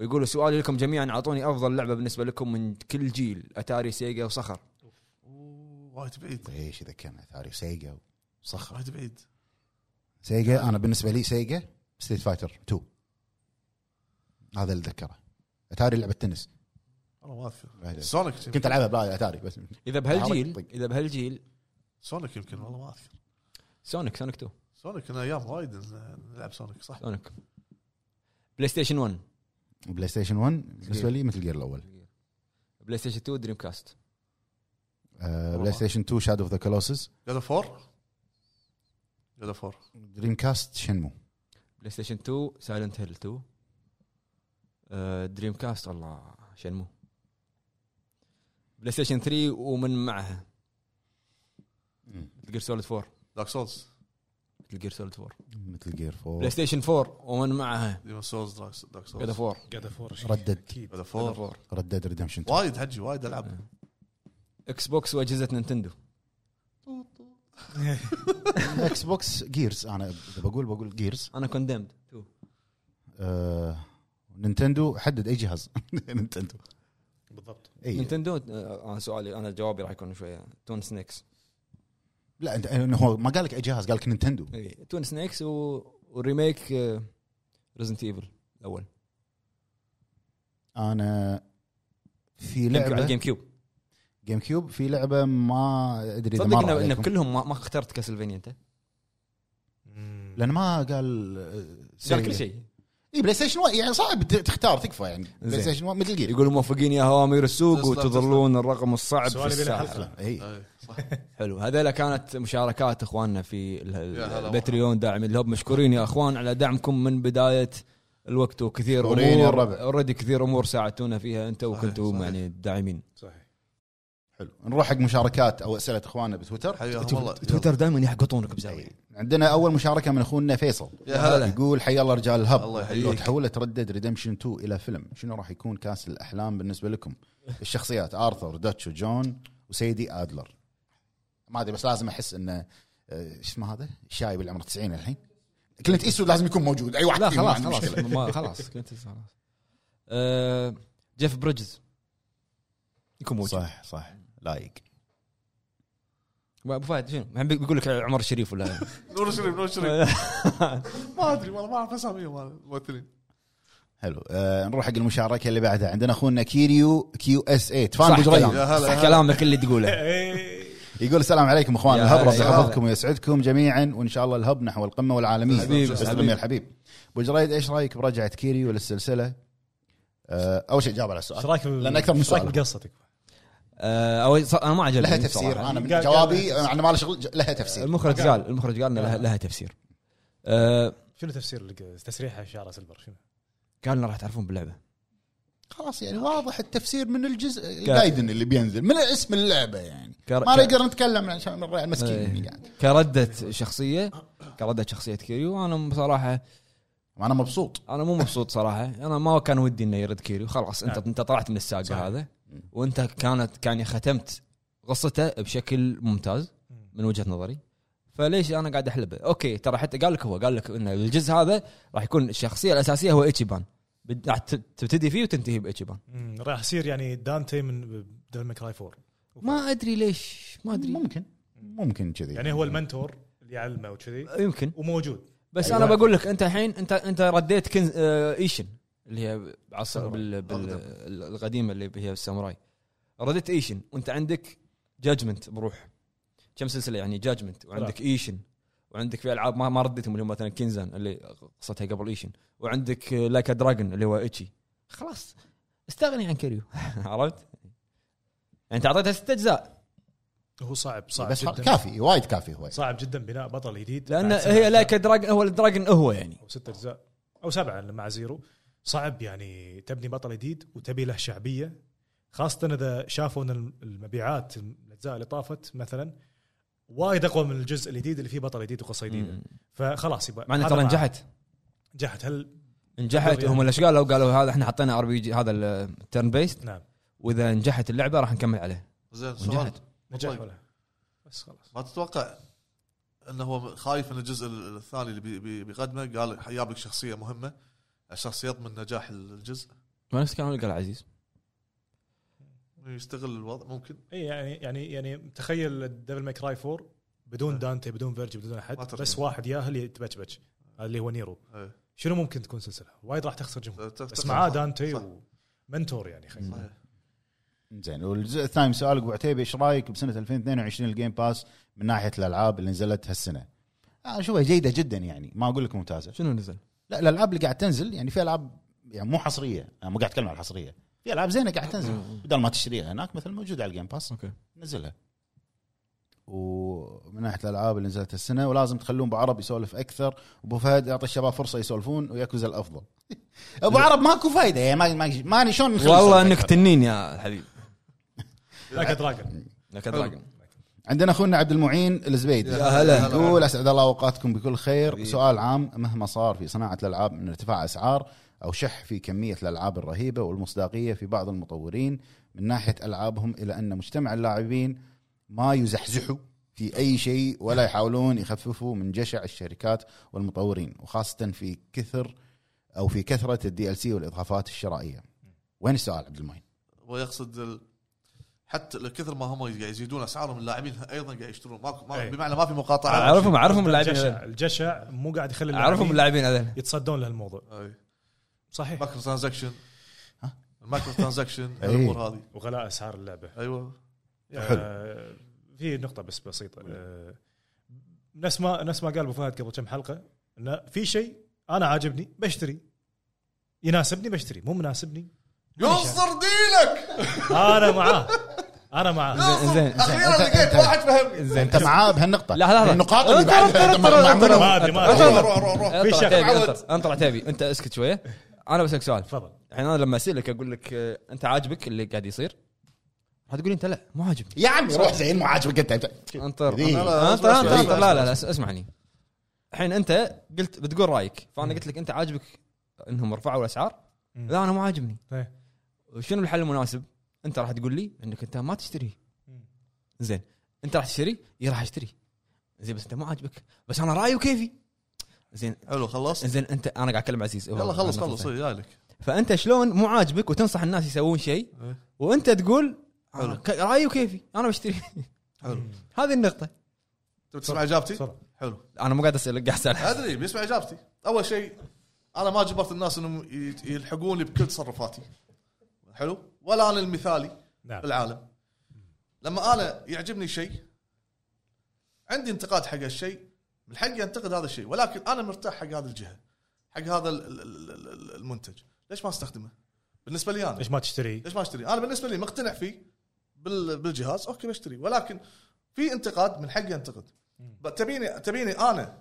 Speaker 1: ويقول سؤالي لكم جميعا اعطوني افضل لعبه بالنسبه لكم من كل جيل اتاري سيجا وصخر
Speaker 2: أوه، وايد بعيد
Speaker 3: ايش ذكرنا ثاري سيجا وصخر
Speaker 2: وايد بعيد
Speaker 3: سيجا انا بالنسبه لي سيجا ستريت فايتر 2 هذا اللي اتذكره اتاري لعبه تنس
Speaker 2: انا ما اذكر
Speaker 1: إيه.
Speaker 2: سونيك يمكن.
Speaker 3: كنت العبها بلا اتاري بس
Speaker 1: اذا بهالجيل اذا بهالجيل
Speaker 2: سونيك يمكن والله ما اذكر
Speaker 1: سونيك سونيك 2
Speaker 2: سونيك انا ايام وايد نلعب سونيك صح
Speaker 1: سونيك بلاي ستيشن 1
Speaker 3: بلاي ستيشن 1 بالنسبه لي مثل جير الاول
Speaker 1: بلاي ستيشن 2 دريم كاست
Speaker 3: آه، بلاي ستيشن 2 شادو اوف ذا كولوسس
Speaker 2: جادا فور جادا فور
Speaker 3: دريم كاست شنمو
Speaker 1: بلاي ستيشن 2 سايلنت هيل 2 آه، دريم كاست الله شنمو بلاي ستيشن 3 ومن معها مثل جير سوليد 4
Speaker 2: دارك سولز
Speaker 1: مثل جير سوليد 4
Speaker 3: مثل جير
Speaker 1: بلاي
Speaker 3: 4
Speaker 1: ستيشن 4 ومن معها
Speaker 2: ديمون سولز دارك سولز
Speaker 1: جادا 4
Speaker 5: قاعد افور
Speaker 3: ردد.
Speaker 5: اكيد
Speaker 2: جادا
Speaker 1: جادا
Speaker 2: فور
Speaker 1: 4
Speaker 3: ريد ديد ريدمشن 2
Speaker 2: وايد حجي وايد العب
Speaker 1: إيه. اكس بوكس واجهزه نينتندو
Speaker 3: اكس بوكس جيرز انا إذا بقول بقول جيرز
Speaker 1: انا كوندمد 2
Speaker 3: آه، نينتندو حدد اي جهاز [laughs] نينتندو
Speaker 5: بالضبط
Speaker 3: اي
Speaker 1: نينتندو آه، انا سؤالي انا جوابي راح يكون شويه تون سنيكس
Speaker 3: لا انت إنه هو ما قال لك اي جهاز قال لك نينتندو
Speaker 1: اي تون سنيكس إيه، و... آه، وريميك ريزنت ايفل الاول
Speaker 3: انا في
Speaker 1: على
Speaker 3: لعبه
Speaker 1: الجيم كيوب
Speaker 3: جيم كيوب في لعبه ما ادري اذا
Speaker 1: صدق إن-
Speaker 3: مر
Speaker 1: ان
Speaker 3: عليكم.
Speaker 1: بكلهم ما, ما اخترت كاسلفينيا انت
Speaker 3: لان ما قال آه،
Speaker 1: قال كل شيء
Speaker 3: اي بلاي ستيشن 1 يعني صعب ت- تختار تكفى يعني
Speaker 1: زين.
Speaker 3: بلاي ستيشن 1 مثل جير
Speaker 1: يقول موفقين يا هوامير السوق
Speaker 2: تسلم،
Speaker 1: وتظلون الرقم الصعب في
Speaker 5: سؤالي بين
Speaker 1: الساحه
Speaker 5: الحلقة.
Speaker 3: اي
Speaker 2: اي إيه، صح
Speaker 1: حلو هذيلا كانت مشاركات اخواننا في ال- ال-
Speaker 2: يا هلا
Speaker 1: الباتريون داعمين الهب مشكورين يا اخوان على دعمكم من بدايه الوقت وكثير
Speaker 3: مشكورين يا
Speaker 1: امور
Speaker 3: الربع.
Speaker 1: اوريدي كثير امور ساعدتونا فيها انت
Speaker 2: صحيح،
Speaker 1: وكنتم
Speaker 2: صحيح.
Speaker 1: يعني داعمين
Speaker 5: صحيح
Speaker 3: حلو نروح حق مشاركات او اسئله اخواننا بتويتر
Speaker 2: حياهم الله
Speaker 1: تويتر دائما يحقطونك
Speaker 2: إيه.
Speaker 1: بزاويه
Speaker 3: عندنا اول مشاركه من اخونا فيصل
Speaker 2: يا هلا.
Speaker 3: يقول حيا الله رجال الهب
Speaker 2: الله يحييك.
Speaker 3: لو تحولت ردد ريدمشن 2 الى فيلم شنو راح يكون كاس الاحلام بالنسبه
Speaker 1: [laughs]
Speaker 3: لكم؟ الشخصيات ارثر داتشو جون وسيدي ادلر ما ادري بس لازم احس انه آه، شو اسمه هذا؟ الشايب اللي عمره 90 الحين كلينت ايسود لازم يكون موجود اي واحد
Speaker 1: لا
Speaker 3: فيهم ما
Speaker 1: خلاص
Speaker 3: عندي
Speaker 1: خلاص
Speaker 3: مشكلة.
Speaker 1: ما خلاص كنت خلاص آه، جيف بريدجز يكون موجود
Speaker 3: صح صح لايق
Speaker 1: ابو فهد شنو؟ الحين بيقول لك عمر الشريف
Speaker 3: [laughs]
Speaker 1: ولا
Speaker 2: نور شريف نور
Speaker 1: [laughs]
Speaker 2: شريف ما ادري والله ما اعرف اساميهم مال الممثلين
Speaker 3: حلو آه نروح حق المشاركه اللي بعدها عندنا اخونا كيريو كيو إيه. اس 8 فان
Speaker 1: صح
Speaker 3: بجريد
Speaker 2: يا هلا،
Speaker 1: صح
Speaker 2: هلا.
Speaker 1: كلامك اللي تقوله
Speaker 3: يقول السلام عليكم اخوان
Speaker 1: يا
Speaker 3: الهب
Speaker 1: هلا،
Speaker 3: ربي
Speaker 1: يا
Speaker 3: يحفظكم ويسعدكم جميعا وان شاء الله الهب نحو القمه والعالميه
Speaker 1: حبيبي،
Speaker 3: تسلم
Speaker 1: حبيبي.
Speaker 3: يا الحبيب ابو جريد ايش رايك برجعه كيريو للسلسله؟ آه اول شيء جاوب على
Speaker 5: ايش
Speaker 3: السؤال
Speaker 5: رايك
Speaker 3: لأن أكثر من
Speaker 5: إيش رايك
Speaker 3: سؤال.
Speaker 5: بقصتك
Speaker 1: آه، او ص- انا ما عجبني
Speaker 3: لها
Speaker 1: بصراحة.
Speaker 3: تفسير انا من
Speaker 5: قال-
Speaker 3: جوابي انا ما له شغل ج- لها تفسير
Speaker 1: المخرج قال المخرج قال إن لها, لها تفسير آه،
Speaker 5: شنو تفسير الق- تسريحه شعره سيلفر شنو؟
Speaker 1: قال إنه راح تعرفون باللعبه
Speaker 3: خلاص يعني واضح التفسير من الجزء
Speaker 1: قال-
Speaker 3: الجايدن اللي بينزل من اسم اللعبه يعني
Speaker 1: كر-
Speaker 3: ما
Speaker 1: كر-
Speaker 3: نقدر نتكلم عشان الرأي المسكين
Speaker 1: إيه.
Speaker 3: اللي قاعد
Speaker 1: كردة شخصيه كردة شخصيه كيريو انا بصراحه
Speaker 3: انا مبسوط
Speaker 1: انا مو مبسوط صراحه انا ما كان ودي انه يرد كيريو خلاص انت
Speaker 5: نعم.
Speaker 1: انت طلعت من الساقه
Speaker 5: صحيح.
Speaker 1: هذا وانت كانت كان ختمت قصته بشكل ممتاز من وجهه نظري فليش انا قاعد احلبه؟ اوكي ترى حتى قال لك هو قال لك ان الجزء هذا راح يكون الشخصيه الاساسيه هو ايتشيبان بد- راح ت- تبتدي فيه وتنتهي بايتشيبان
Speaker 5: مم، راح يصير يعني دانتي من ديفل ماكراي 4
Speaker 1: ما ادري ليش ما ادري
Speaker 3: ممكن ممكن كذي
Speaker 5: يعني هو المنتور اللي يعلمه وكذي
Speaker 1: يمكن
Speaker 5: وموجود
Speaker 1: بس
Speaker 3: أيوة.
Speaker 1: انا بقول لك انت الحين انت انت رديت كنز آه، ايشن اللي هي عصر بال بال
Speaker 2: أقدم.
Speaker 1: القديمه اللي هي الساموراي رديت ايشن وانت عندك جاجمنت بروح كم سلسله يعني جاجمنت وعندك ايشن وعندك في العاب ما, ما رديتهم اللي هم مثلا كينزان اللي قصتها قبل ايشن وعندك لايك دراجون اللي هو ايتشي خلاص استغني عن كيريو [laughs] عرفت؟ يعني انت اعطيتها ست اجزاء
Speaker 5: هو صعب صعب
Speaker 3: بس
Speaker 5: جدا
Speaker 3: كافي وايد كافي هو
Speaker 5: صعب جدا بناء بطل جديد
Speaker 1: لان
Speaker 5: بعد سبع
Speaker 1: هي
Speaker 5: أجزاء
Speaker 1: لايك دراجون هو الدراجون هو يعني
Speaker 5: او ست اجزاء او سبعه مع زيرو صعب يعني تبني بطل جديد وتبي له شعبيه خاصه اذا شافوا ان المبيعات الاجزاء اللي طافت مثلا وايد اقوى من الجزء الجديد اللي فيه بطل جديد وقصه جديده
Speaker 1: مم.
Speaker 5: فخلاص يبقى
Speaker 1: مع انه
Speaker 5: هذا
Speaker 1: ترى
Speaker 5: مع-
Speaker 1: نجحت
Speaker 5: نجحت هل
Speaker 1: نجحت هم ليش قالوا قالوا هذا احنا حطينا ار بي جي هذا الترن بيست
Speaker 5: نعم
Speaker 1: واذا نجحت اللعبه راح نكمل عليه
Speaker 2: زين سؤال
Speaker 1: ونجحت
Speaker 5: نجح
Speaker 2: طيب.
Speaker 5: ولا بس خلاص
Speaker 2: ما تتوقع انه هو خايف من الجزء الثاني اللي بي- بي- بيقدمه قال جاب لك شخصيه مهمه عشان يضمن نجاح الجزء
Speaker 1: ونفس الكلام اللي قال عزيز
Speaker 2: يستغل الوضع ممكن
Speaker 5: اي يعني يعني يعني تخيل ديفل ماي كراي 4 بدون
Speaker 1: إيه.
Speaker 5: دانتي بدون فيرجي بدون
Speaker 2: ما
Speaker 5: احد
Speaker 2: ترجع.
Speaker 5: بس واحد ياهل يتبچبچ هذا اللي هو نيرو
Speaker 2: إيه.
Speaker 5: شنو ممكن تكون سلسله؟ وايد راح تخسر جمهور
Speaker 2: تخ-
Speaker 5: بس
Speaker 2: تخ-
Speaker 5: معاه
Speaker 2: صح- صح.
Speaker 5: دانتي ومنتور يعني خلينا نقول.
Speaker 2: صحيح
Speaker 3: زين والجزء الثاني سؤالك ابو عتيبي ايش رايك بسنه 2022 الجيم باس من ناحيه الالعاب اللي نزلت آه، هالسنه؟ انا اشوفها جيده جدا يعني ما اقول لك ممتازه
Speaker 1: شنو نزل؟
Speaker 3: لا الالعاب اللي قاعد تنزل يعني في العاب يعني مو حصريه انا مو قاعد اتكلم عن الحصريه في العاب زينه قاعد تنزل بدل ما تشتريها هناك مثل موجوده على الجيم باس
Speaker 1: اوكي
Speaker 3: نزلها ومن ناحيه الالعاب اللي نزلت السنه ولازم تخلون ابو عرب يسولف اكثر وابو فهد يعطي الشباب فرصه يسولفون وياكوزا [laughs] الافضل ابو عرب ماكو فايده يعني ما ما ماني شلون نخلي
Speaker 1: والله
Speaker 3: نسولف
Speaker 1: انك
Speaker 3: أكثر.
Speaker 1: تنين يا حبيبي
Speaker 5: لايك دراجون
Speaker 1: لك دراجون
Speaker 3: عندنا اخونا عبد المعين الزبيدي
Speaker 2: يا هلا.
Speaker 3: يقول اسعد الله اوقاتكم بكل خير سؤال عام مهما صار في صناعه الالعاب من ارتفاع اسعار او شح في كميه الالعاب الرهيبه والمصداقيه في بعض المطورين من ناحيه العابهم الى ان مجتمع اللاعبين ما يزحزحوا في اي شيء ولا يحاولون يخففوا من جشع الشركات والمطورين وخاصه في كثر او في كثره الدي ال سي والاضافات الشرائيه. وين السؤال عبد المعين؟
Speaker 2: ويقصد ال... حتى كثر ما هم قاعد يزيدون اسعارهم اللاعبين ايضا قاعد يشترون ماكو ما...
Speaker 5: أي.
Speaker 2: بمعنى ما في مقاطعه
Speaker 1: اعرفهم اعرفهم اللاعبين هذول.
Speaker 5: الجشع الجشع مو قاعد يخلي
Speaker 1: اعرفهم
Speaker 5: اللاعبين
Speaker 1: اللاعبين هذول
Speaker 5: يتصدون لهالموضوع
Speaker 2: أي.
Speaker 5: صحيح
Speaker 2: مايكرو ترانزكشن
Speaker 3: ها؟
Speaker 2: المايكرو ترانزكشن
Speaker 3: أي.
Speaker 2: الامور هذه
Speaker 5: وغلاء اسعار اللعبه
Speaker 2: ايوه
Speaker 3: حلو.
Speaker 5: آه، في نقطة بس بسيطة آه، نفس ما نفس ما قال ابو فهد قبل كم حلقة انه في شيء انا عاجبني بشتري يناسبني بشتري مو مناسبني
Speaker 2: ينصر دينك
Speaker 5: انا معاه انا معاه
Speaker 1: زين زين
Speaker 2: اخيرا لقيت واحد فهمني
Speaker 1: زين
Speaker 3: انت معاه بهالنقطه
Speaker 1: لا، لحظة، لحظة.
Speaker 3: النقاط اللي
Speaker 1: اضطر-
Speaker 3: بعدها
Speaker 1: اضطر- اضطر-
Speaker 3: معمولة-
Speaker 5: ما ادري ما
Speaker 2: روح
Speaker 5: ادري
Speaker 2: روح روح روح
Speaker 1: انطر
Speaker 5: شيء
Speaker 1: عتيبي
Speaker 2: عود.
Speaker 1: انطر- انطر عتيبي انت اسكت شويه انا بسالك سؤال
Speaker 5: تفضل
Speaker 1: الحين انا لما اسالك اقول لك آه، انت عاجبك اللي قاعد يصير هتقول لي انت لا مو عاجبني
Speaker 3: يا عمي روح زين مو عاجبك انت
Speaker 1: انطر
Speaker 3: إيه.
Speaker 1: انطر انطر انطر لا لا لا اسمعني الحين انت قلت بتقول رايك فانا قلت لك انت عاجبك انهم رفعوا الاسعار
Speaker 5: مم.
Speaker 1: لا انا مو عاجبني
Speaker 2: طيب.
Speaker 5: إيه.
Speaker 1: شنو الحل المناسب انت راح تقول لي انك انت ما تشتري
Speaker 5: مم.
Speaker 1: زين انت راح تشتري اي راح اشتري زين بس انت مو عاجبك بس انا رايي وكيفي زين
Speaker 2: حلو خلصت
Speaker 1: زين انت انا قاعد اكلم عزيز
Speaker 2: يلا خلص خلص إيه، جايلك
Speaker 1: فانت شلون مو عاجبك وتنصح الناس يسوون شيء
Speaker 2: إيه.
Speaker 1: وانت تقول أنا
Speaker 2: حلو.
Speaker 1: ك- رايي وكيفي انا بشتري [laughs]
Speaker 2: حلو
Speaker 1: هذه النقطه
Speaker 2: تبي تسمع اجابتي؟
Speaker 5: تفضل
Speaker 2: حلو
Speaker 1: انا مو قاعد اسالك قاعد اسالك
Speaker 2: ادري بيسمع اجابتي اول شيء انا ما جبرت الناس انهم ي- يلحقوني بكل تصرفاتي حلو ولا انا المثالي
Speaker 5: نعم
Speaker 2: العالم لما انا يعجبني شيء عندي انتقاد حق الشيء من حقي انتقد هذا الشيء ولكن انا مرتاح حق هذه الجهه حق هذا ال- ال- ال- ال- ال- المنتج ليش ما استخدمه بالنسبه لي انا
Speaker 5: ليش ما تشتري؟
Speaker 2: ليش ما اشتري انا بالنسبه لي مقتنع فيه بال- بالجهاز اوكي بشتري ولكن في انتقاد من حقي انتقد ب- تبيني تبيني انا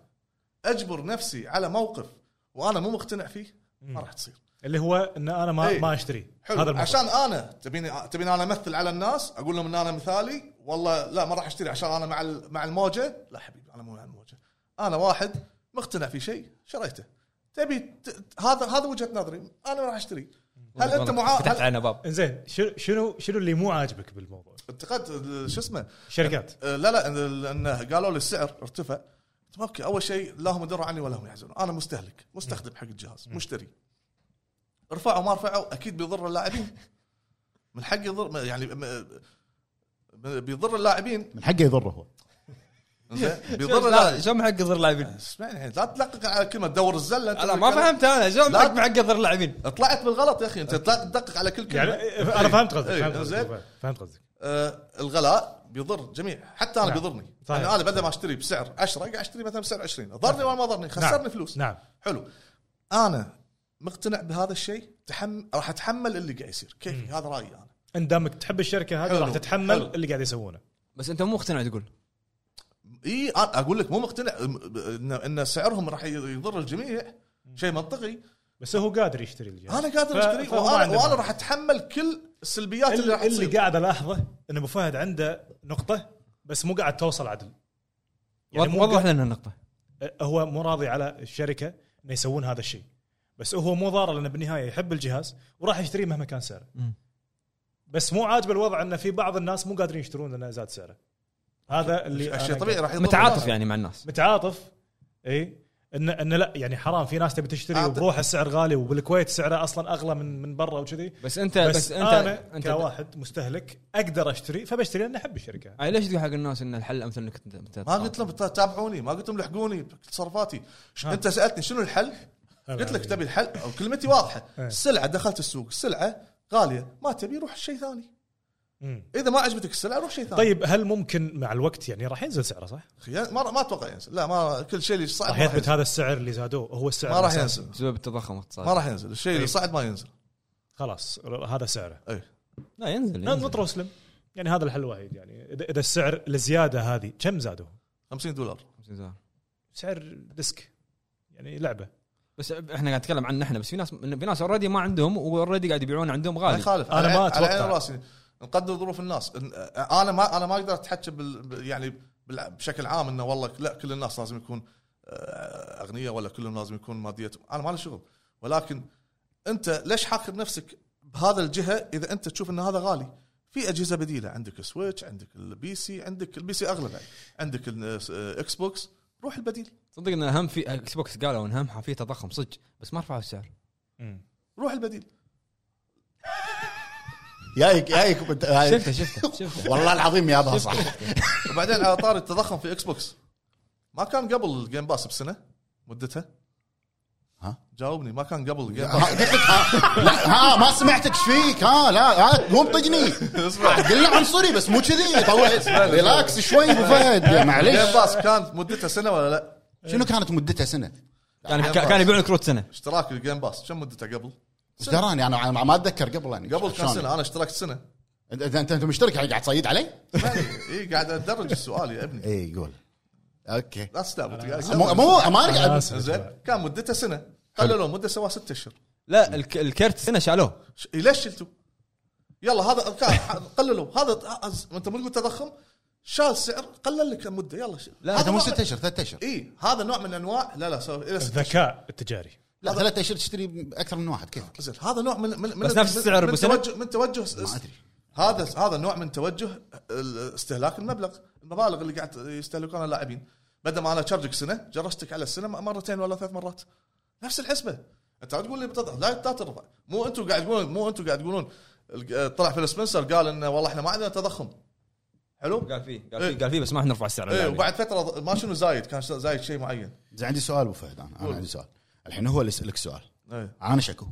Speaker 2: اجبر نفسي على موقف وانا مو مقتنع فيه ما راح تصير
Speaker 5: اللي هو ان انا ما
Speaker 2: إيه.
Speaker 5: ما اشتري
Speaker 2: حلو
Speaker 5: هذا الموضوع
Speaker 2: عشان انا تبيني تبيني انا امثل على الناس اقول لهم ان انا مثالي والله لا ما راح اشتري عشان انا مع ال- مع الموجه لا حبيبي انا مو مع الموجه انا واحد مقتنع في شيء شريته تبي ت- ت- هذا هذا وجهه نظري انا راح اشتري هل انت معا
Speaker 1: فتحت
Speaker 2: هل-
Speaker 1: علينا باب
Speaker 5: زين شنو شنو شنو اللي مو عاجبك بالموضوع؟
Speaker 2: انتقدت ال- شو اسمه
Speaker 5: شركات
Speaker 2: آه، لا لا ال- ان قالوا لي السعر ارتفع قلت اوكي اول شيء لا هم يدروا عني ولا هم يحزنون انا مستهلك مستخدم حق الجهاز مشتري رفعوا ما رفعوا اكيد بيضر اللاعبين [laughs] من حق يضر يعني م- م- بيضر
Speaker 5: [laughs]
Speaker 2: اللاعبين
Speaker 3: من حقه يضره هو
Speaker 2: إنزين؟ [laughs] بيضر
Speaker 1: لا
Speaker 2: اللاعبين
Speaker 1: شلون حق ضر اللاعبين
Speaker 2: اسمعني الحين لا تدقق على كلمه تدور الزله أنت
Speaker 1: انا ما
Speaker 2: بالكلام.
Speaker 1: فهمت انا شلون
Speaker 2: لا.
Speaker 1: حق حق ضر اللاعبين
Speaker 2: طلعت بالغلط يا اخي انت لا تدقق على كل
Speaker 5: يعني
Speaker 2: كلمه
Speaker 5: انا فهمت قصدك
Speaker 2: إيه،
Speaker 5: فهمت
Speaker 2: زين.
Speaker 5: قصدك فهمت قصدك
Speaker 2: آه، الغلاء بيضر جميع حتى انا
Speaker 5: نعم.
Speaker 2: بيضرني
Speaker 5: صحيح.
Speaker 2: يعني انا بدل ما اشتري بسعر 10 قاعد اشتري مثلا بسعر 20 ضرني ولا ما ضرني
Speaker 5: نعم.
Speaker 2: خسرني فلوس
Speaker 5: نعم
Speaker 2: حلو انا مقتنع بهذا الشيء تحمل راح اتحمل اللي قاعد يصير كيفي هذا رايي انا
Speaker 5: ان دامك تحب الشركه هذه
Speaker 2: حلو.
Speaker 5: راح تتحمل
Speaker 2: حلو.
Speaker 5: اللي قاعد يسوونه
Speaker 1: بس انت مو مقتنع تقول
Speaker 2: اي اقول لك مو مقتنع أم- ب- ان ان سعرهم راح يضر الجميع شيء منطقي
Speaker 5: بس هو قادر يشتري الجهاز
Speaker 2: انا قادر
Speaker 5: ف-
Speaker 2: اشتري
Speaker 5: فهو ما
Speaker 2: وانا
Speaker 5: عنده
Speaker 2: وانا
Speaker 5: مانع.
Speaker 2: راح اتحمل كل السلبيات اللي راح
Speaker 5: اللي, اللي
Speaker 2: تصير
Speaker 5: قاعد الاحظه ان ابو فهد عنده نقطه بس مو قاعد توصل عدل يعني مو
Speaker 1: وضح لنا النقطه
Speaker 5: هو مو راضي على الشركه انه يسوون هذا الشيء بس هو مو ضار لانه بالنهايه يحب الجهاز وراح يشتريه مهما كان سعره
Speaker 1: مم.
Speaker 5: بس مو عاجبه الوضع انه في بعض الناس مو قادرين يشترون لانه زاد سعره هذا اللي أنا
Speaker 2: الشيء طبيعي
Speaker 5: قاعد-
Speaker 2: راح يضر
Speaker 1: متعاطف
Speaker 2: الناس.
Speaker 1: يعني مع الناس
Speaker 5: متعاطف اي ان ان لا يعني حرام في ناس تبي تشتري
Speaker 2: أعطي-
Speaker 5: وبروح السعر غالي وبالكويت سعره اصلا اغلى من من برا وكذي
Speaker 1: بس انت بس,
Speaker 5: بس, بس
Speaker 1: انت
Speaker 5: انا
Speaker 1: انت
Speaker 5: كواحد مستهلك اقدر اشتري فبشتري لان احب الشركه
Speaker 1: أي ليش تقول حق الناس ان الحل امثل انك انت- انت
Speaker 2: ما قلت لهم تابعوني ما قلت لهم لحقوني بتصرفاتي ش-
Speaker 5: ها.
Speaker 2: انت سالتني شنو الحل قلت لك تبي الحل او كلمتي واضحه
Speaker 5: إيه.
Speaker 2: السلعه دخلت السوق السلعه غاليه ما تبي روح شيء ثاني
Speaker 5: مم.
Speaker 2: اذا ما عجبتك السلعه روح شيء ثاني
Speaker 5: طيب هل ممكن مع الوقت يعني راح ينزل سعره صح؟
Speaker 2: أخي، ما ما اتوقع ينزل لا ما كل شيء اللي صعب
Speaker 5: راح
Speaker 2: ما راح
Speaker 5: يثبت
Speaker 2: ينزل
Speaker 5: هذا السعر اللي زادوه هو السعر
Speaker 2: طيب، ما راح
Speaker 5: الأساسي.
Speaker 2: ينزل
Speaker 1: بسبب التضخم الاقتصادي
Speaker 2: ما راح ينزل الشيء اللي
Speaker 5: طيب.
Speaker 2: صعد ما ينزل
Speaker 5: خلاص هذا سعره
Speaker 2: اي
Speaker 1: لا ينزل, ينزل.
Speaker 5: ننطر وسلم يعني هذا الحل الوحيد يعني اذا إذا السعر الزياده هذه كم زادوه؟
Speaker 2: 50 دولار
Speaker 5: سعر ديسك يعني لعبه
Speaker 1: بس احنا قاعد نتكلم عن احنا بس في ناس في ناس اوريدي ما عندهم واوريدي قاعد يبيعون عندهم
Speaker 2: ما
Speaker 1: غالي
Speaker 2: يخالف
Speaker 5: أنا
Speaker 2: على
Speaker 5: ما
Speaker 2: عين- على عيني
Speaker 5: أتوقع.
Speaker 2: وراسي نقدر ظروف الناس إن- انا ما انا ما اقدر اتحكى بال بال- يعني بال- بشكل عام انه والله لا كل الناس لازم يكون آه، اغنياء ولا كلهم لازم يكون ماديتهم انا ما لي شغل ولكن انت ليش حاكر نفسك بهذا الجهه اذا انت تشوف ان هذا غالي في اجهزه بديله عندك سويتش عندك البي سي عندك البي سي اغلى بعد يعني. عندك الاكس بوكس روح البديل
Speaker 1: صدق ان هم في اكس بوكس قالوا ان هم في تضخم صدق بس ما رفعوا السعر
Speaker 2: روح البديل
Speaker 3: جايك جايك بت- هاي-
Speaker 1: شفته
Speaker 2: [laughs]
Speaker 1: شفته شفته
Speaker 3: والله العظيم يابها صح
Speaker 2: وبعدين على طار التضخم في اكس بوكس ما كان قبل الجيم باس بسنه مدتها
Speaker 3: ها؟
Speaker 2: جاوبني ما كان قبل الجيم
Speaker 3: ها،
Speaker 2: باس
Speaker 3: قلت لك ها لا ها ما سمعتك ايش فيك ها لا ها قوم طقني قلنا عنصري بس مو كذي طول ريلاكس شوي ابو فهد
Speaker 2: الجيم
Speaker 3: معليش
Speaker 2: باس كانت مدتها سنه ولا لا؟
Speaker 3: شنو كانت مدتها سنه؟
Speaker 1: كان كان يبيعون كروت سنه
Speaker 2: اشتراك الجيم باس كم مدته قبل؟
Speaker 3: ايش دراني انا أنا ما اتذكر قبل يعني
Speaker 2: قبل كان
Speaker 3: شلون؟
Speaker 2: سنه انا اشتركت سنه
Speaker 3: [laughs] انت انت أنت مشترك يعني قاعد تصيد علي؟
Speaker 2: اي إيه، قاعد ادرج السؤال يا ابني
Speaker 3: اي قول اوكي
Speaker 2: لا تستعبط
Speaker 3: مو مو ما
Speaker 5: أنا
Speaker 3: أنا-
Speaker 5: آسف.
Speaker 2: زين كان مدتها سنه قللوا مده سوا ستة اشهر
Speaker 1: لا الك- الكرت سنه شالوه
Speaker 2: ش- ليش شلتوا؟ يلا هذا كان قللوا هذا انت مو تقول تضخم شال سعر قلل لك المده يلا شل.
Speaker 1: لا،
Speaker 3: هذا مو
Speaker 2: نوع من-
Speaker 3: ست اشهر ثلاث اشهر
Speaker 2: اي هذا نوع من انواع لا لا سو... الى ست
Speaker 5: الذكاء التجاري
Speaker 3: لا ثلاث اشهر تشتري اكثر من واحد كيفك
Speaker 2: زين هذا نوع من من
Speaker 1: بس
Speaker 2: من
Speaker 1: نفس السعر
Speaker 2: من
Speaker 1: أبو سنة؟
Speaker 2: توجه من توجه
Speaker 3: ما ادري
Speaker 2: هذا هذا نوع من توجه ال- استهلاك المبلغ المبالغ اللي قاعد يستهلكونها اللاعبين بدل ما انا اشارجك سنه جرشتك على السنه مرتين ولا ثلاث مرات نفس الحسبه انت عم تقول لي بتضع لا لا ترفع مو انتم قاعد تقولون مو انتم قاعد تقولون الج- طلع فيل سبنسر قال انه والله احنا ما عندنا تضخم حلو؟
Speaker 1: قال فيه قال
Speaker 2: إيه.
Speaker 1: فيه قال فيه بس ما راح نرفع السعر
Speaker 2: ايه
Speaker 1: للاعبين.
Speaker 2: وبعد فتره ما شنو زايد كان زايد شيء معين
Speaker 3: زين عندي سؤال ابو فهد انا
Speaker 2: قول.
Speaker 3: انا عندي سؤال الحين هو اللي يسالك سؤال
Speaker 2: ايه
Speaker 3: انا شكو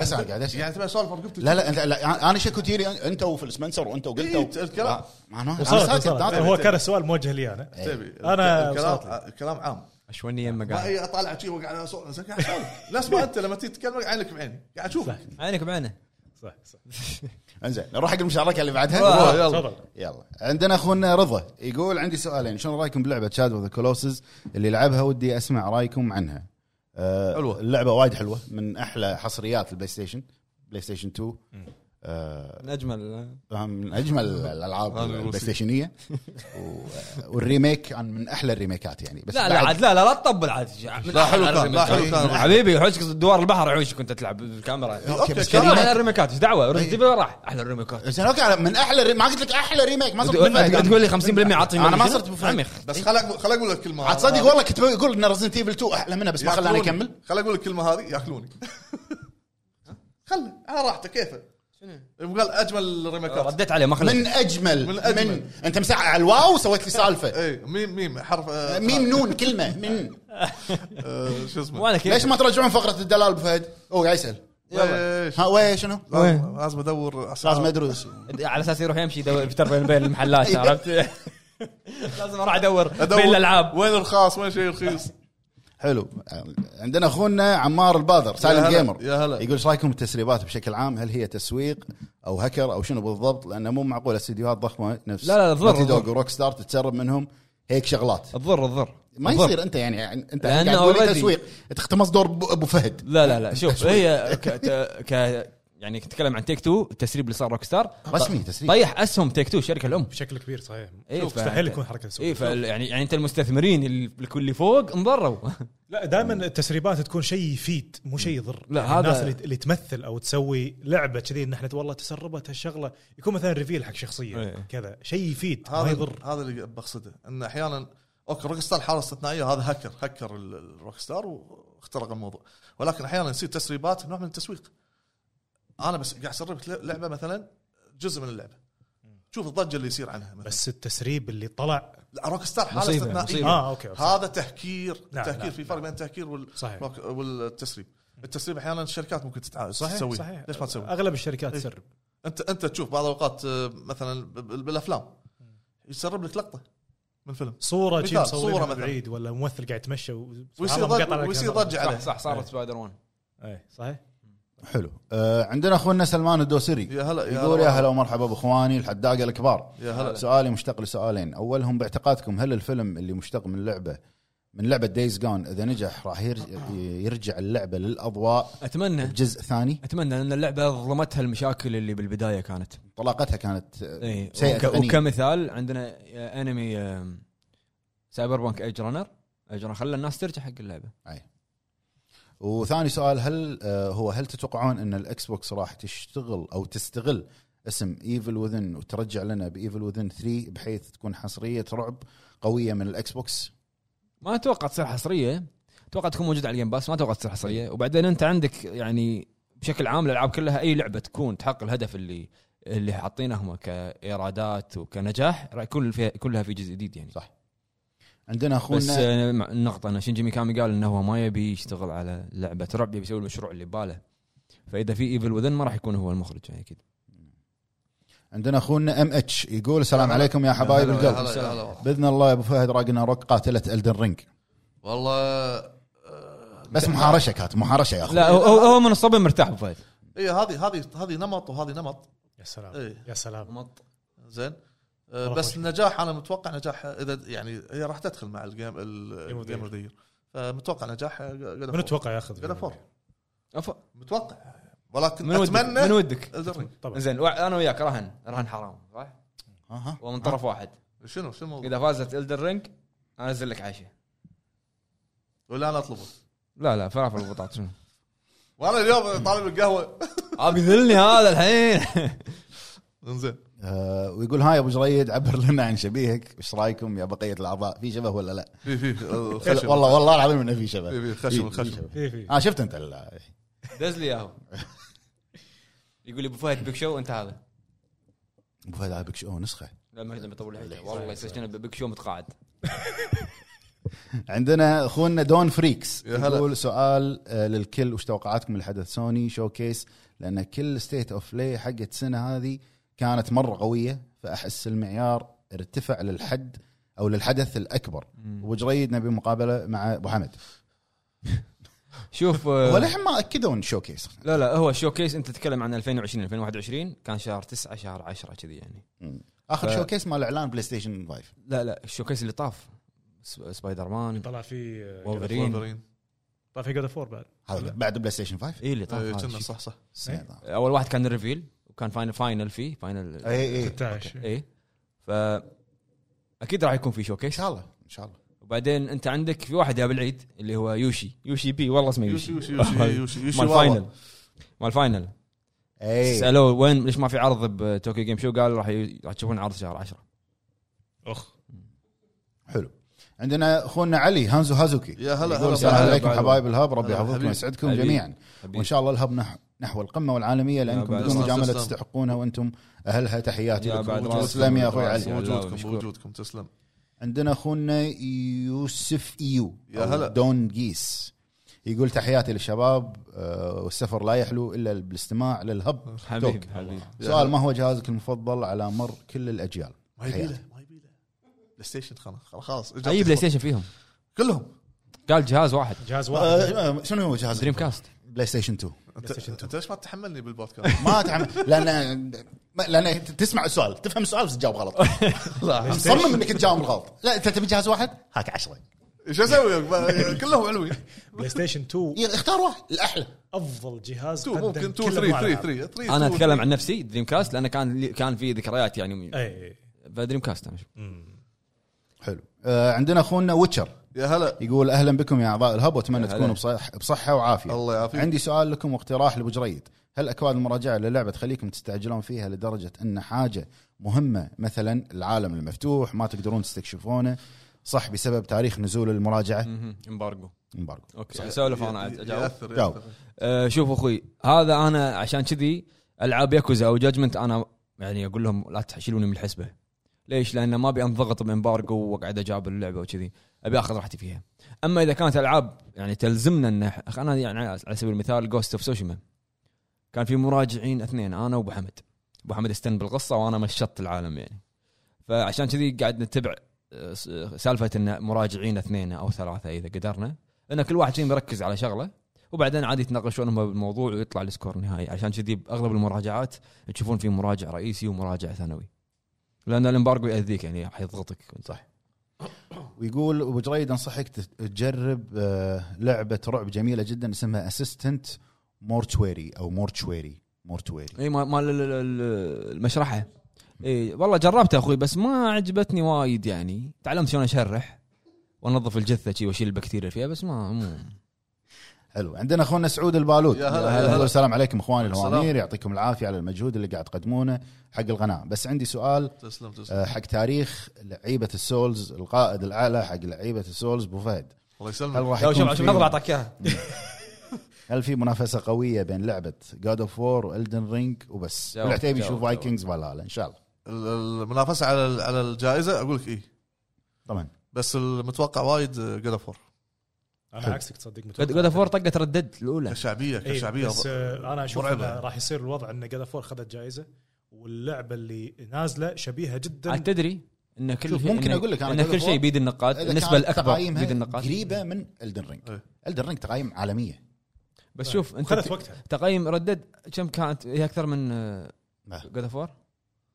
Speaker 3: بس انا قاعد اسال
Speaker 2: يعني تبع سؤال فرقبتك
Speaker 3: لا لا أنت- لا انا شكو تيري انت وفي السمنسر وانت
Speaker 2: إيه،
Speaker 3: وقلت
Speaker 2: الكلام.
Speaker 3: ما انا أنا
Speaker 5: وصلت
Speaker 3: ساكت طيب.
Speaker 5: وصلت
Speaker 3: ناطر.
Speaker 5: هو كان السؤال موجه لي انا
Speaker 2: تبي
Speaker 5: أنا
Speaker 2: الكلام
Speaker 5: وصلت
Speaker 2: الكلام عام
Speaker 1: شويني يمه
Speaker 2: ما
Speaker 1: قاعد
Speaker 2: هي اطالع شيء وقع على صوت قاعد اسولف نفس ما انت لما تيجي تتكلم عينك بعيني قاعد اشوفك
Speaker 1: عينك بعينه
Speaker 5: صح صح
Speaker 3: انزين نروح حق المشاركه اللي بعدها
Speaker 1: روح.
Speaker 5: تفضل
Speaker 3: يلا عندنا اخونا رضا يقول عندي سؤالين شنو رايكم بلعبه شاد اوف ذا كولوسز اللي لعبها ودي اسمع رايكم عنها أه
Speaker 2: حلوة.
Speaker 3: اللعبه وايد حلوه من احلى حصريات البلاي ستيشن بلاي ستيشن 2 أه
Speaker 1: من اجمل
Speaker 3: من
Speaker 2: [laughs]
Speaker 3: اجمل الالعاب
Speaker 2: هذا [laughs]
Speaker 3: البلاي ستيشنيه و- والريميك كان من احلى الريميكات يعني بس
Speaker 1: لا لا
Speaker 3: بعد-
Speaker 1: عاد لا لا لا تطبل عاد
Speaker 2: لا، حلو كان، لا، حلو كان.
Speaker 1: حبيبي حوشك دوار البحر عوشك كنت تلعب بالكاميرا
Speaker 3: اوكي
Speaker 2: أوكي،
Speaker 3: بس
Speaker 2: كلام.
Speaker 3: كلمة-
Speaker 1: احلى الريميكات ايش دعوه رزت راح احلى الريميكات
Speaker 3: زين اوكي من احلى الري- ما قلت لك احلى ريميك ما صرت
Speaker 1: تقول-
Speaker 3: بفهم.
Speaker 1: تقول لي 50% عاطيني
Speaker 3: أنا ما
Speaker 1: شنو؟
Speaker 3: صرت بفهم.
Speaker 1: عمي، خ-
Speaker 2: بس خل أقول- خل اقول لك كلمه
Speaker 3: عاد تصدق والله كنت بقول ان رزنت ايفل 2 احلى منها بس ما خلاني
Speaker 2: ياكلوني.
Speaker 3: اكمل
Speaker 2: خل اقول لك الكلمه هذه ياكلوني [laughs] خله على راحته كيفه شنو قال اجمل ريميكات
Speaker 1: رديت عليه ما
Speaker 3: من
Speaker 1: خليت
Speaker 3: اجمل
Speaker 2: من
Speaker 3: من,
Speaker 2: أجمل.
Speaker 3: من انت مساعة على الواو سويت لي سالفه
Speaker 2: اي إيه، ميم ميم حرف آه،
Speaker 3: ميم نون كلمه من
Speaker 2: آه، شو اسمه
Speaker 1: وانا
Speaker 3: ليش
Speaker 1: كيف
Speaker 3: ما ترجعون فقره الدلال أبو فهد هو قاعد يسال
Speaker 2: ويش؟
Speaker 3: ها وي شنو؟
Speaker 2: آه. لازم لازم ادور
Speaker 3: لازم
Speaker 2: أسعار.
Speaker 3: مدروس
Speaker 1: على اساس يروح يمشي يدور يفتر بين بين المحلات [laughs] عرفت لازم اروح ادور
Speaker 2: ادور
Speaker 1: بين الالعاب
Speaker 2: وين الرخاص وين شيء رخيص
Speaker 3: حلو عندنا اخونا عمار البادر سالم
Speaker 2: هلا،
Speaker 3: جيمر
Speaker 2: يا هلا.
Speaker 3: يقول ايش رايكم بالتسريبات بشكل عام هل هي تسويق او هكر او شنو بالضبط لانه مو معقول استديوهات ضخمه نفس
Speaker 1: لا، لا، لا، تضر،
Speaker 3: نوتي دوغ
Speaker 1: تضر.
Speaker 3: وروك ستار تتسرب منهم هيك شغلات
Speaker 1: تضر تضر
Speaker 3: ما
Speaker 1: تضر.
Speaker 3: يصير انت يعني انت
Speaker 1: لأنه
Speaker 3: قاعد تقول لي
Speaker 1: already-
Speaker 3: تسويق تختمص دور ب- ابو فهد
Speaker 1: لا لا لا شوف هي ك... ت- ك... يعني نتكلم عن تيك تو التسريب اللي صار روك ستار
Speaker 3: رسمي تسريب
Speaker 1: طيح اسهم تيك تو الشركه الام
Speaker 5: بشكل كبير صحيح
Speaker 1: إيه،
Speaker 5: شوف،
Speaker 1: فأنت-
Speaker 5: مستحيل يكون حركه تسوي
Speaker 1: اي فال... يعني يعني انت المستثمرين ال- الكل اللي فوق انضروا
Speaker 5: لا دائما التسريبات تكون شيء يفيد مو شيء يضر
Speaker 1: لا،
Speaker 5: يعني
Speaker 1: هذا-
Speaker 5: الناس اللي, اللي تمثل او تسوي لعبه كذي ان احنا والله تسربت هالشغله يكون مثلا ريفيل حق شخصيه
Speaker 1: إيه.
Speaker 5: كذا شيء يفيد ما
Speaker 2: هذا
Speaker 5: يضر
Speaker 2: هذا اللي بقصده ان احيانا اوكي روك ستار حاله استثنائيه هذا هكر هكر ال- الروك ستار واخترق الموضوع ولكن احيانا يصير تسريبات نوع من التسويق انا بس قاعد اسرب لك لعبه مثلا جزء من اللعبه شوف الضجه اللي يصير عنها مثلا
Speaker 5: بس التسريب اللي طلع
Speaker 2: لا روك ستار حاله
Speaker 1: مصيبة،
Speaker 2: استثنائيه
Speaker 1: مصيبة.
Speaker 5: اه اوكي صح-
Speaker 2: هذا تهكير
Speaker 5: نعم،
Speaker 2: تهكير
Speaker 5: نعم،
Speaker 2: في فرق بين التهكير وال
Speaker 5: صحيح
Speaker 2: روك- والتسريب التسريب احيانا الشركات ممكن تتع-
Speaker 5: صحيح
Speaker 2: تسويه
Speaker 5: صحيح
Speaker 2: ليش ما تسوي؟
Speaker 5: اغلب الشركات
Speaker 2: إيه.
Speaker 5: تسرب
Speaker 2: انت انت تشوف بعض الاوقات آه، مثلا ب- ب- بالافلام يسرب لك لقطه من فيلم
Speaker 5: صوره
Speaker 2: مثال،
Speaker 5: شي
Speaker 2: صورة
Speaker 5: مصورها
Speaker 2: مثلا.
Speaker 5: بعيد ولا ممثل قاعد يتمشى و-
Speaker 2: ويصير
Speaker 5: سبحان الله مقطع
Speaker 2: ضجه
Speaker 5: لك
Speaker 2: ويصير
Speaker 5: هذا.
Speaker 2: ضجه
Speaker 1: صح
Speaker 2: عليه
Speaker 1: صح صارت سبايدر وان
Speaker 5: إيه، صحيح
Speaker 3: حلو آه عندنا اخونا سلمان الدوسري
Speaker 2: يا هلا
Speaker 3: يقول يا هلا ومرحبا باخواني الحداقه الكبار
Speaker 2: يا هلا
Speaker 3: سؤالي مشتق لسؤالين اولهم باعتقادكم هل الفيلم اللي مشتق من لعبه من لعبه دايز جون اذا نجح راح يرج- يرجع اللعبه للاضواء
Speaker 1: اتمنى
Speaker 3: بجزء ثاني
Speaker 1: اتمنى ان اللعبه ظلمتها المشاكل اللي بالبدايه كانت
Speaker 3: طلاقتها كانت آه،
Speaker 1: اي
Speaker 3: سيئة
Speaker 1: وك...
Speaker 3: تقنية.
Speaker 1: وكمثال عندنا آه، انمي آم، سايبر بانك ايج رانر ايج رانر خلى الناس ترجع حق اللعبه
Speaker 3: وثاني سؤال هل آه، هو هل تتوقعون ان الاكس بوكس راح تشتغل او تستغل اسم ايفل وذن وترجع لنا بايفل وذن 3 بحيث تكون حصريه رعب قويه من الاكس بوكس
Speaker 1: ما اتوقع تصير حصريه اتوقع تكون موجوده على الجيم باس ما اتوقع تصير حصريه وبعدين انت عندك يعني بشكل عام الالعاب كلها اي لعبه تكون تحقق الهدف اللي اللي حاطينه هم كايرادات وكنجاح راح يكون فيها كلها في جزء جديد يعني
Speaker 3: صح. عندنا
Speaker 1: بس
Speaker 3: اخونا
Speaker 1: آه، مع- النقطه ان شينجي ميكامي قال انه هو ما يبي يشتغل على لعبه رعب يبي يسوي المشروع اللي بباله فاذا في ايفل وذن ما راح يكون هو المخرج يعني اكيد
Speaker 3: عندنا اخونا ام اتش يقول السلام
Speaker 2: هلا.
Speaker 3: عليكم يا حبايب
Speaker 2: يا
Speaker 3: القلب
Speaker 2: هلا يا هلا
Speaker 3: باذن الله يا ابو فهد راقنا روك قاتله الدن رينج
Speaker 2: والله آه،
Speaker 3: بس محارشه كانت محارشه يا اخوي
Speaker 1: لا هو, هو- هو من الصبي مرتاح ابو فهد
Speaker 2: اي إيه، هذه هذه هذه نمط وهذه نمط
Speaker 5: يا سلام
Speaker 2: اي
Speaker 5: يا سلام
Speaker 2: زين آه،
Speaker 5: والله
Speaker 2: بس
Speaker 5: خوش.
Speaker 2: النجاح انا متوقع نجاح اذا يعني هي راح تدخل مع الجيم ال-
Speaker 5: Game of the
Speaker 2: الجيم
Speaker 5: Year.
Speaker 2: اوف ذا يير فمتوقع نجاح آه، God of
Speaker 5: من
Speaker 2: War.
Speaker 5: اتوقع ياخذ
Speaker 2: God of War.
Speaker 1: أف-
Speaker 2: متوقع ولكن
Speaker 1: من ودك من
Speaker 2: اتمنى
Speaker 1: ودك
Speaker 2: Elden Ring.
Speaker 5: طبعا
Speaker 1: زين وا- انا وياك رهن رهن حرام صح؟
Speaker 3: ها ها.
Speaker 1: ومن طرف واحد
Speaker 2: شنو شنو الموضوع؟
Speaker 1: اذا فازت الدر رينج انزل لك عشاء
Speaker 2: ولا انا اطلبه
Speaker 1: لا لا فلافل [laughs] وبطاطس شنو؟
Speaker 2: وانا اليوم طالب [laughs] القهوه
Speaker 1: ابي ذلني هذا الحين [laughs]
Speaker 2: انزين
Speaker 3: آه، ويقول هاي ابو جريد عبر لنا عن شبيهك ايش رايكم يا بقيه الاعضاء في شبه ولا لا
Speaker 2: في في
Speaker 5: [laughs]
Speaker 2: آه، خشم.
Speaker 3: والله والله العظيم انه في
Speaker 2: في
Speaker 3: شبه
Speaker 2: في
Speaker 3: في-
Speaker 2: خشم
Speaker 3: في
Speaker 2: الخشم
Speaker 3: شبه.
Speaker 5: في إيه، في
Speaker 3: اه شفت انت ال-
Speaker 1: دز لي اياهم يقول لي ابو فهد بيك شو انت هذا
Speaker 3: ابو فهد على بيك شو نسخه
Speaker 1: لا ما يقدر يطول حيله والله يسجلنا بيك شو متقاعد
Speaker 3: عندنا اخونا دون فريكس
Speaker 2: يا هلا.
Speaker 3: يقول سؤال آه، للكل وش توقعاتكم لحدث سوني شو كيس لان كل ستيت اوف بلاي حقت السنه هذه كانت مره قويه فاحس المعيار ارتفع للحد او للحدث الاكبر ابو جريد نبي مقابله مع ابو حمد
Speaker 1: شوف [laughs]
Speaker 3: هو
Speaker 1: آه،
Speaker 3: للحين ما اكدوا شو كيس
Speaker 1: لا لا هو شو كيس انت تتكلم عن 2020 2021 كان شهر 9 شهر 10 كذي يعني
Speaker 3: اخر
Speaker 1: ف-
Speaker 3: شو كيس مال اعلان بلاي ستيشن 5
Speaker 1: لا لا الشو كيس اللي طاف سب- سبايدر مان
Speaker 5: طلع في
Speaker 1: وولفرين
Speaker 5: طلع في جود اوف وور بعد
Speaker 3: هذا بعد بلاي ستيشن 5
Speaker 1: اي اللي طاف
Speaker 2: إيه،
Speaker 1: هذا
Speaker 2: كنا
Speaker 1: شو-
Speaker 2: صح صح
Speaker 3: السنة
Speaker 1: اول واحد كان الريفيل وكان فاينل فاينل فيه فاينل
Speaker 3: اي اي ان
Speaker 5: 16
Speaker 1: اي ف اكيد راح يكون في شوكيس
Speaker 3: شاء الله ان شاء الله
Speaker 1: وبعدين انت عندك في واحد يا بالعيد اللي هو يوشي يوشي بي والله اسمه
Speaker 2: يوشي
Speaker 1: يوشي
Speaker 2: يوشي يوشي
Speaker 1: [laughs]
Speaker 2: يوشي يوشي
Speaker 1: مال
Speaker 2: واوا.
Speaker 1: فاينل مال فاينل
Speaker 3: اي
Speaker 1: سالوه وين ليش ما في عرض بتوكيو جيم شو قال راح ي- راح تشوفون عرض شهر 10
Speaker 5: اخ
Speaker 3: حلو عندنا اخونا علي هانزو هازوكي
Speaker 2: يا هلا
Speaker 3: يقول
Speaker 2: هلا
Speaker 3: السلام
Speaker 1: هلا
Speaker 3: عليكم
Speaker 1: بعد.
Speaker 3: حبايب الهب ربي
Speaker 2: هلا
Speaker 3: يحفظكم
Speaker 2: حبيبي.
Speaker 3: ويسعدكم
Speaker 1: حبيبي.
Speaker 3: جميعا
Speaker 1: حبيبي.
Speaker 3: وان شاء الله الهب نحو نحو القمه والعالميه لانكم
Speaker 1: بعد
Speaker 3: بدون
Speaker 2: الله.
Speaker 3: مجامله
Speaker 2: تسلم.
Speaker 3: تستحقونها وانتم اهلها تحياتي
Speaker 1: يا بعد
Speaker 3: لكم
Speaker 1: راسكم.
Speaker 3: تسلم يا اخوي
Speaker 1: بعد
Speaker 3: علي
Speaker 1: راسكم.
Speaker 2: وجودكم
Speaker 1: مشكور.
Speaker 2: وجودكم تسلم
Speaker 3: عندنا اخونا يوسف ايو
Speaker 2: يا
Speaker 3: أو
Speaker 2: هلا.
Speaker 3: دون جيس يقول تحياتي للشباب آه، والسفر لا يحلو الا بالاستماع للهب توك.
Speaker 1: حبيبي حبيبي
Speaker 2: يا
Speaker 3: سؤال
Speaker 2: هلا.
Speaker 3: ما هو جهازك المفضل على مر كل الاجيال
Speaker 2: ما يبي
Speaker 3: حياتي.
Speaker 2: له ما يبي له بلاي ستيشن خلاص خلاص إجابتي
Speaker 1: اي بلاي
Speaker 2: خلاص.
Speaker 1: ستيشن طيب، فيهم
Speaker 2: كلهم
Speaker 1: قال جهاز واحد
Speaker 5: جهاز واحد
Speaker 3: آه، شنو هو جهازك
Speaker 1: دريم كاست
Speaker 3: بلاي ستيشن 2
Speaker 2: انت
Speaker 5: ستيشن
Speaker 2: [laughs]
Speaker 5: تو.
Speaker 2: انت ليش ما تحملني بالبودكاست؟
Speaker 3: ما تعمل لان ما- لان تسمع السؤال تفهم السؤال بس تجاوب غلط [laughs] صمم انك تجاوب غلط لا انت تبي جهاز واحد هاك عشرة
Speaker 2: شو اسوي ما- كلهم حلوين
Speaker 5: بلاي ستيشن 2
Speaker 3: يعني اختار واحد الاحلى
Speaker 5: افضل جهاز
Speaker 2: 2 ممكن 2
Speaker 5: كل
Speaker 2: 3
Speaker 5: أنواع
Speaker 2: 3
Speaker 5: الألعاب.
Speaker 2: 3 3
Speaker 1: انا اتكلم عن نفسي دريم كاست لان كان لي- كان في ذكريات يعني
Speaker 5: [laughs] اي أي.
Speaker 1: فدريم كاست أنا.
Speaker 3: حلو آه عندنا اخونا ويتشر
Speaker 2: يا هلا
Speaker 3: يقول اهلا بكم يا اعضاء الهب واتمنى
Speaker 1: هلا.
Speaker 3: تكونوا بصح بصحه وعافيه
Speaker 2: الله يعافيك.
Speaker 3: عندي سؤال لكم واقتراح لابو جريد هل اكواد المراجعه للعبه تخليكم تستعجلون فيها لدرجه ان حاجه مهمه مثلا العالم المفتوح ما تقدرون تستكشفونه صح بسبب تاريخ نزول المراجعه
Speaker 1: [laughs] مهم. امبارجو
Speaker 3: امبارجو
Speaker 1: اوكي اسولف انا عاد اجاوب
Speaker 2: ياثر
Speaker 3: جاوب.
Speaker 2: ياثر.
Speaker 1: أه، شوف اخوي هذا انا عشان كذي العاب ياكوزا او جاجمنت انا يعني اقول لهم لا تشيلوني من الحسبه ليش؟ لان ما ابي انضغط بامبارجو واقعد اجاب اللعبه وكذي ابي اخذ راحتي فيها اما اذا كانت العاب يعني تلزمنا ان أخ- انا يعني على سبيل المثال جوست اوف سوشيما كان في مراجعين اثنين انا وابو حمد ابو حمد استن بالقصه وانا مشطت العالم يعني فعشان كذي قاعد نتبع أه، س- سالفه ان مراجعين اثنين او ثلاثه اذا قدرنا ان كل واحد فيهم يركز على شغله وبعدين عادي يتناقشون هم بالموضوع ويطلع السكور النهائي عشان كذي باغلب المراجعات تشوفون في مراجع رئيسي ومراجع ثانوي لان الامبارجو ياذيك يعني حيضغطك صح
Speaker 3: ويقول ابو جريد انصحك تت- تجرب آه، لعبه رعب جميله جدا اسمها اسيستنت مورتويري او مورتويري مورتويري
Speaker 1: اي ما- مال ال- ال- المشرحه اي والله جربتها اخوي بس ما عجبتني وايد يعني تعلمت شلون اشرح وانظف الجثه شي واشيل البكتيريا فيها بس ما مو
Speaker 3: حلو عندنا اخونا سعود البالوت
Speaker 2: يا هلا، يا
Speaker 3: يقول
Speaker 2: هلا.
Speaker 3: السلام عليكم اخواني
Speaker 2: السلام.
Speaker 3: الوامير يعطيكم العافيه على المجهود اللي قاعد تقدمونه حق القناه بس عندي سؤال
Speaker 2: تسلم تسلم
Speaker 3: آه، حق تاريخ لعيبه السولز القائد الاعلى حق لعيبه السولز بو فهد
Speaker 2: الله
Speaker 3: هل
Speaker 2: يسلمك
Speaker 3: راح
Speaker 1: شوف
Speaker 3: يكون
Speaker 1: عشان نظرة
Speaker 3: في
Speaker 1: اعطاك اياها
Speaker 3: هل في منافسه قويه بين لعبه جاد اوف وور والدن رينج وبس
Speaker 1: جاوب،
Speaker 3: والعتيبي
Speaker 1: جاوب،
Speaker 3: يشوف
Speaker 1: جاوب.
Speaker 3: فايكنجز ولا لا ان شاء الله
Speaker 2: ال- المنافسه على ال- على الجائزه اقول لك ايه
Speaker 3: طبعا
Speaker 2: بس المتوقع وايد جاد اوف وور
Speaker 5: انا عكسك تصدق متوقع.
Speaker 1: جود اوف طقت ردد الاولى
Speaker 2: كشعبيه
Speaker 5: إيه،
Speaker 2: كشعبيه
Speaker 5: بس آه، انا اشوف
Speaker 2: مرعبة.
Speaker 5: إنه راح يصير الوضع ان جاد فور خذت جائزه واللعبه اللي نازله شبيهه جدا
Speaker 1: عاد تدري ان كل
Speaker 3: شوف،
Speaker 1: شيء-
Speaker 3: ممكن
Speaker 1: إن-
Speaker 3: أقول لك أنا
Speaker 1: ان
Speaker 3: God of
Speaker 1: كل
Speaker 3: War
Speaker 1: شيء بيد النقاد
Speaker 3: إذا
Speaker 1: النسبه
Speaker 3: كانت
Speaker 1: الاكبر
Speaker 3: تقايمها
Speaker 1: بيد النقاد
Speaker 3: قريبه من الدن رينج
Speaker 2: إيه.
Speaker 3: الدن رينج تقايم عالميه
Speaker 1: بس شوف انت
Speaker 5: خذت وقتها
Speaker 1: تقييم ردد كم كانت هي اكثر من آه،
Speaker 3: ما.
Speaker 1: جود اوف وور؟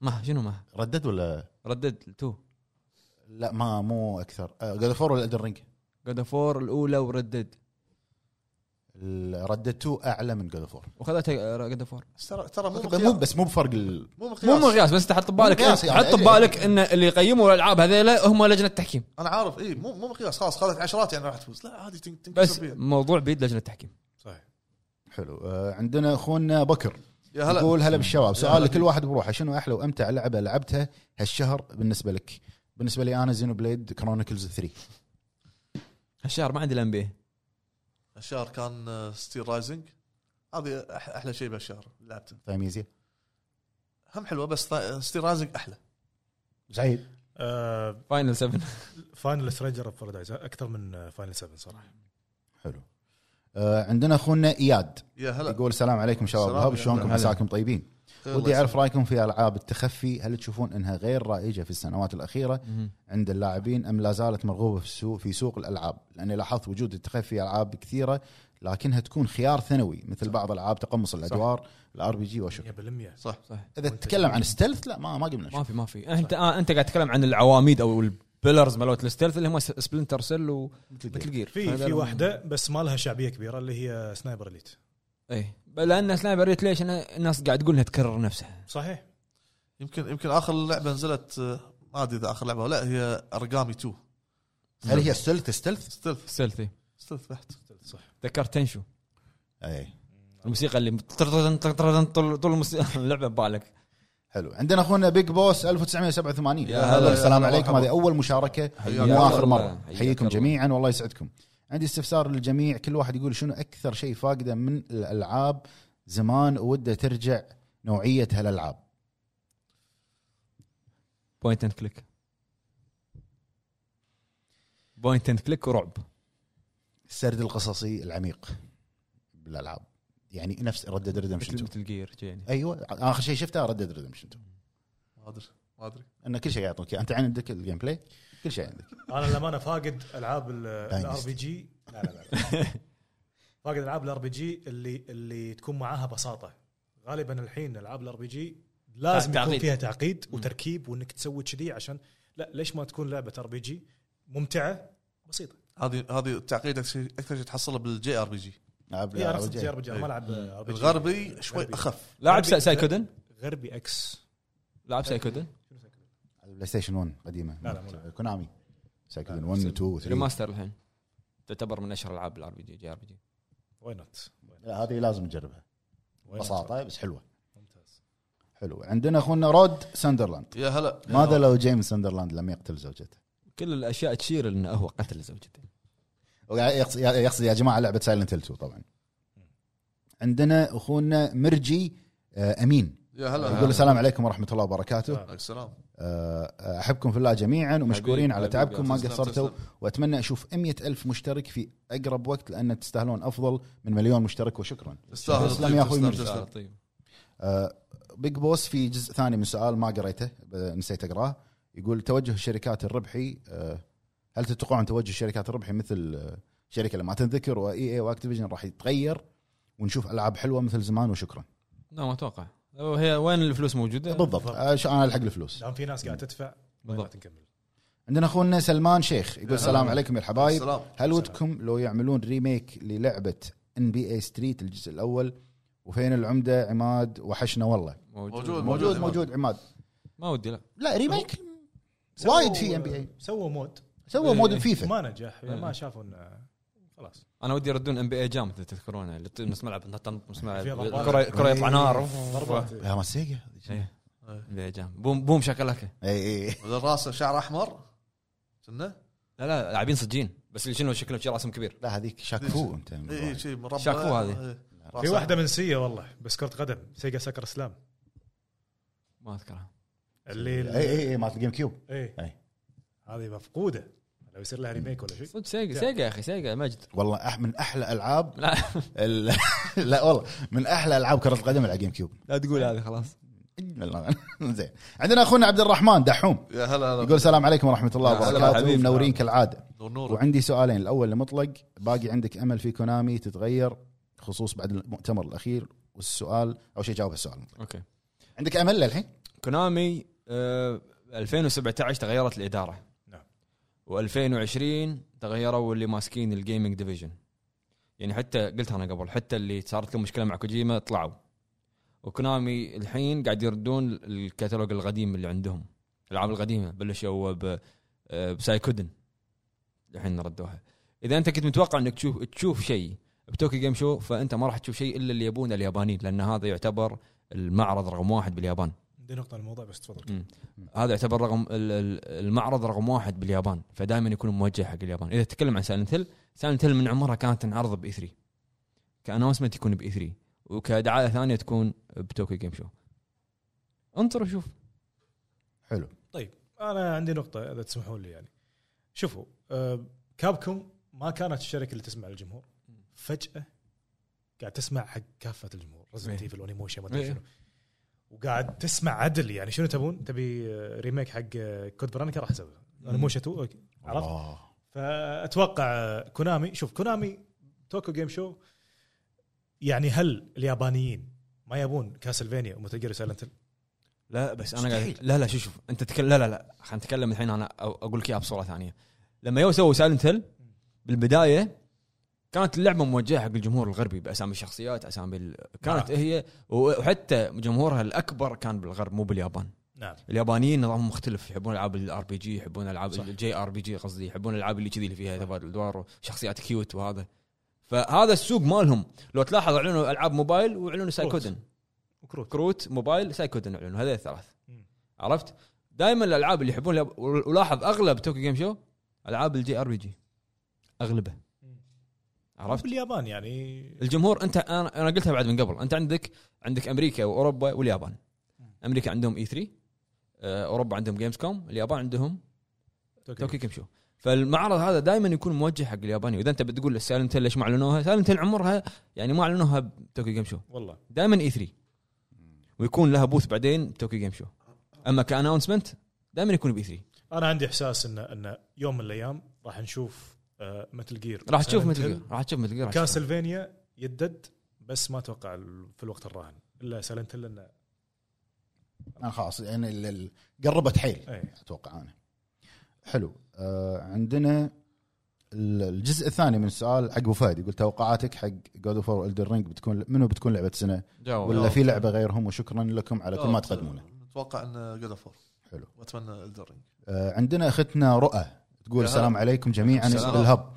Speaker 1: ما شنو ما
Speaker 3: ردد ولا
Speaker 1: ردد 2
Speaker 3: لا ما مو آه، اكثر جاد فور ولا الدن رينج
Speaker 1: جود اوف وور الاولى وردد
Speaker 3: رددته اعلى من جاد فور
Speaker 1: وخذتها آه، جود اوف وور
Speaker 2: ترى ترى مو
Speaker 3: مو
Speaker 2: مقياس
Speaker 3: بس مو بفرق ال...
Speaker 2: مو
Speaker 1: مو مو
Speaker 2: مقياس
Speaker 1: قياس بس انت حط ببالك
Speaker 3: مو قياس يعني.
Speaker 1: حط ببالك ان اللي يقيموا الالعاب هذيلا هم لجنه تحكيم
Speaker 2: انا عارف اي مو مو مقياس خلاص خذت عشرات يعني راح تفوز لا عادي تن- تنكسر
Speaker 1: بس
Speaker 2: فيها
Speaker 1: موضوع بيد لجنه تحكيم
Speaker 5: صحيح
Speaker 3: حلو آه، عندنا اخونا بكر
Speaker 2: يا هلا
Speaker 3: يقول هلا بالشباب سؤال
Speaker 2: هلا.
Speaker 3: لكل واحد بروحه شنو احلى وامتع لعبه لعبتها هالشهر بالنسبه لك؟ بالنسبه لي انا زينو بليد كرونيكلز 3
Speaker 1: هالشهر ما عندي الان بي
Speaker 2: الشهر كان آه، ستيل رايزنج هذه أح- احلى شيء بهالشهر لعبته
Speaker 3: فاهم يزي؟
Speaker 2: هم حلوه بس ستيل رايزنج احلى
Speaker 3: سعيد
Speaker 5: آه،
Speaker 1: فاينل 7
Speaker 5: فاينل سترينجر اوف بارادايز اكثر من فاينل 7 صراحه
Speaker 3: حلو آه، عندنا اخونا اياد
Speaker 2: يا هلا
Speaker 3: يقول السلام عليكم شباب
Speaker 2: السلام
Speaker 3: الهب
Speaker 2: عليكم.
Speaker 3: شلونكم
Speaker 1: هلا.
Speaker 3: مساكم طيبين؟
Speaker 2: الله
Speaker 3: ودي
Speaker 2: يسلمك.
Speaker 3: اعرف رايكم في العاب التخفي هل تشوفون انها غير رائجه في السنوات الاخيره عند اللاعبين ام لا زالت مرغوبه في السوق في سوق الالعاب لاني لاحظت وجود التخفي في العاب كثيره لكنها تكون خيار ثانوي مثل بعض العاب تقمص الادوار الار بي جي وشو
Speaker 5: 100%
Speaker 2: صح
Speaker 3: اذا تتكلم عن ستيلث لا ما ما قمنا
Speaker 1: ما
Speaker 3: شيء
Speaker 1: في ما في انت آه انت قاعد تتكلم عن العواميد او البيلرز مالوت الستيلث اللي هم سبلنتر سيل ومثل جير
Speaker 5: في في واحده بس ما لها شعبيه كبيره اللي هي سنايبر اليت
Speaker 1: اي لان سنايبر ريت ليش أنا- الناس قاعد تقول انها تكرر نفسها
Speaker 5: صحيح
Speaker 2: يمكن يمكن اخر لعبه نزلت آه، ما ادري اذا اخر لعبه ولا هي ارقامي 2
Speaker 3: هل هي ستيلث ستيلث؟
Speaker 2: ستيلث
Speaker 1: ستيلثي
Speaker 2: ستيلث بحت
Speaker 5: صح
Speaker 1: ذكرت تنشو
Speaker 3: اي
Speaker 1: الموسيقى اللي طردن- طردن طول طول الموسيقى- [laughs] اللعبه ببالك
Speaker 3: حلو عندنا اخونا بيج بوس 1987
Speaker 1: يا
Speaker 3: هلا
Speaker 2: هلا،
Speaker 3: السلام
Speaker 2: يا
Speaker 3: عليكم
Speaker 2: مرحبا.
Speaker 3: هذه اول مشاركه
Speaker 2: حياك
Speaker 3: مو اخر
Speaker 1: الله.
Speaker 3: مره
Speaker 1: حياك
Speaker 3: احييكم
Speaker 1: الله.
Speaker 3: جميعا والله يسعدكم عندي استفسار للجميع كل واحد يقول شنو اكثر شيء فاقده من الالعاب زمان وده ترجع نوعيه هالالعاب
Speaker 1: بوينت اند كليك بوينت اند كليك ورعب
Speaker 3: السرد القصصي العميق بالالعاب يعني نفس ردد ريدمشن
Speaker 1: مثل
Speaker 3: 2
Speaker 1: مثل جير يعني
Speaker 3: ايوه اخر شيء شفته ردد ريدمشن 2
Speaker 2: ما ادري ما ادري
Speaker 3: ان كل شيء يعطوك إياه. انت عندك الجيم بلاي كل شيء عندك
Speaker 5: انا للامانه فاقد العاب الار بي جي لا لا
Speaker 3: [laughs]
Speaker 5: لا فاقد العاب الار بي جي اللي اللي تكون معاها بساطه غالبا الحين العاب الار بي جي لازم يكون
Speaker 1: تعقيد.
Speaker 5: فيها تعقيد وتركيب وانك تسوي كذي عشان لا ليش ما تكون لعبه ار بي جي ممتعه بسيطه
Speaker 2: هذه هذه التعقيد اكثر اكثر شيء تحصله بالجي ار بي جي
Speaker 3: لعب
Speaker 5: هي
Speaker 3: لعب
Speaker 5: انا جي ار
Speaker 3: جي.
Speaker 5: بي جي انا ما العب ار بي جي
Speaker 2: الغربي شوي اخف
Speaker 1: لاعب
Speaker 5: غربي.
Speaker 1: سايكودن
Speaker 5: غربي اكس
Speaker 1: لاعب سايكودن
Speaker 3: على البلاي ستيشن 1 قديمه
Speaker 5: لا، لا، مو لا.
Speaker 3: كونامي سايكل 1 2 3
Speaker 1: ريماستر الحين تعتبر من اشهر العاب الار بي جي جي ار بي جي
Speaker 5: واي نوت
Speaker 3: لا هذه لازم نجربها بساطه بس حلوه
Speaker 5: ممتاز
Speaker 3: حلو عندنا اخونا رود ساندرلاند
Speaker 2: يا هلا
Speaker 3: ماذا لو جيمس ساندرلاند لم يقتل زوجته؟
Speaker 1: كل الاشياء تشير انه هو قتل [laughs] زوجته
Speaker 3: وقاعد يقصد- يقصد يا جماعه لعبه سايلنت هيل 2 طبعا عندنا اخونا مرجي آه، امين
Speaker 2: يا هلا
Speaker 3: يقول السلام عليكم ورحمه الله وبركاته
Speaker 2: عليكم السلام
Speaker 3: آه، احبكم في الله جميعا
Speaker 1: حبيبي،
Speaker 3: ومشكورين على
Speaker 1: حبيبي،
Speaker 3: تعبكم ما
Speaker 2: تسلم،
Speaker 3: قصرتوا
Speaker 2: تسلم.
Speaker 3: واتمنى اشوف 100 الف مشترك في اقرب وقت لان تستاهلون افضل من مليون مشترك وشكرا
Speaker 2: تستاهل
Speaker 3: تسلم يا أخوي
Speaker 2: تسلم،
Speaker 3: مرسل.
Speaker 2: تسلم.
Speaker 1: طيب
Speaker 3: آه، بيج بوس في جزء ثاني من سؤال ما قريته ب- نسيت اقراه يقول توجه الشركات الربحي آه، هل تتوقعون توجه الشركات الربحي مثل آه، شركه لما تنذكر E واي اي واكتيفيجن راح يتغير ونشوف العاب حلوه مثل زمان وشكرا
Speaker 1: لا ما اتوقع هي وين الفلوس موجوده؟
Speaker 3: بالضبط آه، ش- انا الحق الفلوس
Speaker 5: دام في ناس قاعده تدفع واي نوت
Speaker 1: بالضبط.
Speaker 5: نكمل
Speaker 3: عندنا اخونا سلمان شيخ يقول السلام عليكم يا الحبايب
Speaker 2: السلام
Speaker 3: هل ودكم لو يعملون ريميك للعبه ان بي اي ستريت الجزء الاول وفين العمده عماد وحشنا والله
Speaker 2: موجود.
Speaker 3: موجود موجود عماد
Speaker 1: ما ودي لا
Speaker 3: لا ريميك
Speaker 5: سووا-
Speaker 3: وايد في ان بي اي
Speaker 5: سووا مود
Speaker 3: سووا مود فيفا
Speaker 5: ما نجح ما شافوا انه خلاص
Speaker 1: انا ودي يردون ام بي اي جام اذا تذكرونه اللي يطير نص ملعب تنط نص ملعب
Speaker 5: في ضربات.
Speaker 1: الكره الكرة يطلع نار
Speaker 5: ضربات
Speaker 3: يا ما سيجا
Speaker 1: إيه. ام بي اي جام بوم بوم شكلك
Speaker 3: اي اي
Speaker 2: راسه شعر احمر كنا
Speaker 1: لا لا لاعبين صجين بس اللي شنو شكله شي راسهم كبير
Speaker 3: لا هذيك شاكفو انت
Speaker 2: اي شيء إيه، مربع
Speaker 1: شاكو هذه.
Speaker 2: إيه.
Speaker 5: في
Speaker 2: راسه
Speaker 5: واحده منسيه والله بس كره قدم سيجا سكر اسلام
Speaker 1: ما اذكرها
Speaker 5: اللي
Speaker 3: اي اي اي مالت إيه، الجيم كيوب
Speaker 5: ايه
Speaker 3: أي.
Speaker 5: هذه مفقوده لو يصير لها ريميك ولا شيء
Speaker 1: صدق سيجا سيجا يا اخي سيجا مجد
Speaker 3: والله أح من احلى العاب
Speaker 1: لا
Speaker 3: ال- [laughs] لا والله من احلى العاب كره القدم على الجيم كيوب [laughs]
Speaker 1: لا تقول هذه خلاص
Speaker 3: والله. زين عندنا اخونا عبد الرحمن دحوم
Speaker 2: يا هلا هلا
Speaker 3: يقول السلام عليكم ورحمه الله
Speaker 1: هلا
Speaker 3: وبركاته
Speaker 1: حبيبي.
Speaker 3: منورين كالعاده
Speaker 2: نور نور
Speaker 3: وعندي سؤالين الاول لمطلق باقي عندك امل في كونامي تتغير خصوص بعد المؤتمر الاخير والسؤال او شيء جاوب السؤال
Speaker 1: اوكي
Speaker 3: عندك امل للحين
Speaker 1: كونامي آه 2017 تغيرت الاداره
Speaker 5: نعم.
Speaker 1: و2020 تغيروا اللي ماسكين الجيمنج ديفيجن يعني حتى قلت انا قبل حتى اللي صارت لهم مشكله مع كوجيما طلعوا وكونامي الحين قاعد يردون الكتالوج القديم اللي عندهم الالعاب القديمه بلشوا ب آه، بسايكودن الحين ردوها اذا انت كنت متوقع انك تشوف تشوف شيء بتوكي جيم شو فانت ما راح تشوف شيء الا اللي يبونه اليابانيين لان هذا يعتبر المعرض رقم واحد باليابان
Speaker 5: دي نقطه عن الموضوع بس تفضل
Speaker 1: هذا يعتبر رقم ال- ال- المعرض رقم واحد باليابان فدائما يكون موجه حق اليابان اذا تتكلم عن سايلنت هيل سايلنت هيل من عمرها كانت تنعرض باي 3 كانونسمنت يكون باي 3 وكدعايه ثانيه تكون بتوكي جيم شو انطر وشوف
Speaker 3: حلو
Speaker 5: انا عندي نقطه اذا تسمحون لي يعني شوفوا آه، كابكوم ما كانت الشركه اللي تسمع للجمهور فجاه قاعد تسمع حق كافه الجمهور ريزنت
Speaker 1: إيه.
Speaker 5: ايفل ونيموشن ما ادري
Speaker 1: إيه.
Speaker 5: شنو وقاعد تسمع عدل يعني شنو تبون تبي آه، ريميك حق آه، كود برانكا راح اسويه نيموشن 2 أوكي. عرفت
Speaker 3: الله.
Speaker 5: فاتوقع آه، كونامي شوف كونامي توكو جيم شو يعني هل اليابانيين ما يبون كاسلفينيا ومثل جير سايلنت
Speaker 1: لا بس انا
Speaker 3: مستحيل.
Speaker 1: قاعد لا لا شوف شوف انت تتكلم لا لا لا خلينا نتكلم الحين انا أو- اقول لك اياها بصوره ثانيه لما يو سووا سايلنت هيل بالبدايه كانت اللعبه موجهه حق الجمهور الغربي باسامي الشخصيات اسامي ال... كانت هي وحتى جمهورها الاكبر كان بالغرب مو باليابان
Speaker 5: نعم
Speaker 1: اليابانيين نظامهم مختلف يحبون العاب الار بي جي يحبون العاب
Speaker 5: صح.
Speaker 1: الجي ار بي جي قصدي يحبون الالعاب اللي كذي اللي فيها تبادل ادوار وشخصيات كيوت وهذا فهذا السوق مالهم لو تلاحظ اعلنوا العاب موبايل واعلنوا سايكودن
Speaker 5: وكروت
Speaker 1: كروت موبايل سايكودن اعلنوا هذول الثلاث
Speaker 5: مم.
Speaker 1: عرفت دائما الالعاب اللي يحبون الياب- ولاحظ اغلب توكي جيم شو العاب الجي ار بي جي اغلبه
Speaker 5: مم.
Speaker 1: عرفت
Speaker 5: باليابان يعني
Speaker 1: الجمهور انت انا انا قلتها بعد من قبل انت عندك عندك امريكا واوروبا واليابان امريكا عندهم اي 3 اوروبا عندهم جيمز كوم اليابان عندهم توكي كم شو فالمعرض هذا دائما يكون موجه حق الياباني واذا انت بتقول لي سايلنت هيل ليش ما اعلنوها سايلنت هيل عمرها يعني ما اعلنوها بتوكي جيم شو
Speaker 5: والله
Speaker 1: دائما اي 3 E ويكون لها بوث بعدين توكي جيم شو اما كاناونسمنت دائما يكون بي 3
Speaker 5: انا عندي احساس ان ان يوم من الايام راح نشوف آه، متل جير
Speaker 1: راح تشوف مثل راح تشوف مثل
Speaker 5: كاسلفينيا يدد بس ما اتوقع ال- في الوقت الراهن الا سالنت انه
Speaker 3: انا خلاص يعني ال- ال- قربت حيل
Speaker 5: إيه.
Speaker 3: اتوقع انا حلو آه عندنا ال- الجزء الثاني من السؤال حق ابو فهد يقول توقعاتك حق جود اوف وور رينج بتكون منو بتكون لعبه سنه
Speaker 1: جاوب
Speaker 3: ولا في لعبه غيرهم وشكرا لكم على كل ما تقدمونه
Speaker 2: اتوقع ان جود اوف
Speaker 3: حلو.
Speaker 2: واتمنى الدرينج
Speaker 3: آه، عندنا اختنا رؤى تقول
Speaker 2: يا هلا.
Speaker 3: السلام عليكم جميعا
Speaker 1: السلام.
Speaker 3: الهب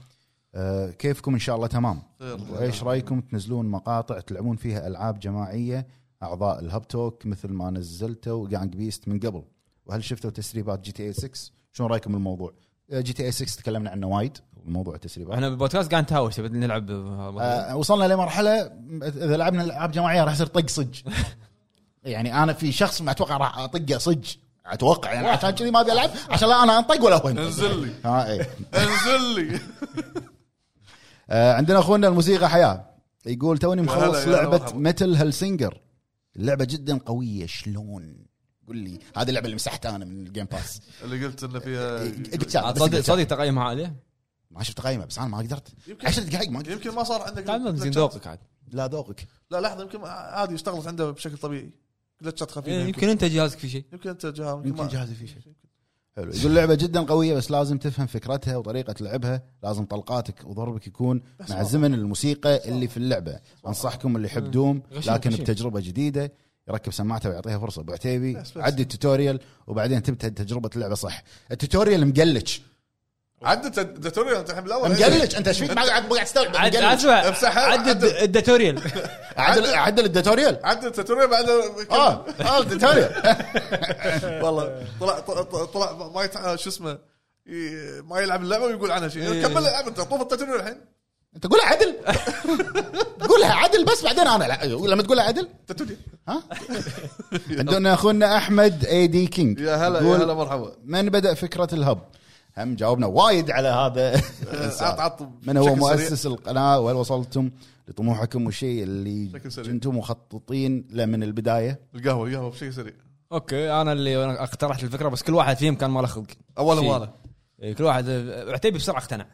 Speaker 3: آه، كيفكم ان شاء الله تمام
Speaker 2: خير.
Speaker 3: وايش رايكم تنزلون مقاطع تلعبون فيها العاب جماعيه اعضاء الهب توك مثل ما نزلتوا جانج بيست من قبل وهل شفتوا تسريبات جي تي اي 6 شلون رايكم بالموضوع جي تي اي 6 تكلمنا عنه وايد موضوع التسريبات
Speaker 1: احنا بالبودكاست قاعد نتهاوش تبي نلعب
Speaker 3: آه، وصلنا لمرحله اذا لعبنا العاب جماعيه راح يصير طق صج [laughs] يعني انا في شخص ما اتوقع راح اطقه صج اتوقع يعني عشان كذي ما ابي العب عشان لا انا انطق ولا هو
Speaker 2: [laughs]
Speaker 3: ينطق.
Speaker 2: انزل لي
Speaker 3: ها ايه
Speaker 2: انزل لي [laughs]
Speaker 3: آه، عندنا اخونا الموسيقى حياه يقول توني
Speaker 2: هلا،
Speaker 3: مخلص
Speaker 2: يا هلا
Speaker 3: لعبه
Speaker 2: مرحبا.
Speaker 3: ميتل هلسنجر اللعبه جدا قويه شلون قول لي هذه اللعبه اللي مسحتها انا من الجيم باس
Speaker 2: [laughs] اللي قلت انه فيها
Speaker 3: قلت شاب، بس
Speaker 1: صدق
Speaker 3: قلت
Speaker 1: صدق
Speaker 3: شاب.
Speaker 1: تقييمها عاليه
Speaker 3: ما شفت قيمه بس انا ما قدرت
Speaker 2: يمكن-
Speaker 3: 10 دقائق ما قدرت
Speaker 2: يمكن ما صار عندك
Speaker 1: قاعد ما زين
Speaker 2: glitches.
Speaker 1: ذوقك عاد
Speaker 3: لا ذوقك
Speaker 2: لا لحظه يمكن عادي اشتغلت عنده بشكل طبيعي جلتشات خفيفه
Speaker 1: إيه، يمكن انت جهازك في شيء
Speaker 2: يمكن انت جهاز
Speaker 3: يمكن جهازي فيه شيء حلو يقول لعبه جدا قويه بس لازم تفهم فكرتها وطريقه لعبها لازم طلقاتك وضربك يكون مع زمن الموسيقى اللي في اللعبه انصحكم اللي يحب دوم
Speaker 1: غشيم،
Speaker 3: لكن
Speaker 1: غشيم.
Speaker 3: بتجربه جديده يركب سماعته ويعطيها فرصه ابو عتيبي
Speaker 2: بس بس.
Speaker 3: عدي التوتوريال وبعدين تبدا تجربه اللعبه صح التوتوريال مقلج
Speaker 2: عدت التوتوريال انت الحين بالاول
Speaker 3: مقلج انت ايش فيك ما قاعد ما قاعد تستوعب
Speaker 1: عاد
Speaker 3: مقلج.
Speaker 2: امسحها،
Speaker 1: عاد
Speaker 2: عدل.
Speaker 1: الداتوريال
Speaker 3: عدل عدل التوتوريال
Speaker 2: عدت التوتوريال بعد
Speaker 3: اه اه التوتوريال [laughs]
Speaker 2: والله طلع طلع- طلع ما يتع... شو اسمه ي- ما يلعب اللعبه ويقول عنها شيء كمل العب انت طوف التوتوريال الحين
Speaker 3: انت قولها عدل قولها عدل بس بعدين انا لا. لما تقولها عدل
Speaker 2: التوتوريال
Speaker 3: ها عندنا اخونا احمد اي دي كينج
Speaker 2: يا هلا يا
Speaker 3: يقول،
Speaker 2: هلا مرحبا
Speaker 3: من بدا فكره الهب هم جاوبنا وايد على هذا [laughs] السؤال.
Speaker 2: عط- آه، عط
Speaker 3: من هو
Speaker 2: بشكل
Speaker 3: مؤسس القناه وهل وصلتم لطموحكم والشيء اللي
Speaker 2: بشكل سريع.
Speaker 3: كنتم مخططين له من البدايه
Speaker 2: القهوه القهوه بشيء سريع
Speaker 1: اوكي انا اللي أنا اقترحت الفكره بس كل واحد فيهم كان ما له خلق
Speaker 2: اولا
Speaker 1: شيء.
Speaker 2: وانا
Speaker 1: إيه، كل واحد عتيبي بسرعه اقتنع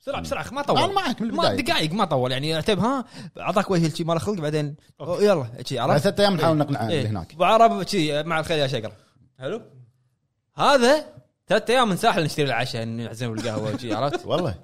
Speaker 1: بسرعه بسرعه ما طول
Speaker 3: أنا معك من
Speaker 1: ما
Speaker 3: البداية.
Speaker 1: دقائق ما طول يعني عتيب ها اعطاك وجه شي ما له خلق بعدين أوه، يلا شي
Speaker 3: بعد
Speaker 1: عرفت
Speaker 3: ثلاث ايام نحاول نقنعه
Speaker 1: إيه.
Speaker 3: اللي هناك
Speaker 1: ابو عرب شي مع الخير يا شقر حلو هذا ثلاث ايام من ساحل نشتري العشاء نعزم بالقهوه وشي
Speaker 3: [laughs]
Speaker 1: عرفت
Speaker 3: والله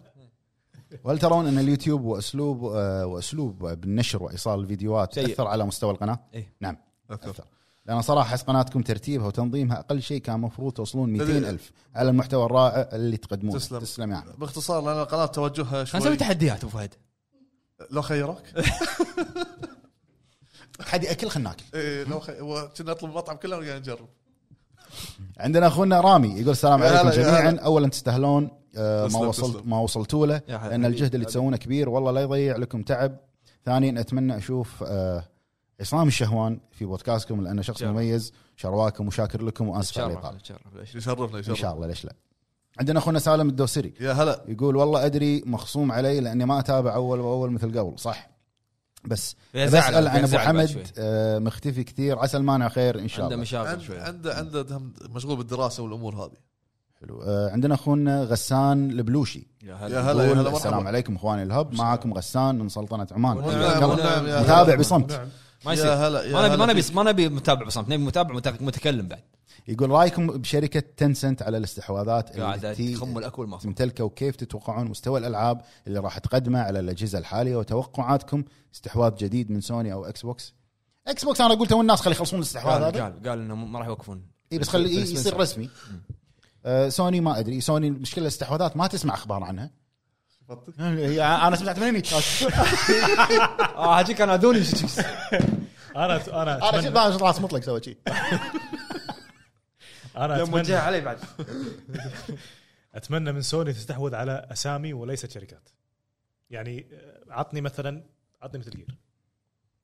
Speaker 3: وهل ترون ان اليوتيوب واسلوب آه، واسلوب بالنشر وايصال الفيديوهات
Speaker 1: سيء.
Speaker 3: اثر على مستوى القناه؟
Speaker 1: إيه.
Speaker 3: نعم
Speaker 2: اثر
Speaker 3: لان صراحه احس قناتكم ترتيبها وتنظيمها اقل شيء كان مفروض توصلون 200 الف على المحتوى الرائع اللي تقدمونه
Speaker 2: تسلم.
Speaker 3: تسلم يعني. يا عم
Speaker 2: باختصار لان القناه توجهها
Speaker 1: خلينا نسوي
Speaker 2: شوي
Speaker 1: تحديات ابو فهد
Speaker 2: لو خيروك
Speaker 3: حد اكل خلنا ناكل
Speaker 2: إيه، لو خي... و- كنا نطلب المطعم كله ونقعد نجرب
Speaker 3: عندنا اخونا رامي يقول السلام
Speaker 2: يا هلا،
Speaker 3: عليكم
Speaker 2: يا
Speaker 3: جميعا
Speaker 2: هلا.
Speaker 3: اولا تستاهلون آه، ما
Speaker 2: تسلم،
Speaker 3: وصلت
Speaker 2: تسلم.
Speaker 3: ما وصلتوا له
Speaker 1: يا حبيبي.
Speaker 3: لان الجهد اللي تسوونه كبير والله لا يضيع لكم تعب ثانيا اتمنى اشوف آه، عصام الشهوان في بودكاستكم لانه شخص
Speaker 1: إن شاء الله.
Speaker 3: مميز شرواكم وشاكر لكم واسف على
Speaker 1: تشرف
Speaker 3: الاطاله
Speaker 1: تشرف ليش؟
Speaker 2: يشرفنا
Speaker 3: ان
Speaker 2: يشرفنا
Speaker 3: شاء الله ليش لا عندنا اخونا سالم الدوسري
Speaker 2: يا هلا
Speaker 3: يقول والله ادري مخصوم علي لاني ما اتابع اول واول مثل قبل صح بس
Speaker 1: فيها زعل-
Speaker 3: بسال
Speaker 1: فيها
Speaker 3: عن ابو
Speaker 1: زعل بعد شوي.
Speaker 3: حمد آه، مختفي كثير عسى المانع خير ان شاء
Speaker 1: عنده
Speaker 3: الله
Speaker 1: مشاغل
Speaker 2: عند-
Speaker 1: شوي
Speaker 2: عنده عنده دهم- مشغول بالدراسه والامور هذه
Speaker 3: حلو آه، عندنا اخونا غسان البلوشي
Speaker 1: يا
Speaker 2: يا
Speaker 1: هلا
Speaker 2: هلا يا هلا
Speaker 3: يقول السلام
Speaker 2: مرحبا
Speaker 3: عليكم اخواني الهب معاكم غسان من سلطنه عمان
Speaker 1: والنعم، والنعم، يا هلا.
Speaker 3: متابع بصمت
Speaker 5: نعم
Speaker 1: ما
Speaker 2: يا
Speaker 1: يصير
Speaker 2: هلا يا
Speaker 1: ما نبي ما
Speaker 2: هلا
Speaker 1: نبي
Speaker 2: فيك.
Speaker 1: ما نبي متابع بصمت نبي متابع متك- متكلم بعد
Speaker 3: يقول رايكم بشركه تنسنت على الاستحواذات
Speaker 1: قاعد
Speaker 3: التي
Speaker 1: تخم الاكل ما
Speaker 3: تمتلكه وكيف تتوقعون مستوى الالعاب اللي راح تقدمه على الاجهزه الحاليه وتوقعاتكم استحواذ جديد من سوني او اكس بوكس اكس بوكس انا قلت الناس خلي يخلصون الاستحواذ
Speaker 1: قال
Speaker 3: هذا
Speaker 1: قال, قال انه ما راح يوقفون
Speaker 3: اي بس خلي
Speaker 1: رسمي
Speaker 3: يصير
Speaker 1: صار.
Speaker 3: رسمي آه، سوني ما ادري سوني المشكله الاستحواذات ما تسمع اخبار عنها [laughs] انا سمعت من هني
Speaker 1: اه هاجيك انا [laughs] اذوني
Speaker 5: انا
Speaker 3: انا
Speaker 5: انا
Speaker 3: شفت
Speaker 5: أتمنى-
Speaker 3: بقى راس مطلق سوى شيء
Speaker 5: انا اتمنى
Speaker 1: علي بعد
Speaker 5: اتمنى من سوني تستحوذ على اسامي وليست شركات يعني آه، عطني مثلا عطني مثل جير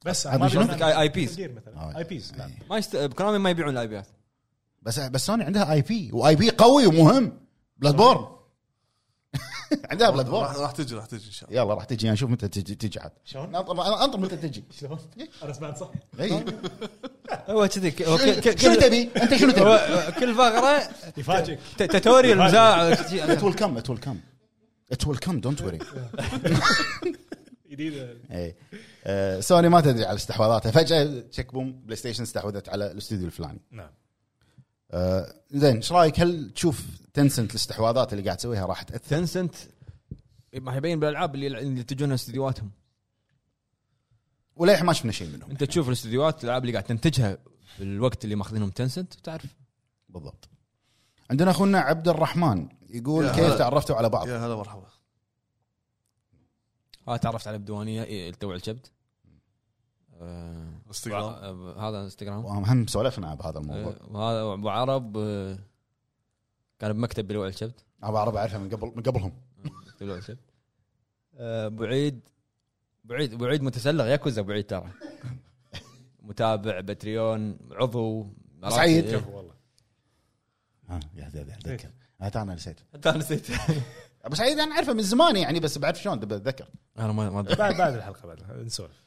Speaker 5: بس أنا ما
Speaker 3: عطني
Speaker 5: أبي
Speaker 1: شنو؟ Oh,
Speaker 5: مثل-
Speaker 1: آي- آي- IPs.
Speaker 5: مثل Gear مثلا اي بيز
Speaker 1: ما يست... بكلامي ما يبيعون الاي
Speaker 3: [laughs]
Speaker 1: بيات
Speaker 3: بس بس سوني عندها اي بي واي بي قوي ومهم بلاد بورن [laughs] عندها بلاد
Speaker 2: راح
Speaker 3: بورن
Speaker 2: راح تجي راح تجي ان شاء الله
Speaker 3: يلا راح تجي نشوف متى تجي تجي عاد
Speaker 5: شلون؟
Speaker 3: انطر انطر متى تجي
Speaker 5: شلون؟ انا سمعت
Speaker 1: [laughs]
Speaker 5: صح
Speaker 3: إي. [laughs]
Speaker 1: هو كذي ك- هو ك- ك-
Speaker 3: شنو
Speaker 1: كل-
Speaker 3: تبي؟ انت شنو
Speaker 2: [laughs]
Speaker 1: هو
Speaker 3: تبي؟
Speaker 1: كل فقره
Speaker 5: يفاجئك
Speaker 1: ت- توتوريال مزاع
Speaker 3: ات ويل كم ات ويل كم ات ويل كم دونت وري
Speaker 5: جديده
Speaker 3: اي آه، سوني ما تدري على استحواذاتها فجاه تشيك بوم بلاي ستيشن استحوذت على الاستوديو الفلاني
Speaker 5: نعم
Speaker 3: آه، زين ايش رايك هل تشوف تنسنت الاستحواذات اللي قاعد تسويها راح تاثر
Speaker 1: تنسنت ما يبين بالالعاب اللي اللي يتجونها استديوهاتهم
Speaker 3: وللحين ما شفنا شيء منهم
Speaker 1: انت تشوف الاستديوهات الالعاب اللي قاعد تنتجها بالوقت اللي ماخذينهم تنسنت تعرف
Speaker 3: بالضبط عندنا اخونا عبد الرحمن يقول
Speaker 2: يا
Speaker 3: كيف
Speaker 2: هلا.
Speaker 3: تعرفتوا على بعض
Speaker 2: يا هلا مرحبا
Speaker 1: ها آه، تعرفت على بدوانيه إيه، توع الكبد آه،
Speaker 2: انستغرام
Speaker 1: آه، هذا
Speaker 2: أه؟
Speaker 1: انستغرام
Speaker 3: وهم سولفنا بهذا الموضوع
Speaker 2: إيه.
Speaker 1: آه، وهذا ابو عرب آه، كان بمكتب بلوع [laughs] الكبد
Speaker 3: ابو عرب اعرفه من قبل من قبلهم
Speaker 1: مكتب بلوع الكبد آه، ابو عيد ابو عيد ابو عيد متسلغ ياكوزا ابو عيد ترى متابع باتريون عضو
Speaker 3: سعيد.
Speaker 1: إيه.
Speaker 5: كفو والله
Speaker 3: ها يا زيد
Speaker 2: إيه.
Speaker 3: اتذكر هذا انا نسيت
Speaker 1: حتى انا نسيت
Speaker 3: ابو سعيد انا اعرفه من زمان يعني بس بعرف شلون بتذكر
Speaker 1: انا ما ما أتذكر.
Speaker 5: بعد بعد الحلقه بعد نسولف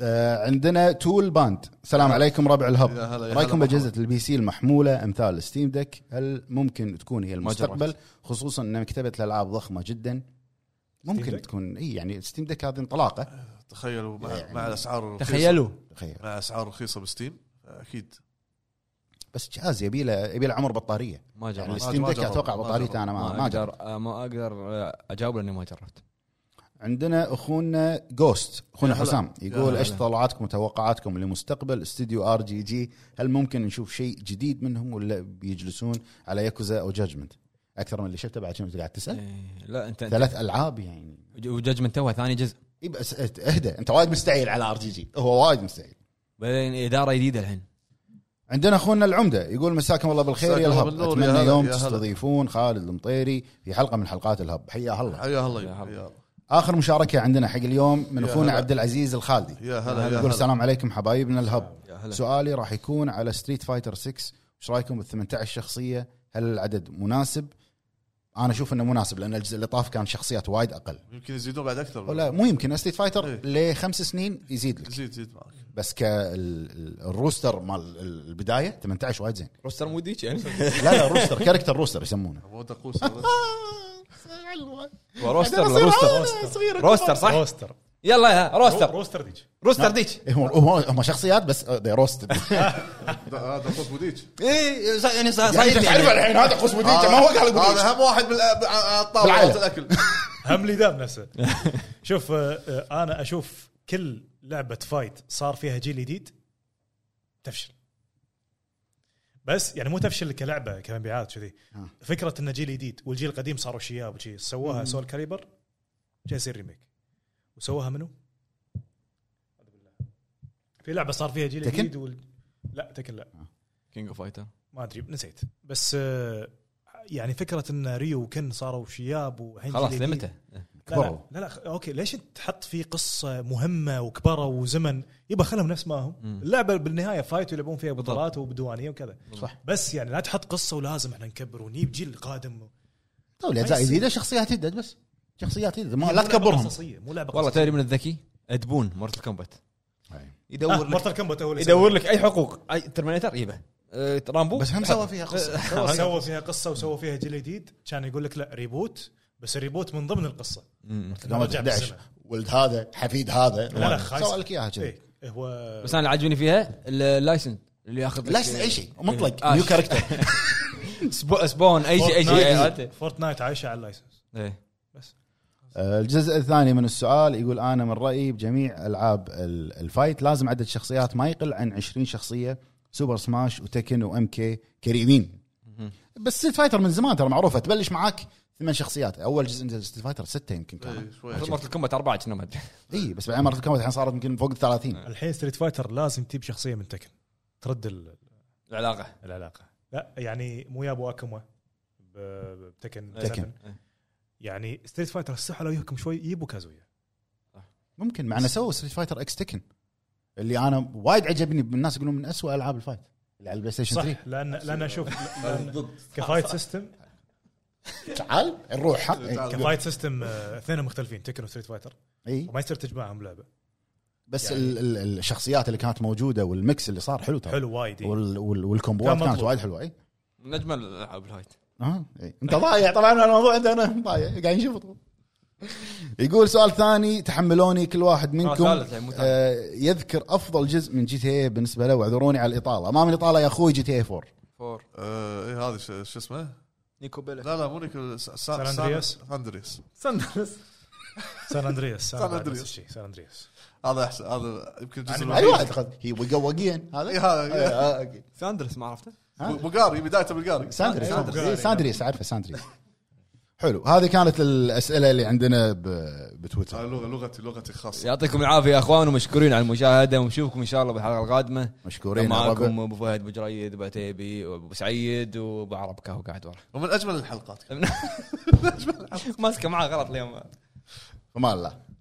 Speaker 3: آه، عندنا تول باند السلام عليكم ربع الهب
Speaker 2: يا هلا، يا
Speaker 3: رايكم
Speaker 2: هلا
Speaker 3: باجهزه البي سي المحموله امثال ستيم دك هل ممكن تكون هي المستقبل
Speaker 1: جربت.
Speaker 3: خصوصا ان مكتبه الالعاب ضخمه جدا ممكن
Speaker 5: Deck؟
Speaker 3: تكون اي يعني ستيم دك هذه
Speaker 2: آه.
Speaker 3: انطلاقه
Speaker 2: تخيلوا مع,
Speaker 3: يعني-
Speaker 2: مع الاسعار الرخيصة-
Speaker 1: تخيلوا
Speaker 3: تخيل
Speaker 2: مع اسعار رخيصه بستيم اكيد
Speaker 3: بس جهاز يبي له يبي له عمر بطاريه
Speaker 1: ما
Speaker 3: يعني
Speaker 1: جربت
Speaker 2: ما-
Speaker 3: ستيم
Speaker 2: ما
Speaker 3: دك
Speaker 2: جربت،
Speaker 3: اتوقع
Speaker 2: ما
Speaker 3: بطاريته
Speaker 2: جربت.
Speaker 3: انا ما,
Speaker 1: ما,
Speaker 3: ما جربت
Speaker 1: اقدر ما اقدر آه، اجاوب لاني ما جربت
Speaker 3: عندنا اخونا جوست اخونا
Speaker 2: يا هلا.
Speaker 3: حسام يقول
Speaker 2: هلا.
Speaker 3: ايش طلعاتكم وتوقعاتكم لمستقبل استديو ار جي جي هل ممكن نشوف شيء جديد منهم ولا بيجلسون على ياكوزا او جادجمنت اكثر من اللي شفته بعد شنو أنت قاعد تسال
Speaker 1: إيه، لا انت انت
Speaker 3: ثلاث العاب يعني
Speaker 1: وجاجمنت توها ثاني جزء
Speaker 3: اي بس اهدى انت وايد مستعيل على ار جي جي هو وايد مستعيل
Speaker 1: بعدين اداره جديده الحين
Speaker 3: عندنا اخونا العمده يقول مساكم الله بالخير
Speaker 2: مساكم
Speaker 3: يا
Speaker 2: الله
Speaker 3: الهب
Speaker 2: بالنور،
Speaker 3: اتمنى
Speaker 2: يا هلا،
Speaker 3: يوم
Speaker 2: يا هلا.
Speaker 3: تستضيفون خالد المطيري في حلقه من حلقات الهب حيا الله
Speaker 2: يا هلا
Speaker 1: يا هلا.
Speaker 2: يا-
Speaker 3: اخر مشاركه عندنا حق اليوم من
Speaker 2: يا
Speaker 3: اخونا
Speaker 2: هلا.
Speaker 3: عبد العزيز الخالدي
Speaker 2: يا هلا يا
Speaker 3: يقول
Speaker 2: هلا
Speaker 3: السلام عليكم حبايبنا الهب
Speaker 1: يا هلا
Speaker 3: سؤالي راح يكون على ستريت فايتر 6 ايش رايكم بال 18 شخصيه هل العدد مناسب انا اشوف انه مناسب لان الجزء اللي طاف كان شخصيات وايد اقل
Speaker 2: يمكن يزيدون بعد اكثر
Speaker 3: لا مو يمكن ستريت فايتر لخمس سنين يزيد لك
Speaker 2: زيد زيد معك
Speaker 3: بس كالروستر مال البدايه 18 وايد زين
Speaker 1: روستر مو ديك [laughs] يعني
Speaker 3: لا لا روستر كاركتر روستر يسمونه
Speaker 2: [laughs] ابو دقوس
Speaker 3: [laughs]
Speaker 1: روستر لا، روستر
Speaker 3: آه،
Speaker 1: روستر صح
Speaker 5: روستر
Speaker 1: يلا يا روستر
Speaker 5: روستر ديج
Speaker 1: روستر ديك
Speaker 3: هم هم- هم شخصيات بس آه، روستر
Speaker 2: دقوس بوديج
Speaker 1: اي يعني
Speaker 3: [laughs] تعرف
Speaker 1: صايدني
Speaker 3: الحين هذا قوس مدينته إيه، ما هو قال
Speaker 2: هذا
Speaker 3: بوديج.
Speaker 2: هم واحد بالطاوله
Speaker 3: بالعالم.
Speaker 2: مالت
Speaker 3: [laughs]
Speaker 2: الاكل
Speaker 5: هم لي دام نفسه [laughs] شوف آه، آه، انا اشوف كل لعبه فايت صار فيها جيل جديد تفشل بس يعني مو تفشل كلعبه كمبيعات كذي
Speaker 3: ها.
Speaker 5: فكره انه جيل جديد والجيل القديم صاروا شياب وشي سووها سول كاليبر جاي يصير ريميك وسووها منو؟ في لعبه صار فيها جيل
Speaker 3: تكن؟
Speaker 5: جديد وال... لا تكن لا
Speaker 1: كينج اوف فايتر
Speaker 5: ما ادري نسيت بس آه، يعني فكره ان ريو وكن صاروا شياب وحين
Speaker 1: خلاص
Speaker 5: جيل جديد.
Speaker 1: لمته
Speaker 5: لا
Speaker 3: كبروا.
Speaker 5: لا, لا لا خ- اوكي ليش تحط في قصه مهمه وكبروا وزمن يبا خلهم نفس ما هم
Speaker 1: مم.
Speaker 5: اللعبه بالنهايه فايت ويلعبون فيها
Speaker 1: بالضبط.
Speaker 5: بطولات وبدوانيه وكذا
Speaker 3: صح.
Speaker 5: بس يعني لا تحط قصه ولازم احنا نكبر ونجيب جيل قادم
Speaker 3: تو الاجزاء الجديده طيب، شخصيات جديده بس شخصيات جديده ما لا
Speaker 5: مو لعبة
Speaker 3: تكبرهم
Speaker 5: قصصية، مو لعبه
Speaker 1: والله
Speaker 5: والله
Speaker 1: تدري من الذكي ادبون مورتل كومبات
Speaker 3: أي.
Speaker 1: يدور لك
Speaker 5: مورتال كومبات اول
Speaker 1: يدور لك اي حقوق اي ترمينيتر يبه آه، رامبو
Speaker 3: بس هم سوى فيها [laughs] قصه
Speaker 5: سوى- سوى فيها قصه وسوى فيها جيل جديد كان يقول لك لا ريبوت بس الريبوت من ضمن القصه
Speaker 1: مم.
Speaker 5: رجع
Speaker 3: 11
Speaker 5: بالزمن.
Speaker 3: ولد هذا حفيد هذا
Speaker 5: لا لا خايس
Speaker 3: سوى لك اياها كذي
Speaker 5: إيه، هو
Speaker 1: بس انا اللي عاجبني فيها اللايسن اللي ياخذ لك-
Speaker 3: لا اي شيء مطلق
Speaker 1: آه.
Speaker 3: نيو
Speaker 1: [laughs]
Speaker 3: كاركتر
Speaker 1: سبو- سبون اي شيء اي شيء
Speaker 5: فورتنايت-
Speaker 1: عرفت؟
Speaker 5: فورتنايت عايشه على اللايسنس
Speaker 1: إيه.
Speaker 3: آه، الجزء الثاني من السؤال يقول انا من رايي بجميع العاب ال- الفايت لازم عدد شخصيات ما يقل عن 20 شخصيه سوبر سماش وتكن وام كي كريمين
Speaker 1: مهم.
Speaker 3: بس ستيت فايتر من زمان ترى معروفه تبلش معاك ثمان شخصيات اول جزء نزل ستيت فايتر سته يمكن كان
Speaker 2: إيه، شوي
Speaker 1: مورتل كومبات اربعه كنا ما ادري
Speaker 3: اي بس بعدين مرة الكومبات الحين صارت يمكن فوق ال 30
Speaker 5: الحين ستريت فايتر لازم تجيب شخصيه من تكن ترد ال-
Speaker 1: العلاقه
Speaker 5: العلاقه لا يعني مو يابو اكوما ب- بتكن
Speaker 3: تكن.
Speaker 5: سفن. يعني ستريت فايتر استحوا لو يهكم شوي يجيبوا كازويا
Speaker 3: ممكن مع انه سووا ستريت فايتر اكس تكن اللي انا وايد عجبني الناس يقولون من أسوأ العاب الفايت اللي على البلاي ستيشن 3
Speaker 5: صح لان لان اشوف لأن كفايت سيستم
Speaker 3: تعال نروح ها؟
Speaker 2: تعال.
Speaker 5: كفايت سيستم آه، اثنينهم مختلفين تكن وستريت فايتر
Speaker 3: اي
Speaker 5: وما يصير تجمعهم لعبه
Speaker 3: بس
Speaker 5: يعني-
Speaker 3: ال- ال- الشخصيات اللي كانت موجوده والميكس اللي صار حلو ترى
Speaker 5: حلو وايد إيه.
Speaker 3: وال- وال- والكومبوات
Speaker 5: كان
Speaker 3: كانت
Speaker 5: مطلوب.
Speaker 3: وايد إيه. حلوه اي
Speaker 1: من اجمل الالعاب الهايت
Speaker 3: إيه. اه إي. انت ضايع طبعا الموضوع عندي انا ضايع قاعد نشوف يقول سؤال ثاني تحملوني كل واحد منكم
Speaker 1: ثالث يعني مو ثالث.
Speaker 3: آه، يذكر افضل جزء من جي تي اي بالنسبه له واعذروني على الاطاله ما من الاطاله يا اخوي جي تي إيه اي
Speaker 5: [laughs]
Speaker 3: 4
Speaker 1: فور
Speaker 2: آه، ايه هذا شو شو اسمه؟
Speaker 1: نيكو بيلا
Speaker 2: لا لا مو نيكولا سان
Speaker 5: سان أندرياس؟
Speaker 2: سان أندرياس.
Speaker 5: سان اندرياس سان
Speaker 2: سان
Speaker 5: أندرياس.
Speaker 2: أندرياس.
Speaker 5: نفس الشيء، سان اندرياس
Speaker 2: هذا احسن هذا يمكن الجزء
Speaker 3: ايوه
Speaker 2: الوحيد
Speaker 3: أعتقد. هي وقا وقين
Speaker 2: إي،
Speaker 3: هذا
Speaker 2: هذا
Speaker 3: آه، أوكي.
Speaker 1: ساندرس ما عرفته
Speaker 2: بقاري بدايته بالقاري
Speaker 3: ساندريس
Speaker 1: أيوة.
Speaker 3: ساندريس إيه، ساندريس اعرفه ساندريس حلو هذه كانت الاسئله اللي عندنا ب-
Speaker 2: هاي
Speaker 3: بتويتر
Speaker 2: لغه لغتي لغتي الخاصه
Speaker 1: يعطيكم العافيه يا اخوان ومشكورين على المشاهده ونشوفكم ان شاء الله بالحلقه القادمه
Speaker 3: مشكورين يا ربع.
Speaker 1: معاكم ابو فهد ابو جريد ابو عتيبي ابو سعيد وابو عرب كهو قاعد ورا
Speaker 2: ومن اجمل الحلقات
Speaker 1: ماسكه معاه غلط اليوم
Speaker 3: فمان الله